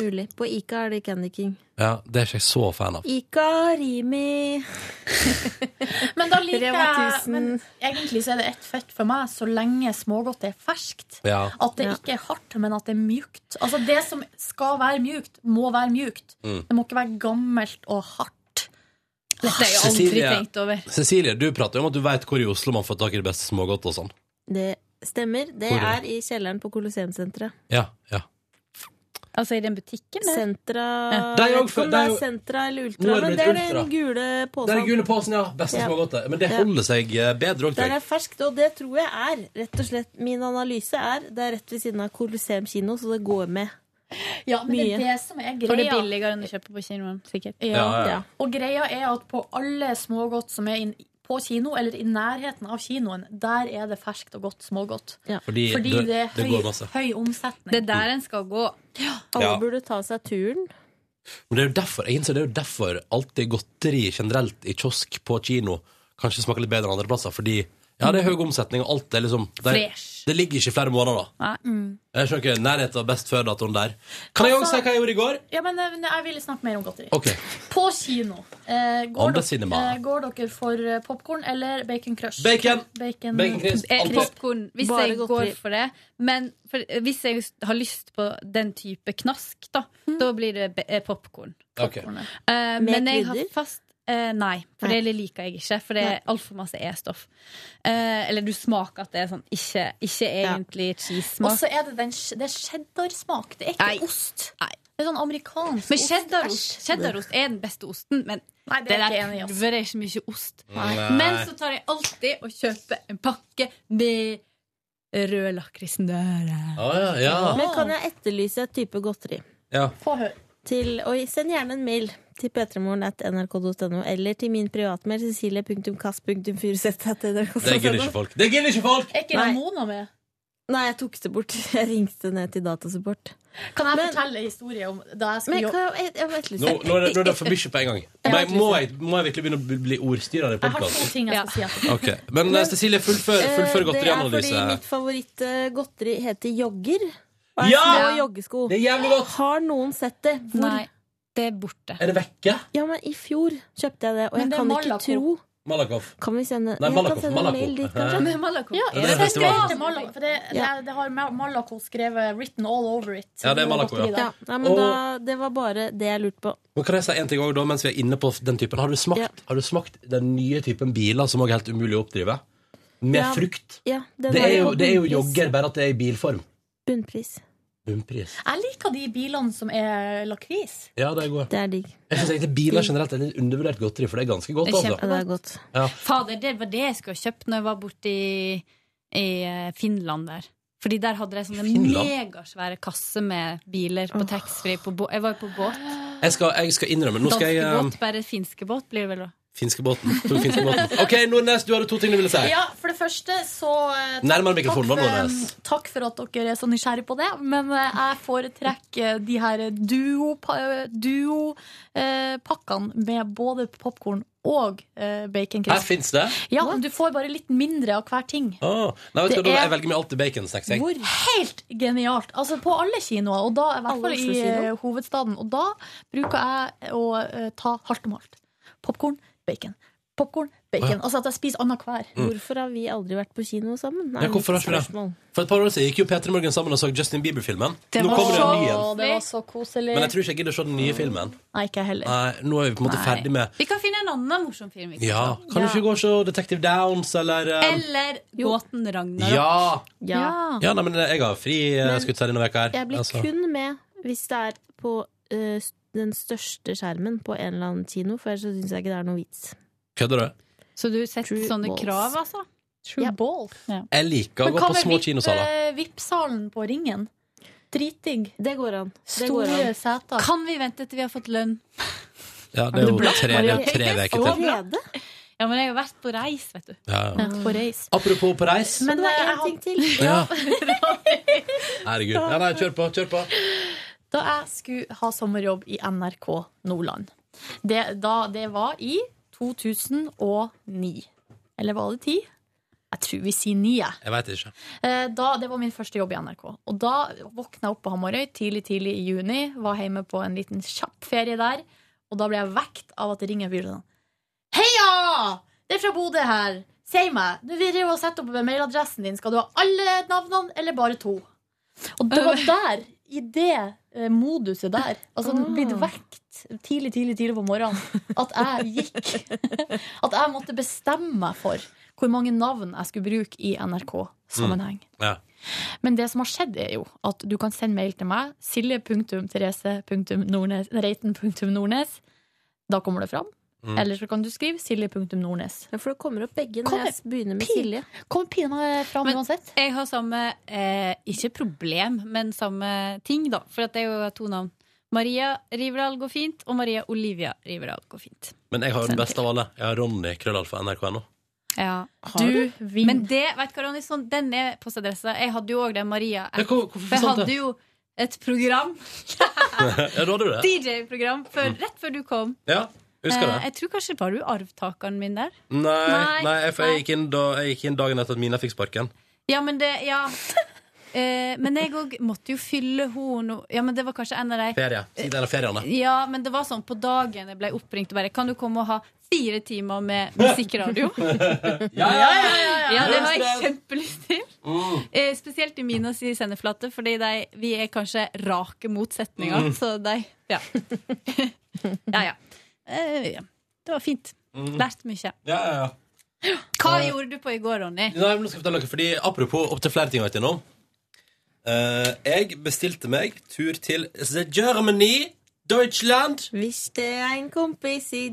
Speaker 15: Mulig. På Ica er det Candy King.
Speaker 2: Ja, Det er ikke jeg så fan av.
Speaker 15: Ica, Rimi
Speaker 3: Men da liker
Speaker 15: Rema
Speaker 3: jeg
Speaker 15: 1000.
Speaker 3: men Egentlig så er det ett fett for meg, så lenge smågodt er ferskt.
Speaker 2: Ja.
Speaker 3: At det ikke er hardt, men at det er mjukt. Altså Det som skal være mjukt, må være mjukt.
Speaker 2: Mm.
Speaker 3: Det må ikke være gammelt og hardt. Dette har jeg aldri
Speaker 2: Cecilie,
Speaker 3: tenkt over.
Speaker 2: Cecilie, du prater jo om at du veit hvor i Oslo man får tak i det beste smågodt og sånn.
Speaker 15: Det stemmer. Det
Speaker 2: Hvor er
Speaker 15: er i kjelleren på Colosseumsenteret.
Speaker 2: Ja, ja.
Speaker 15: Altså i den butikken? Sentra
Speaker 2: Ja. Det er
Speaker 15: Jeg
Speaker 2: jo-
Speaker 15: vet ikke om
Speaker 2: det
Speaker 15: det
Speaker 2: er
Speaker 15: er
Speaker 2: jo-
Speaker 15: Sentra eller
Speaker 2: Nå
Speaker 15: Ultra,
Speaker 2: er det
Speaker 15: men det
Speaker 2: blitt
Speaker 15: er
Speaker 2: Ultra.
Speaker 15: den gule posen.
Speaker 2: Det er den
Speaker 14: sånn.
Speaker 2: gule posen, ja. Beste
Speaker 15: Ja.
Speaker 2: smågodtet. Men det
Speaker 15: Ja.
Speaker 2: holder seg eh, bedre òg,
Speaker 15: Der
Speaker 2: tror
Speaker 15: er
Speaker 2: jeg.
Speaker 15: ferskt, og det tror jeg er rett og slett Min analyse er det er rett ved siden av Colosseum kino, så det går med.
Speaker 3: Ja, men det
Speaker 15: Mye.
Speaker 3: er det som er greia.
Speaker 15: For det er
Speaker 3: billigere enn å kjøpe på kinoen, sikkert.
Speaker 15: Ja, ja.
Speaker 3: Og greia er at på alle smågodt som er inn på kino, eller i nærheten av kinoen, der er det ferskt og godt smågodt.
Speaker 2: Fordi det-
Speaker 3: det er
Speaker 2: det
Speaker 3: høy,
Speaker 2: går masse.
Speaker 3: høy omsetning. Det er der en skal gå.
Speaker 2: Alle Ja.
Speaker 15: burde ta seg turen.
Speaker 2: Men det er jo derfor, jeg innser det er jo derfor alltid godteri generelt i kiosk på kino kanskje smaker litt bedre enn andre plasser, fordi ja, det er høy omsetning, og alt er liksom Det,
Speaker 3: Fresh.
Speaker 2: det ligger ikke i flere måneder, da.
Speaker 3: Nei. Mm.
Speaker 2: Jeg skjønner ikke nærheten av best før-datoen der. Kan jeg òg si hva jeg gjorde i går?
Speaker 3: Ja, men eh, Jeg ville snakke mer om godteri.
Speaker 2: OK.
Speaker 3: På kino. Eh,
Speaker 2: On
Speaker 3: går,
Speaker 2: the
Speaker 3: dere,
Speaker 2: cinema.
Speaker 3: eh, går dere for popkorn eller bacon crush?
Speaker 2: Bacon.
Speaker 3: Bacon,
Speaker 2: Bacon crisp,
Speaker 14: Eh,
Speaker 2: alltid.
Speaker 14: popcorn, hvis
Speaker 3: Bare
Speaker 14: jeg
Speaker 3: godteri.
Speaker 14: går for det. Men for, eh, hvis jeg har lyst på den type knask, da,
Speaker 15: Mm.
Speaker 14: da blir det popkorn.
Speaker 2: Ok.
Speaker 14: Eh,
Speaker 3: Med
Speaker 14: men jeg har
Speaker 3: krydder?
Speaker 14: fast eh, Nei, for
Speaker 3: Nei.
Speaker 14: det liker jeg ikke. For det er altfor masse E-stoff. Eh, eller du smaker at det er sånn ikke, ikke egentlig
Speaker 3: Og
Speaker 14: cheese-smak.
Speaker 3: så er det den, det er cheddarsmak. Det er ikke ost. Det er sånn amerikansk
Speaker 14: Men
Speaker 3: ost.
Speaker 14: cheddarost,
Speaker 3: Æsj.
Speaker 14: cheddarost er den beste osten, men
Speaker 3: Nei, det er jeg ikke enig i,
Speaker 14: der
Speaker 3: ass.
Speaker 14: pulveret er ikke mye ost.
Speaker 3: Nei.
Speaker 14: Men så tar jeg alltid og kjøper en pakke med rød lakrisnøre.
Speaker 2: Å, ja, ja.
Speaker 15: Men kan jeg etterlyse et type godteri?
Speaker 2: Ja.
Speaker 15: Til, og send gjerne en mail til p3morgen.nrk.no eller til min privatmail cecilie.kass.furuseth.nrk.no.
Speaker 2: Det gidder ikke folk. Det gidder ikke folk!
Speaker 3: Er ikke
Speaker 15: Nei.
Speaker 3: Ramona med?
Speaker 15: Nei, jeg tok det bort. Jeg ringte ned til datasupport.
Speaker 3: Kan jeg fortelle en historie om da jeg skulle
Speaker 15: Men
Speaker 3: jobbe
Speaker 15: kan jeg, jeg, jeg
Speaker 2: Nå, nå, er det, nå er det for mye på en gang.
Speaker 3: Ja,
Speaker 2: Men jeg, må, jeg, må jeg virkelig begynne å bli- bli ordstyrer i
Speaker 15: Jeg har to
Speaker 2: podkast?
Speaker 3: ting jeg skal si etterpå.
Speaker 2: Ok, Men eh, Cecilie, fullfør, fullfør
Speaker 15: Eh, Det er fordi
Speaker 2: godterianalyse.
Speaker 15: mitt favorittgodteri heter jogger. Og er
Speaker 2: Ja!
Speaker 15: små joggesko.
Speaker 2: Det er jævlig godt.
Speaker 15: Har noen sett det? Hvor?
Speaker 14: Nei, det er borte.
Speaker 2: Er det vekke?
Speaker 15: Ja, men I fjor kjøpte jeg det, og jeg
Speaker 14: Men det er
Speaker 15: kan ikke
Speaker 14: Malaco.
Speaker 15: tro
Speaker 2: Malakoff.
Speaker 15: Kan vi sende,
Speaker 2: Nei,
Speaker 15: jeg
Speaker 2: Malaco,
Speaker 15: kan sende
Speaker 2: Malaco.
Speaker 15: en mail dit,
Speaker 2: Eh.
Speaker 15: kanskje?
Speaker 2: Men
Speaker 3: Malaco.
Speaker 2: Ja, Det er det beste valget.
Speaker 3: Malaco, for det, det, er- det har Ma- Malaco skrevet 'written all over it'.
Speaker 2: Ja, det er Malaco, ja.
Speaker 15: Ja, nei, men
Speaker 2: Og-
Speaker 15: da, det var bare det jeg lurte på.
Speaker 2: Men kan jeg si en ting også, da, mens vi er inne på den typen? Har du smakt, har du smakt den nye typen biler som også er helt umulig å oppdrive? Med
Speaker 15: Ja,
Speaker 2: frukt.
Speaker 15: Ja, den
Speaker 2: Det
Speaker 15: var
Speaker 2: er, jo,
Speaker 15: på
Speaker 2: det er jo
Speaker 15: bunnpris.
Speaker 2: jogger, bare at det er i bilform.
Speaker 15: Bunnpris.
Speaker 2: Bunnpris.
Speaker 3: Jeg liker de bilene som er lakris.
Speaker 2: Ja, det er godt.
Speaker 15: Det er digg.
Speaker 2: Jeg synes egentlig Biler generelt er litt undervurdert godteri, for det er ganske godt.
Speaker 14: Det er
Speaker 2: Altså.
Speaker 14: kjempegodt. Ja, det er
Speaker 15: godt.
Speaker 2: Ja.
Speaker 14: Fader, det var det jeg skulle ha kjøpt når jeg var borte i, i eh, Finland der. Fordi der hadde de sånne
Speaker 2: Finland?
Speaker 14: megasvære kasser med biler på taxfree. På bå- jeg var jo på båt.
Speaker 2: Jeg, skal, jeg skal innrømme Nå skal jeg
Speaker 14: Danske båt,
Speaker 2: eh,
Speaker 14: bare finske båt blir det vel da.
Speaker 2: Finskebåten. Tok finskebåten. OK, Nordnes, du hadde to ting du ville si.
Speaker 3: Ja, for det første så eh,
Speaker 2: Nærmere mikrofonen,
Speaker 3: takk,
Speaker 2: da,
Speaker 3: for,
Speaker 2: Nordnes.
Speaker 3: eh, takk for at dere er så nysgjerrig på det, men eh, jeg foretrekker eh, de her duo- pa- duo-pakkene med eh, både popkorn og eh, bacon
Speaker 2: Her fins det.
Speaker 3: Ja, du får bare litt mindre av hver ting.
Speaker 2: Å, Nei, vet du,
Speaker 3: Det
Speaker 2: hva,
Speaker 3: er-
Speaker 2: Jeg velger meg alltid baconsnacks. jeg.
Speaker 3: Hvor helt genialt! Altså På alle kinoer, og da i hvert fall i eh, hovedstaden. Og da bruker jeg å eh, ta hardt om hardt. Popkorn, bacon. Popkorn, bacon.
Speaker 2: Å, ja.
Speaker 3: Altså at jeg spiser annenhver.
Speaker 2: Mm.
Speaker 15: Hvorfor har vi aldri vært på kino sammen?
Speaker 2: Ja, hvorfor har ikke vi det? For et par år siden gikk jo P3 Morgen sammen og så Justin Bieber-filmen.
Speaker 3: Det
Speaker 2: Nå
Speaker 3: var,
Speaker 2: kommer det en ny
Speaker 3: så,
Speaker 2: en.
Speaker 3: det var så koselig.
Speaker 2: Men jeg tror ikke jeg gidder å se den nye filmen.
Speaker 3: Nei, ikke jeg heller.
Speaker 2: Nei, nå er vi på en måte ferdig med
Speaker 14: Vi kan finne en annen morsom film. vi kan
Speaker 2: Ja,
Speaker 14: ta.
Speaker 2: kan du ikke gå og se Detective Downs, eller eh,
Speaker 14: Eller Gåten Ragnarok.
Speaker 2: Ja!
Speaker 15: Ja.
Speaker 2: Ja, nei, men jeg har fri eh,
Speaker 15: Men
Speaker 2: skutt her denne veka her.
Speaker 15: Jeg blir
Speaker 2: altså.
Speaker 15: kun med hvis det er på eh, s- den største skjermen på en eller annen kino, for ellers så syns jeg ikke det er noe vits.
Speaker 2: Kødder du?
Speaker 14: Så du setter sånne krav, altså?
Speaker 3: True balls.
Speaker 2: Jeg liker å gå på små
Speaker 14: eh,
Speaker 2: kinosaler.
Speaker 3: eh, VIP-salen på Ringen? Dritdigg.
Speaker 15: Det går an.
Speaker 3: Store seter.
Speaker 14: Kan vi vente til vi har fått lønn?
Speaker 2: Ja, det er jo tre, det er jo tre veker til.
Speaker 14: Ja, men jeg har vært på reis, vet du.
Speaker 2: Ja, ja.
Speaker 3: På reis.
Speaker 2: Apropos på reis.
Speaker 15: Men det er én ting til.
Speaker 2: Ja. Herregud. Ja, nei, kjør på, kjør på.
Speaker 3: Da jeg skulle ha sommerjobb i NRK Nordland. Det, da, det var i 2009. Eller var det 10? Jeg tror vi sier 9. jeg.
Speaker 2: Jeg veit ikke.
Speaker 3: Eh, Da, det var min første jobb i NRK. Og da våkna jeg opp på Hamarøy tidlig tidlig i juni. Var hjemme på en liten kjapp ferie der. Og da ble jeg vekt av at det ringer en fyr sånn Heia! Det er fra Bodø her. Si meg, du vil drive og sette opp mailadressen din. Skal du ha alle navnene, eller bare to? Og det var der, i det eh, moduset der, altså blitt vekt tidlig, tidlig, tidlig på morgenen, at jeg gikk At jeg måtte bestemme meg for hvor mange navn jeg skulle bruke i NRK-sammenheng.
Speaker 2: Ja.
Speaker 3: Men det som har skjedd er jo at du kan sende mail til meg silje.therese.reiten.nordnes Da kommer det fram.
Speaker 15: Mm.
Speaker 3: Eller så kan du skrive silje.nordnes.
Speaker 15: Ja, for det kommer opp begge når jeg begynner med Silje.
Speaker 3: Kommer pinadø fram
Speaker 14: Men
Speaker 3: uansett.
Speaker 14: jeg har samme eh, ikke problem, men samme ting, da. For at det er jo to navn. Maria Riverdal går fint, og Maria Olivia Riverdal går fint.
Speaker 2: Men jeg har jo den beste av alle. Jeg har Ronny Krøllalfa NRK.no.
Speaker 14: Ja.
Speaker 2: Har du?
Speaker 14: Men det, vet du hva, Ronny, sånn, den er postadressa. Jeg hadde jo òg den Maria.
Speaker 2: Ja, hvor- hvorfor
Speaker 14: For jeg
Speaker 2: sant det? sånn
Speaker 14: hadde jo et program,
Speaker 2: Ja, da hadde du det.
Speaker 14: DJ-program, før- rett før du kom.
Speaker 2: Ja, Mm. husker
Speaker 14: Eh,
Speaker 2: det.
Speaker 14: Jeg tror kanskje var du arvtakeren min der.
Speaker 2: Nei,
Speaker 14: Nei,
Speaker 2: nei, jeg, for
Speaker 14: nei.
Speaker 2: jeg, gikk inn da, jeg gikk inn dagen etter at Mina fikk sparken.
Speaker 14: Ja, men det Ja. Eh, men jeg òg måtte jo fylle henne no- Ja, men det var kanskje en av de
Speaker 2: Ferie. Siden av feriene.
Speaker 14: Ja, men det var sånn på dagen jeg ble oppringt og bare Kan du komme og ha fire timer med musikkradio?
Speaker 2: ja,
Speaker 14: ja, ja, ja. ja, det har jeg
Speaker 16: Løs det.
Speaker 14: kjempelyst til. Eh, spesielt i Minas i sendeflate, fordi de, vi er kanskje rake motsetninger.
Speaker 16: Mm.
Speaker 14: Så de Ja. ja, ja. Eh, ja. Det var fint.
Speaker 2: Mm.
Speaker 14: Lært mye.
Speaker 2: Ja, ja, ja.
Speaker 14: Hva
Speaker 2: Eh.
Speaker 14: gjorde du på i går, Ronny?
Speaker 2: Nei, men nå skal jeg fortelle dere, fordi Apropos opptil flere ting jeg har vært innom. Eh, jeg bestilte meg tur til The Germany, Deutschland.
Speaker 15: Hvis det er en kompis i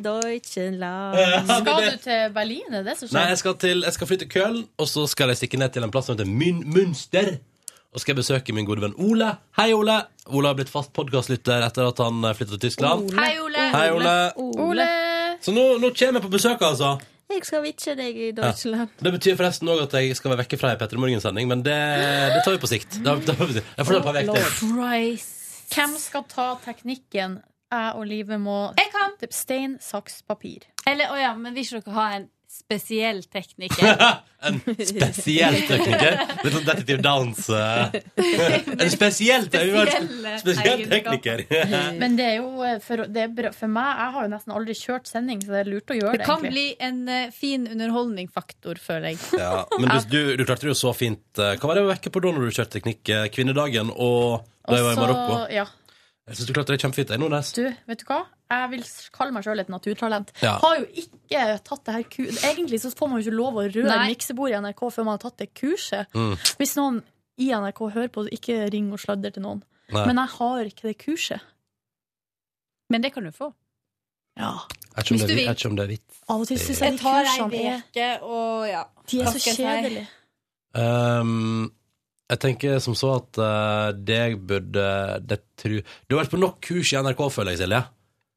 Speaker 2: Ja,
Speaker 15: Deutschland
Speaker 2: men Skal det-
Speaker 3: til Berlin? Er det det som
Speaker 2: Nei, jeg skal, til, jeg skal fly til Köln, og så skal jeg stikke ned til en plass som heter Mün Münster. Og skal jeg besøke min gode venn Ole. Hei, Ole! Ole har blitt fast podkastlytter etter at han eh, flyttet til Tyskland.
Speaker 15: Ole. Hei, Ole.
Speaker 2: Hei, Ole.
Speaker 15: Ole.
Speaker 2: Så nå, nå kommer jeg på besøk, altså.
Speaker 15: Jeg skal vitche deg i
Speaker 2: Ja.
Speaker 15: Deutschland.
Speaker 2: Det betyr forresten òg at jeg skal være vekke fra ei Petter Morgen-sending, men det, det tar vi på sikt. Det, det, det, jeg får ta et par veker til.
Speaker 3: Hvem skal ta teknikken? Jeg og Live må Stein, saks, papir.
Speaker 14: Eller, å ja, men vil ikke dere ha en spesiell tekniker?
Speaker 2: En spesiell tekniker. Litt sånn Detektiv Downs. eh. En spesiell, vi var-
Speaker 14: eh,
Speaker 3: Spesielle
Speaker 2: spesiell
Speaker 3: egenskaper.
Speaker 2: tekniker.
Speaker 3: Men det er jo eh, for, det er bra. for meg Jeg har jo nesten aldri kjørt sending, så det er lurt å gjøre det.
Speaker 14: Det kan
Speaker 3: egentlig.
Speaker 14: bli en eh, fin underholdningsfaktor, føler jeg.
Speaker 2: Ja, men du, du, du klarte det jo så fint. eh, Hva var det å vekke på da når du kjørte teknikk? eh, Kvinnedagen og da jeg var i
Speaker 3: Også-
Speaker 2: Marokko?
Speaker 3: Ja.
Speaker 2: Jeg syns du klarte det kjempefint. Jeg, Nordnes.
Speaker 3: Du, vet du hva? Jeg vil kalle meg sjøl et naturtalent.
Speaker 2: Ja.
Speaker 3: Har jo ikke tatt det her ku- Egentlig så får man jo ikke lov å røre
Speaker 14: Nei.
Speaker 3: miksebordet i NRK før man har tatt det kurset.
Speaker 2: Mm.
Speaker 3: Hvis noen i NRK hører på, ikke ring og sladder til noen.
Speaker 2: Nei.
Speaker 3: Men jeg har ikke det kurset.
Speaker 14: Men det kan du få.
Speaker 3: Ja.
Speaker 2: Jeg vet ikke om det
Speaker 14: Hvis
Speaker 2: er
Speaker 14: du
Speaker 2: vi- jeg
Speaker 14: vil.
Speaker 2: vet ikke om det er vits.
Speaker 3: Av og til syns jeg
Speaker 14: Jeg
Speaker 3: de
Speaker 14: tar ei
Speaker 3: kursene er
Speaker 14: veke og ja.
Speaker 3: De er
Speaker 14: Hva
Speaker 3: så
Speaker 14: skal jeg si?
Speaker 3: kjedelige.
Speaker 2: Ehm, jeg tenker som så at eh, det jeg burde det tru... Du har vært på nok kurs i NRK, føler jeg, Silje.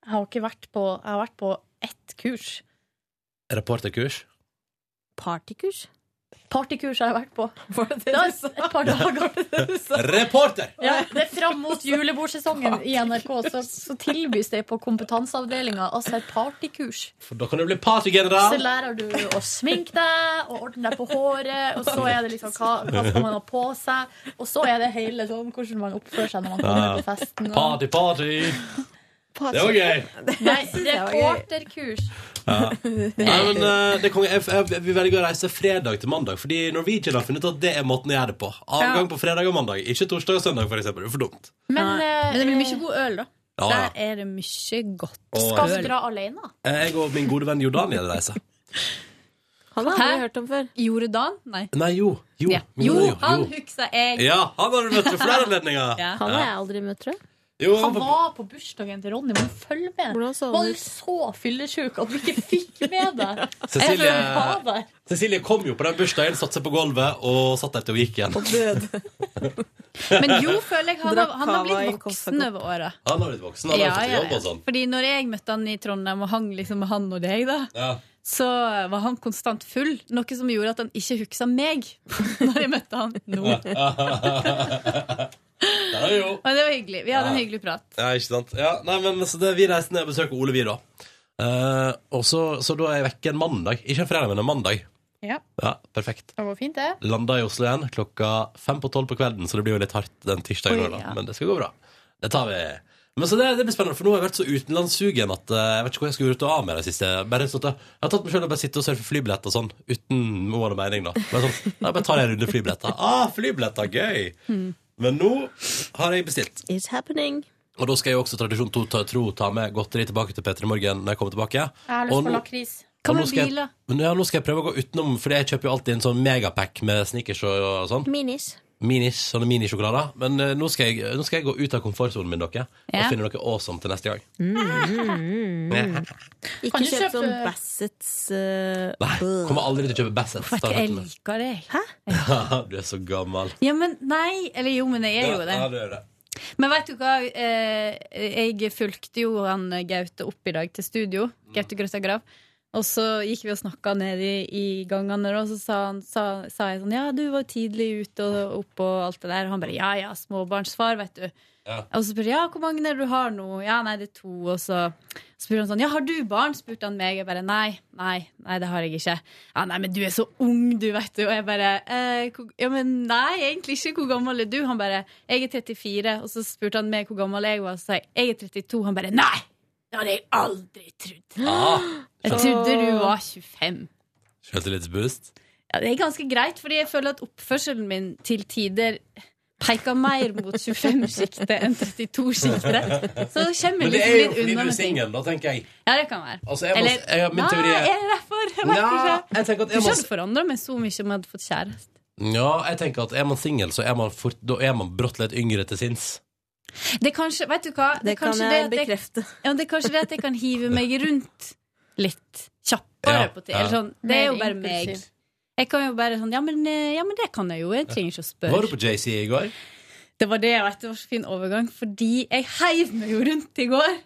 Speaker 3: Jeg har ikke vært på Jeg har vært på ett kurs.
Speaker 2: Reporterkurs.
Speaker 15: Partykurs?
Speaker 3: Partykurs har jeg vært på. det er et par dager.
Speaker 2: Reporter!
Speaker 3: Ja, det er fram mot julebordsesongen i NRK, så, så tilbys det på kompetanseavdelinga altså et partykurs.
Speaker 2: For da kan du bli
Speaker 3: Så
Speaker 2: partygeneral.
Speaker 3: lærer du å sminke deg og ordne deg på håret, og så er det liksom hva, hva skal man ha på seg, og så er det hele sånn hvordan man oppfører seg når man kommer på festen. Og...
Speaker 2: Party, party! Det var gøy.
Speaker 3: Nei,
Speaker 14: synes jeg var gøy.
Speaker 3: reporterkurs.
Speaker 2: Ja. Nei, men eh, det er konge. jeg, jeg, Vi velger å reise fredag til mandag, fordi Norwegian har funnet ut at det er måten å gjøre det på. Avgang på fredag og mandag, ikke torsdag og søndag, for eksempel. Det er for dumt.
Speaker 3: Men, eh,
Speaker 14: Men det blir mye god øl, da.
Speaker 2: Ja, ja.
Speaker 14: Der er det mye godt.
Speaker 2: Å, Skal vi øl. dra
Speaker 3: alene?
Speaker 2: Eh, Jeg og min gode venn Jordan er det reise.
Speaker 14: Han har jeg hørt om før. Jordan? Nei.
Speaker 2: Nei, jo. Jo, min
Speaker 14: Jo,
Speaker 2: gode venn,
Speaker 14: han husker jeg.
Speaker 2: Ja, han har du møtt ved flere anledninger.
Speaker 14: Ja.
Speaker 2: Han har jeg
Speaker 3: aldri møtt, tror jeg.
Speaker 2: Jo,
Speaker 3: Han var på bursdagen til Ronny, men følg med. Var du så fyllesyk at du ikke fikk med deg? Jeg tror han var
Speaker 2: Cecilie,
Speaker 3: der.
Speaker 2: Cecilie kom jo på den bursdagen, satte seg på gulvet og satt der til hun gikk igjen.
Speaker 14: Men jo, føler jeg han, har-
Speaker 5: Drakk
Speaker 14: han har
Speaker 5: kava i en
Speaker 14: blitt voksen over året.
Speaker 2: Han har blitt voksen, han har fått jobb og sånn.
Speaker 14: Fordi når jeg møtte han i Trondheim og hang liksom med han og deg, da,
Speaker 2: Ja.
Speaker 14: så var han konstant full. Noe som gjorde at han ikke huksa meg når jeg møtte han nå.
Speaker 2: Der er vi jo.
Speaker 14: Men det var hyggelig. Vi hadde en
Speaker 2: Ja.
Speaker 14: hyggelig prat.
Speaker 2: Ja, ikke sant. Ja, nei, men så det, Vi reiste ned og besøkte Ole, vi, da. Eh, og så, så da er jeg vekke en mandag. Ikke en fredag, men en mandag.
Speaker 3: Ja,
Speaker 2: Ja, Perfekt.
Speaker 3: det var fint, det.
Speaker 2: Landa i Oslo igjen klokka fem på tolv på kvelden, så det blir jo litt hardt den tirsdagen.
Speaker 3: Oi,
Speaker 2: også, da.
Speaker 3: ja.
Speaker 2: Men det skal gå bra. Det tar vi. Men så det, det blir spennende, for nå har jeg vært så utenlandssugen at eh, jeg vet ikke hvor jeg skal gjøre av med det siste. Bare sånn at jeg har tatt meg selv og bare sitte og surfe flybilletter sånn, uten mål og mening, da. Bare sånn, nei, bare tar jeg en runde flybilletter. Ah, flybilletter, gøy!
Speaker 3: Hmm.
Speaker 2: Men nå har jeg bestilt.
Speaker 5: It's happening.
Speaker 2: Og da skal jeg jo også tradisjon to, ta, tro ta med godteri tilbake til Petter i morgen når jeg kommer tilbake.
Speaker 3: Jeg har lyst
Speaker 2: Og
Speaker 3: på
Speaker 2: nå-
Speaker 3: lakris.
Speaker 2: og nå skal jeg- Men ja, nå skal jeg prøve å gå utenom, for jeg kjøper jo alltid en sånn megapack med sneakers og, og sånn.
Speaker 5: Minis.
Speaker 2: Minis, sånne minisjokolader. Men eh, nå, skal jeg, nå skal jeg gå ut av komfortsonen min, dere,
Speaker 5: Ja.
Speaker 2: og finne noe awesome til neste gang.
Speaker 5: Mm. Ikke
Speaker 14: Kan du
Speaker 5: kjøp
Speaker 14: kjøpe-
Speaker 5: sånn Bassets uh,
Speaker 2: Nei, kommer aldri til å kjøpe Bassett.
Speaker 14: For jeg liker deg.
Speaker 2: du er så gammel.
Speaker 14: Ja, men nei. Eller jo, men jeg er jo det.
Speaker 2: Ja, du er det.
Speaker 14: Men vet du hva? Eh, Jeg fulgte jo han eh, Gaute opp i dag til studio.
Speaker 2: Mm.
Speaker 14: Gaute Grøtta Grav. Og så gikk vi og snakka nede i, i gangene, og så sa, han, sa, sa jeg sånn Ja, du var tidlig ute og opp og alt det der. Og han bare Ja ja, småbarnsfar, vet du.
Speaker 2: Ja.
Speaker 14: Og så spurte jeg ja, hvor mange er det du har nå. Ja, nei, det er to. Og så spurte han sånn Ja, har du barn? spurte han meg. Jeg bare nei, nei, nei, det har jeg ikke. Ja, nei, men du er så ung, du, vet du. Og jeg bare eh, hvor- Ja, men nei, egentlig ikke. Hvor gammel er du? Han bare Jeg er 34. Og så spurte han meg hvor gammel jeg var, og så sa jeg jeg er 32. Han bare nei! Det hadde jeg aldri trodd. Jeg trodde du var 25.
Speaker 2: Selvtillitsboost.
Speaker 14: Ja, det er ganske greit, fordi jeg føler at oppførselen min til tider peker mer mot 25-sjiktet enn 32-sjiktet. Så det kommer
Speaker 2: Men det
Speaker 14: liksom
Speaker 2: er jo
Speaker 14: litt
Speaker 2: fordi
Speaker 14: unna
Speaker 2: du er
Speaker 14: med ting.
Speaker 2: singel, da, tenker jeg.
Speaker 14: Ja, det kan være.
Speaker 2: Altså, jeg må- jeg har- min teori er-
Speaker 14: Nei, er det derfor? Jeg vet
Speaker 2: Nei,
Speaker 14: ikke.
Speaker 2: at
Speaker 14: Du
Speaker 2: jeg må-
Speaker 14: skjønner forandre meg så mye om jeg hadde fått kjæreste.
Speaker 2: Ja, jeg tenker at er man singel, så er man, fort, da er man brått litt yngre til sinns.
Speaker 14: Det er kanskje, vet du hva?
Speaker 5: Det
Speaker 14: er
Speaker 5: kan
Speaker 14: kanskje
Speaker 5: jeg
Speaker 14: det at Ja, det er kanskje det at jeg kan hive meg rundt litt kjappere
Speaker 5: Ja,
Speaker 14: på ting. Eller
Speaker 2: ja.
Speaker 14: sånn, det er jo
Speaker 5: Mer
Speaker 14: bare meg.
Speaker 5: impulsiv.
Speaker 14: Jeg kan jo bare sånn, ja men, eh, ja, men det kan jeg jo. Jeg trenger ikke å spørre.
Speaker 2: Var du på JC i går?
Speaker 14: Det var det jeg vet, det var så fin overgang, fordi jeg heiv meg jo rundt i går.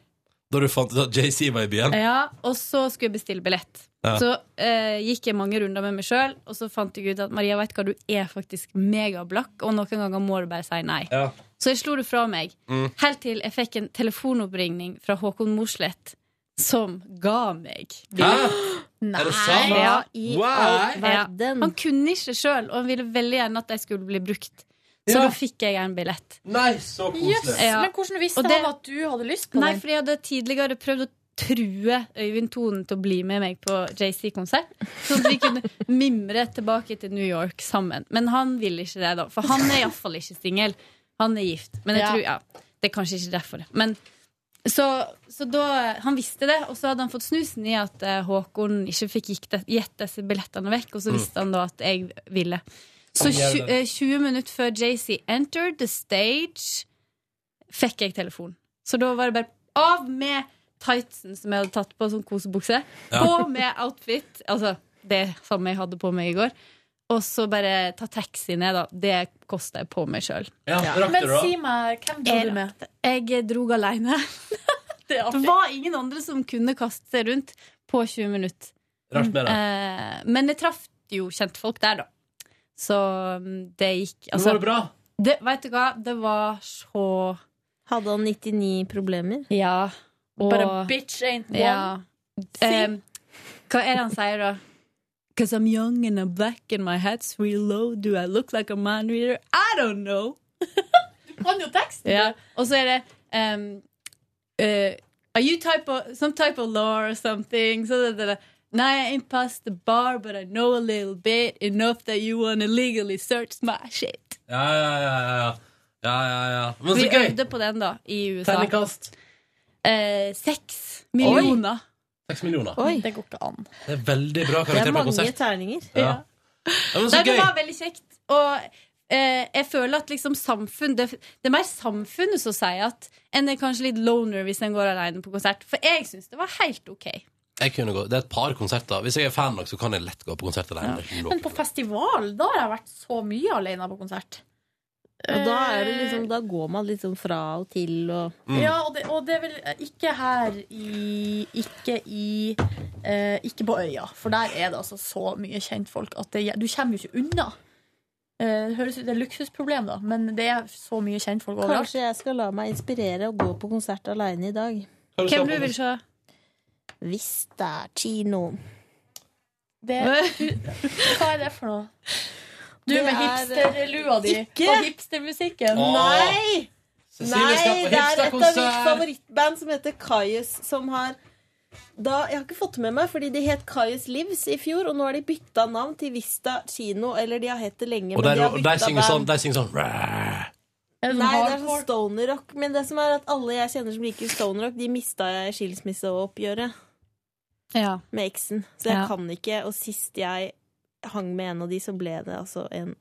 Speaker 2: Da du fant ut at JC var i byen?
Speaker 14: Ja, og så skulle jeg bestille billett.
Speaker 2: Ja.
Speaker 14: Så eh, gikk jeg mange runder med meg sjøl, og så fant jeg ut at Maria, vet du hva, du er faktisk megablakk, og noen ganger må du bare si nei.
Speaker 2: Ja.
Speaker 14: Så jeg slo det fra meg.
Speaker 2: Mm.
Speaker 14: Helt til jeg fikk en telefonoppringning fra Håkon Mosleth, som ga meg
Speaker 2: Hæ?
Speaker 14: Nei!
Speaker 2: Er det sant?
Speaker 14: Ja, i
Speaker 2: Why?
Speaker 14: all verden. Han kunne ikke sjøl, og han ville veldig gjerne at de skulle bli brukt. Så da fikk jeg en billett.
Speaker 2: Nei, så
Speaker 3: Jøss, men hvordan visste
Speaker 14: Og det-
Speaker 3: han at du hadde lyst på
Speaker 14: Nei,
Speaker 3: den?
Speaker 14: for jeg hadde tidligere prøvd å true Øyvind Tonen til å bli med meg på JC-konsert. Sånn at vi kunne mimre tilbake til New York sammen. Men han vil ikke det, da. For han er iallfall ikke singel. Han er gift. Men jeg
Speaker 3: Ja.
Speaker 14: tror, ja, det er kanskje ikke derfor. Men så, så da Han visste det, og så hadde han fått snusen i at eh, Håkon ikke fikk gitt de- gitt disse billettene vekk, og så
Speaker 2: Mm.
Speaker 14: visste han da at jeg ville. Så
Speaker 2: Kom, gjør
Speaker 14: tju-
Speaker 2: det.
Speaker 14: eh, 20 minutter før JC entered the stage, fikk jeg telefon. Så da var det bare av med tightsen som jeg hadde tatt på, sånn kosebukse.
Speaker 2: Ja.
Speaker 14: På med outfit, altså det samme jeg hadde på meg i går. Og så bare ta taxi ned, da. Det kosta jeg på meg sjøl.
Speaker 2: Ja, Ja. rakk
Speaker 3: Men
Speaker 2: du det da?
Speaker 3: si meg, hvem dro
Speaker 14: Jeg
Speaker 3: du med?
Speaker 14: Jeg drog aleine. det, var ingen andre som kunne kaste seg rundt på 20 minutter.
Speaker 2: Rart med det.
Speaker 14: Eh, men jeg traff jo kjentfolk der, da. Så mm, det gikk
Speaker 15: Men
Speaker 14: altså-
Speaker 15: var det bra?
Speaker 14: Det, vet du hva, det var så
Speaker 15: Hadde han 99 problemer?
Speaker 14: Ja. og-
Speaker 15: Bare bitch ain't one.
Speaker 14: Ja. Em, hva er det han sier, da? Cause I'm young and I'm black and my hat's real low. Do I look like a mind reader? I don't know. du kan jo teksten! Ja. Og så er det em, eh, Are you type of, some type of law or something? Så det, det, det. Nei, I ain't past the bar, but I know a little bit. Enough that you wanna legally search my shit.
Speaker 2: Ja, ja, ja. ja. ja, ja, ja. Men
Speaker 14: Vi
Speaker 2: så gøy!
Speaker 14: øvde på den, da, i USA.
Speaker 2: Terningkast?
Speaker 14: Eh, seks millioner.
Speaker 2: Seks millioner.
Speaker 14: Det går ikke an.
Speaker 2: Det er veldig bra karakter på konsert.
Speaker 14: terninger.
Speaker 2: Ja. Ja, men så
Speaker 14: Nei, det
Speaker 2: gøy.
Speaker 14: var veldig kjekt. Og eh, jeg føler at liksom samfunn det, det er mer samfunnet som sier at enn det er kanskje litt loner hvis en går alene på konsert. For jeg syns det var helt ok.
Speaker 2: Jeg kunne gå. Det er et par konserter. Hvis jeg er fan nok, så kan jeg lett gå på konsert alene. Det er ikke noe
Speaker 3: Men på festival, da har jeg vært så mye alene på konsert.
Speaker 15: Og da, er det
Speaker 3: Eh,
Speaker 15: liksom, da går man liksom fra og til og
Speaker 3: Ja, og det, og det er vel ikke her i Ikke i eh, Ikke på øya, for der er det altså så mye kjentfolk at det, du kommer jo ikke unna. Eh, det høres ut det er luksusproblem, da, men det er så mye kjentfolk overalt.
Speaker 15: Kanskje jeg skal la meg inspirere og gå på konsert aleine i dag.
Speaker 3: Hva vil du Hvem se på? du vil
Speaker 15: se? Hvis det er kino.
Speaker 3: Det, du, hva er det for noe? Du
Speaker 15: Det
Speaker 3: med
Speaker 15: er-
Speaker 3: hipsterlua di
Speaker 15: Ikke-
Speaker 3: og hipstermusikken.
Speaker 15: Åh. Nei!
Speaker 3: Cecilie skal
Speaker 15: Nei,
Speaker 3: på
Speaker 15: det er et av
Speaker 3: hipsterkonsert.
Speaker 15: mitt favorittband som heter Kaius, som har da, Jeg har ikke fått med meg, fordi de het Kaius Lives i fjor, og nå har de bytta navn til Vista Kino, eller de har hett det lenge, men
Speaker 2: Og der,
Speaker 15: de har
Speaker 2: og der
Speaker 15: bytta
Speaker 2: synger
Speaker 15: band.
Speaker 2: sånn, der synger sånn "Ræ".
Speaker 15: Nei, det er sånn stoner-rock. Men det som er at alle jeg kjenner som liker stoner-rock, de mista jeg i skilsmisseoppgjøret med eksen. Så jeg
Speaker 14: Ja.
Speaker 15: kan ikke. Og sist jeg hang med en av de, så ble det altså en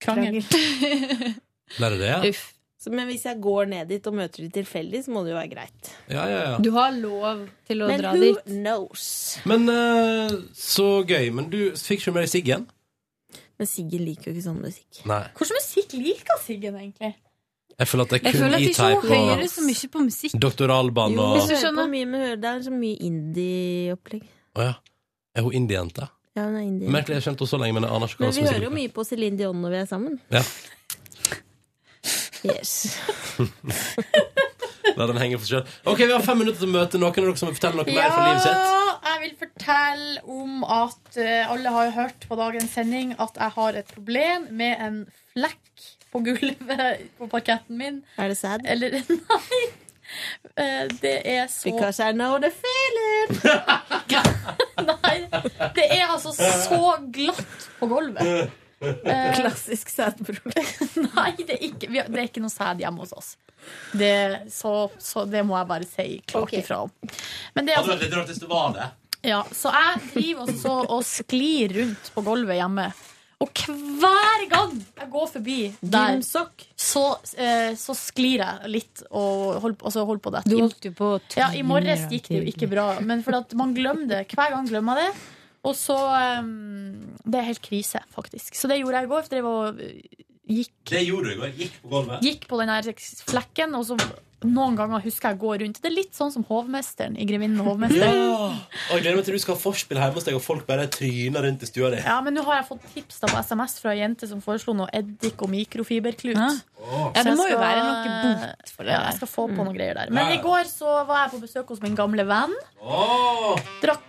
Speaker 14: Krangel.
Speaker 2: Der er det, ja.
Speaker 15: Så, men hvis jeg går ned dit og møter de tilfeldig, så må det jo være greit.
Speaker 2: ja, ja, ja.
Speaker 14: Du har lov til å
Speaker 15: Men
Speaker 14: dra
Speaker 15: who
Speaker 14: dit.
Speaker 15: knows?
Speaker 2: Men eh, så gøy. Men du fikk ikke med deg Siggen?
Speaker 15: Men Siggen liker jo ikke sånn musikk.
Speaker 2: Nei.
Speaker 3: Hvordan musikk liker Siggen, egentlig?
Speaker 2: Jeg føler at det er
Speaker 15: Jeg
Speaker 2: kun
Speaker 15: føler at ikke hun hører
Speaker 2: E-Type
Speaker 15: så mye på musikk.
Speaker 2: og Doktoralban
Speaker 15: Jo,
Speaker 2: og
Speaker 15: hun hører på mye, men hører, det er så mye indie-opplegg.
Speaker 2: Å ja. Er hun indiejente?
Speaker 15: Ja, hun er indie.
Speaker 2: Merkelig, jeg har kjent henne så lenge, men jeg aner ikke hva
Speaker 15: Men vi
Speaker 2: som
Speaker 15: hører jo mye på Céline Dion når vi er sammen.
Speaker 2: Ja.
Speaker 15: Yes.
Speaker 2: La den henge for seg selv. Ok, vi har fem minutter til å møte noen av dere som vil fortelle noe mer fra livet sitt.
Speaker 3: Ja, jeg vil fortelle om at eh, alle har jo hørt på dagens sending at jeg har et problem med en flekk på gulvet på parketten min.
Speaker 15: Er det sad?
Speaker 3: Eller nei. Eh, Det er så
Speaker 15: Because I know the feeling!
Speaker 3: Det er altså så glatt på gulvet. Eh,
Speaker 15: Klassisk sædproblem.
Speaker 3: Nei, det er ikke, vi har- det er ikke noe sæd hjemme hos oss. Det, så, så det må jeg bare si klart ifra om. Men det er altså
Speaker 2: litt rart hvis det var det.
Speaker 3: Ja, så jeg driver også så og sklir rundt på gulvet hjemme. Og hver gang jeg går forbi der, så, eh, så sklir jeg litt og holder, altså holder på det.
Speaker 14: Du holdt jo på å
Speaker 3: Ja, I morges gikk
Speaker 14: tvinge deg
Speaker 3: det jo
Speaker 14: til-
Speaker 3: ikke bra, men for at man glemmer det. Hver gang glemmer jeg det. Og så eh, Det er helt krise, faktisk. Så det gjorde jeg i går. for Drev og gikk,
Speaker 2: Det gjorde du i går. Gikk på gulvet.
Speaker 3: gikk på den her flekken, og så noen ganger husker jeg å gå rundt. Det er litt sånn som hovmesteren i 'Grevinnen og hovmesteren'.
Speaker 2: Ja. Og jeg gleder meg til du skal ha forspill hjemme hos deg, og folk bare tryner rundt i stua di.
Speaker 3: Ja, men nå har jeg fått tips da på SMS fra ei jente som foreslo noe eddik og mikrofiberklut.
Speaker 2: Åh.
Speaker 14: Ja, det
Speaker 3: Så jeg
Speaker 14: må jo være noe bot for det
Speaker 3: Ja,
Speaker 14: der.
Speaker 3: jeg skal få på noe greier der.
Speaker 14: Ja,
Speaker 3: Men
Speaker 14: ja.
Speaker 3: i går så var jeg på besøk hos min gamle venn. Drakk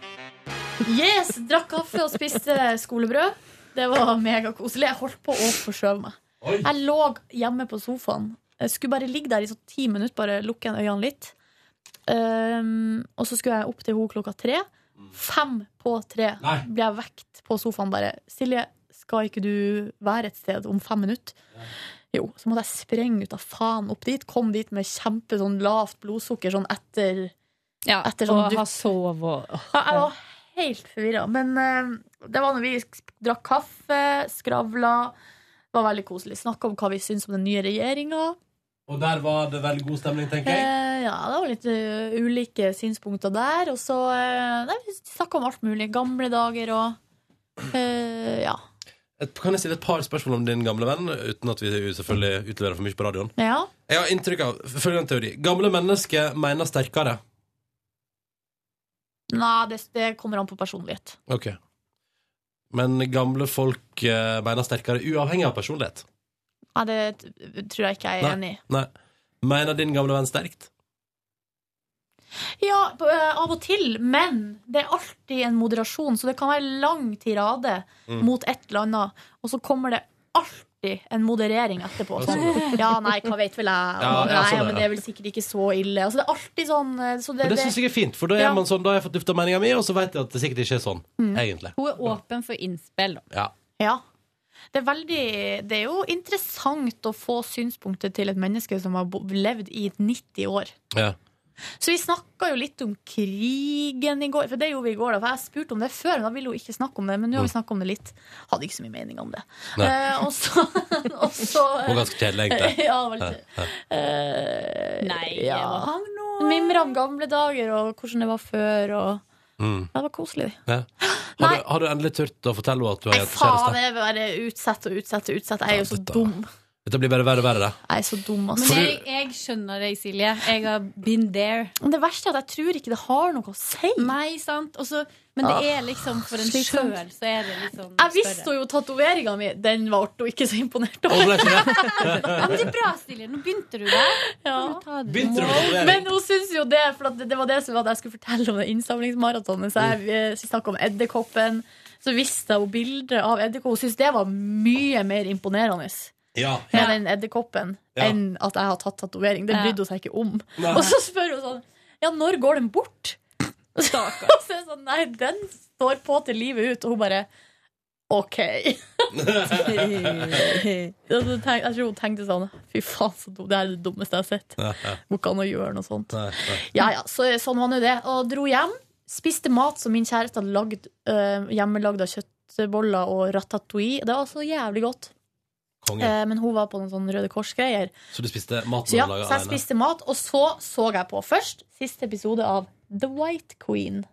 Speaker 3: Yes, drakk kaffe og spiste skolebrød. Det var megakoselig. Jeg holdt på å forskjøve meg. Jeg lå hjemme på sofaen. Jeg skulle bare ligge der i sånn ti minutter, bare lukke igjen øynene litt. Ehm, og så skulle jeg opp til henne klokka tre.
Speaker 14: Mm.
Speaker 3: Fem på tre ble jeg vekt på sofaen bare. Silje, skal ikke du være et sted om fem minutter? Jo, så måtte jeg sprenge ut av faen opp dit. Kom dit med kjempe sånn lavt blodsukker sånn etter, etter sånn
Speaker 14: og
Speaker 3: dupp.
Speaker 14: ha sov og
Speaker 3: Ja, jeg var helt forvirra. Men eh, det var når vi sk- drakk kaffe, skravla. Det var veldig koselig. Snakka om hva vi syns om den nye regjeringa.
Speaker 2: Og der var det veldig god stemning, tenker jeg.
Speaker 3: Eh, ja, det var litt eh, ulike synspunkter der. Og så eh, nei, vi snakka om alt mulig. Gamle dager og eh, Ja.
Speaker 2: Et, kan jeg stille et par spørsmål om din gamle venn, uten at vi selvfølgelig utleverer for mye på radioen?
Speaker 3: ja.
Speaker 2: Jeg har inntrykk av følgende teori. Gamle mennesker mener sterkere.
Speaker 3: Nei, det, det kommer an på personlighet.
Speaker 2: Ok. Men gamle folk eh, mener sterkere uavhengig av personlighet.
Speaker 3: Nei, det t- tror jeg ikke jeg er enig i.
Speaker 2: Nei. Mener din gamle venn sterkt?
Speaker 3: Ja, på- eh, av og til, men det er alltid en moderasjon, så det kan være lang tirade
Speaker 2: Mm.
Speaker 3: mot et eller annet, og så kommer det alltid en moderering etterpå.
Speaker 2: Ja, sånn.
Speaker 3: Sånn, ja, nei, hva vet vel jeg? Og,
Speaker 2: Ja, ja,
Speaker 3: nei,
Speaker 2: sånn er
Speaker 3: men
Speaker 2: det.
Speaker 3: det er vel sikkert ikke så ille. Altså, det er alltid sånn eh, så det,
Speaker 2: Men det syns jeg er fint, for da er
Speaker 3: Ja. Mm.
Speaker 2: man sånn, da har jeg fått lufta meninga mi, og så vet jeg at det sikkert ikke er sånn, egentlig.
Speaker 17: Hun er åpen for innspill. da.
Speaker 2: Ja.
Speaker 3: Ja. Det er, veldig, det er jo interessant å få synspunktet til et menneske som har bo- levd i 90 år.
Speaker 2: Ja.
Speaker 3: Så vi snakka jo litt om krigen i går, for det gjorde vi i går. Da, for Jeg spurte om det før, men da ville hun ikke snakke om det. Men nå har vi snakka om det litt. Hadde ikke så mye mening om det.
Speaker 2: Nei.
Speaker 3: Eh, og så Og så eh,
Speaker 2: Og ganske kjedelig, egentlig.
Speaker 3: Ja, vel,
Speaker 17: Nei,
Speaker 3: ja.
Speaker 17: hva han
Speaker 3: Mimra om gamle dager og hvordan det var før. Og...
Speaker 2: Mm.
Speaker 3: Ja, det var koselig.
Speaker 2: Ja. Har, du, har du endelig turt å fortelle henne at du har
Speaker 3: Faen,
Speaker 2: kjæreste?
Speaker 3: det er bare utsett og utsett og utsett. Jeg er jo så dum.
Speaker 2: Dette blir bare verre og verre. det.
Speaker 3: Jeg er så dum,
Speaker 17: Men
Speaker 3: altså.
Speaker 17: jeg, jeg skjønner deg, Silje. Jeg har been there.
Speaker 3: Men det verste er at jeg tror ikke det har noe å si.
Speaker 17: Nei, sant? Og så- men det er liksom for en
Speaker 3: Slitsomt.
Speaker 17: sjøl, så er det liksom
Speaker 3: Jeg visste jo tatoveringa mi. Den ble hun ikke så imponert
Speaker 17: Ja,
Speaker 2: over.
Speaker 17: men det er bra, Silje. Nå begynte du der. Kan du ta det?
Speaker 2: Begynte du med tatovering?
Speaker 3: Men hun syns jo det, for at det- det var det som var at jeg skulle fortelle om det innsamlingsmaratonet. Så jeg eh, snakket om edderkoppen. Så viste jeg henne bildet av edderkopp. Hun syntes det var mye mer imponerende
Speaker 2: Ja.
Speaker 3: med den edderkoppen
Speaker 2: Ja.
Speaker 3: enn at jeg har tatt tatovering. Det
Speaker 17: Ja.
Speaker 3: brydde hun seg ikke om.
Speaker 17: Nei.
Speaker 3: Og så spør hun sånn Ja, når går den bort? Og så er jeg sånn Nei, den står på til livet ut. Og hun bare OK. Og så tenk- jeg tror hun tenkte sånn Fy faen, så dum. det er det dummeste jeg har sett. Går ikke an å gjøre noe sånt. Ja, ja, så, sånn var nå det. Og dro hjem. Spiste mat som min kjæreste hadde lagd. Uh, hjemmelagd av kjøttboller og ratatouille. Det var så jævlig godt.
Speaker 2: Konge.
Speaker 3: Eh, men hun var på noen sånne Røde Kors-greier.
Speaker 2: Så du spiste maten
Speaker 3: Så ja,
Speaker 2: du laga
Speaker 3: så jeg spiste mat, og så så jeg på først siste episode av The White Queen.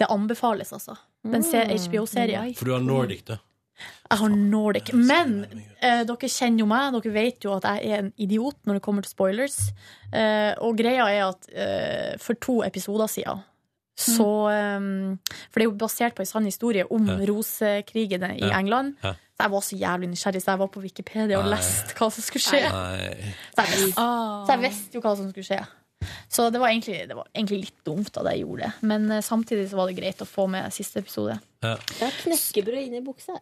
Speaker 3: Det anbefales, altså. Den ser
Speaker 2: Mm,
Speaker 3: HBO-serien.
Speaker 2: For du har Nordic, du.
Speaker 3: Jeg har Nordic. Men eh, dere kjenner jo meg. Dere vet jo at jeg er en idiot når det kommer til spoilers. Eh, og greia er at eh, for to episoder siden så eh, For det er jo basert på en sann historie om
Speaker 17: Ja.
Speaker 3: rosekrigene i
Speaker 17: Ja.
Speaker 3: England.
Speaker 17: Ja.
Speaker 3: Så jeg var så jævlig nysgjerrig, så jeg var på Wikipedia og
Speaker 17: Nei.
Speaker 3: leste hva som skulle skje.
Speaker 2: Nei.
Speaker 3: Så jeg, visste, så jeg visste jo hva som skulle skje. Så det var egentlig, det var egentlig litt dumt at jeg gjorde det. Men eh, samtidig så var det greit å få med siste episode.
Speaker 14: Jeg har knekkebrød inni buksa.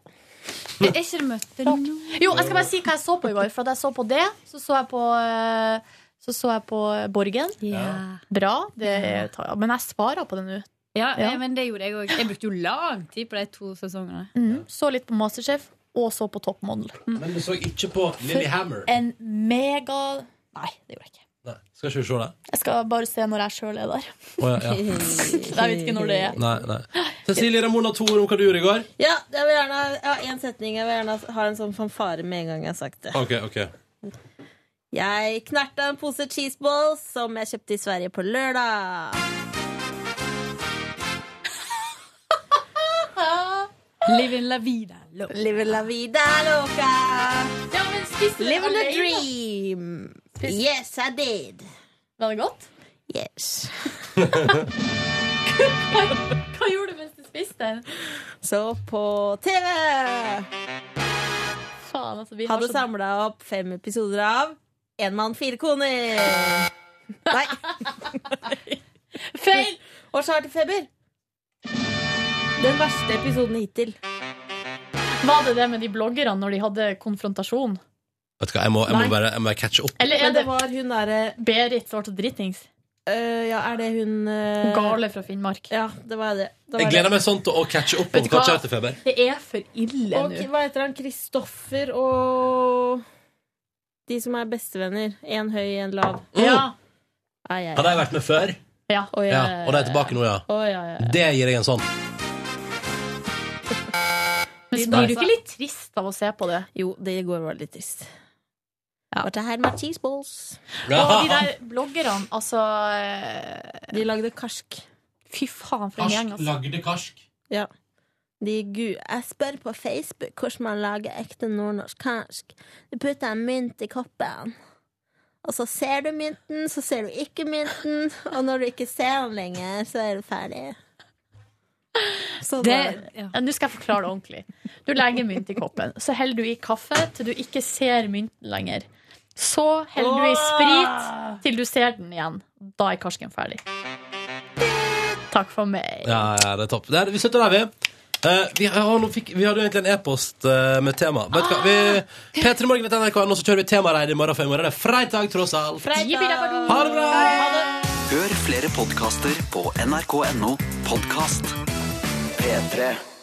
Speaker 17: Er ikke det møter nå?
Speaker 3: Jo, jeg skal bare si hva jeg så på i går. For at jeg så på det, så så jeg på eh, så så jeg på Borgen.
Speaker 17: Ja.
Speaker 3: Bra. Det tar, men jeg sparer på det nå.
Speaker 17: Ja,
Speaker 3: Ja.
Speaker 17: men det gjorde jeg òg. Jeg brukte jo lang tid på de to sesongene.
Speaker 3: Mm, så litt på Masterchef, og så på Mhm. Top Model.
Speaker 2: Men du så ikke på Lillehammer.
Speaker 3: En mega Nei, det gjorde jeg ikke.
Speaker 2: Nei, skal ikke du se det?
Speaker 3: Jeg skal bare se når jeg sjøl er der.
Speaker 2: Å, ja, ja.
Speaker 3: jeg vet ikke når det er.
Speaker 2: Nei, nei. Cecilie Ramona Thor, om hva du gjorde i går?
Speaker 14: Ja, jeg vil gjerne ha ja, en setning. Jeg vil gjerne ha en sånn fanfare med en gang jeg har sagt det.
Speaker 2: Ok, ok.
Speaker 14: Jeg knerta en pose cheeseballs som jeg kjøpte i Sverige på lørdag.
Speaker 17: Living la vida loca.
Speaker 14: Living la vida loca. Living the
Speaker 17: alene.
Speaker 14: dream. Yes, I did.
Speaker 3: Var det godt?
Speaker 14: Yes.
Speaker 3: Hva gjorde du mens du spiste?
Speaker 14: Så på TV
Speaker 3: Faen, altså, vi har
Speaker 14: hadde
Speaker 3: så-
Speaker 14: samla opp fem episoder av En mann, fire koner. Nei.
Speaker 3: Feil!
Speaker 14: Årsartefeber. Den verste episoden hittil.
Speaker 3: Var det det med de bloggerne når de hadde konfrontasjon?
Speaker 2: Vet du hva, jeg må, jeg må
Speaker 3: Nei.
Speaker 2: bare jeg må catche opp.
Speaker 3: Eller er
Speaker 14: Men det
Speaker 3: det-
Speaker 14: var hun derre
Speaker 3: Berit som ble dritings.
Speaker 14: Eh, Ja, er det hun
Speaker 15: Eh,
Speaker 3: Hun Gale fra Finnmark.
Speaker 14: Ja, det var det. Det var
Speaker 2: Jeg gleder
Speaker 14: det.
Speaker 2: meg sånn til å catche opp om
Speaker 3: Vet du hva?
Speaker 2: kvartjertefeber.
Speaker 3: Det er for ille
Speaker 14: Og
Speaker 3: nå.
Speaker 14: hva heter han? Kristoffer og De som er bestevenner. Én høy, én lav.
Speaker 3: Ja.
Speaker 14: Ai, ai, ai.
Speaker 2: Har de Mm. vært med før?
Speaker 3: Ja.
Speaker 14: Å,
Speaker 2: Ja, og de er tilbake nå, ja.
Speaker 14: Å, ja, ja, ja.
Speaker 2: Det gir jeg en sånn.
Speaker 3: Men
Speaker 2: Nei.
Speaker 3: blir du ikke litt trist av å se på det?
Speaker 14: Jo, det i går var litt trist. Ja. Dette her med cheeseballs.
Speaker 3: Og de der bloggerne, altså eh,
Speaker 14: De lagde karsk.
Speaker 3: Fy faen, for en gjeng, altså.
Speaker 2: lagde karsk.
Speaker 14: Ja. De gu Jeg spør på Facebook hvordan man lager ekte nordnorsk karsk. Du putter en mynt i koppen. Og så ser du mynten, så ser du ikke mynten, og når du ikke ser den lenger, så er du ferdig.
Speaker 3: Så det, ja, Nå skal jeg forklare det ordentlig. Du legger mynt i koppen. Så heller du i kaffe til du ikke ser mynten lenger. Så heller du i sprit til du ser den igjen. Da er karsken ferdig. Takk for meg.
Speaker 2: Ja, ja, det er topp. Det er, vi slutter der, vi. Eh, vi, har, nå fikk, vi hadde jo egentlig en e-post eh, med tema. Vet du hva? Vi,
Speaker 13: Ah.
Speaker 2: P3morgen.nrk.no, så kjører vi temareid i morgen, for i morgen er det fredag, tross alt.
Speaker 13: Ha det bra! Hør flere podkaster på nrk.no podkast. P3.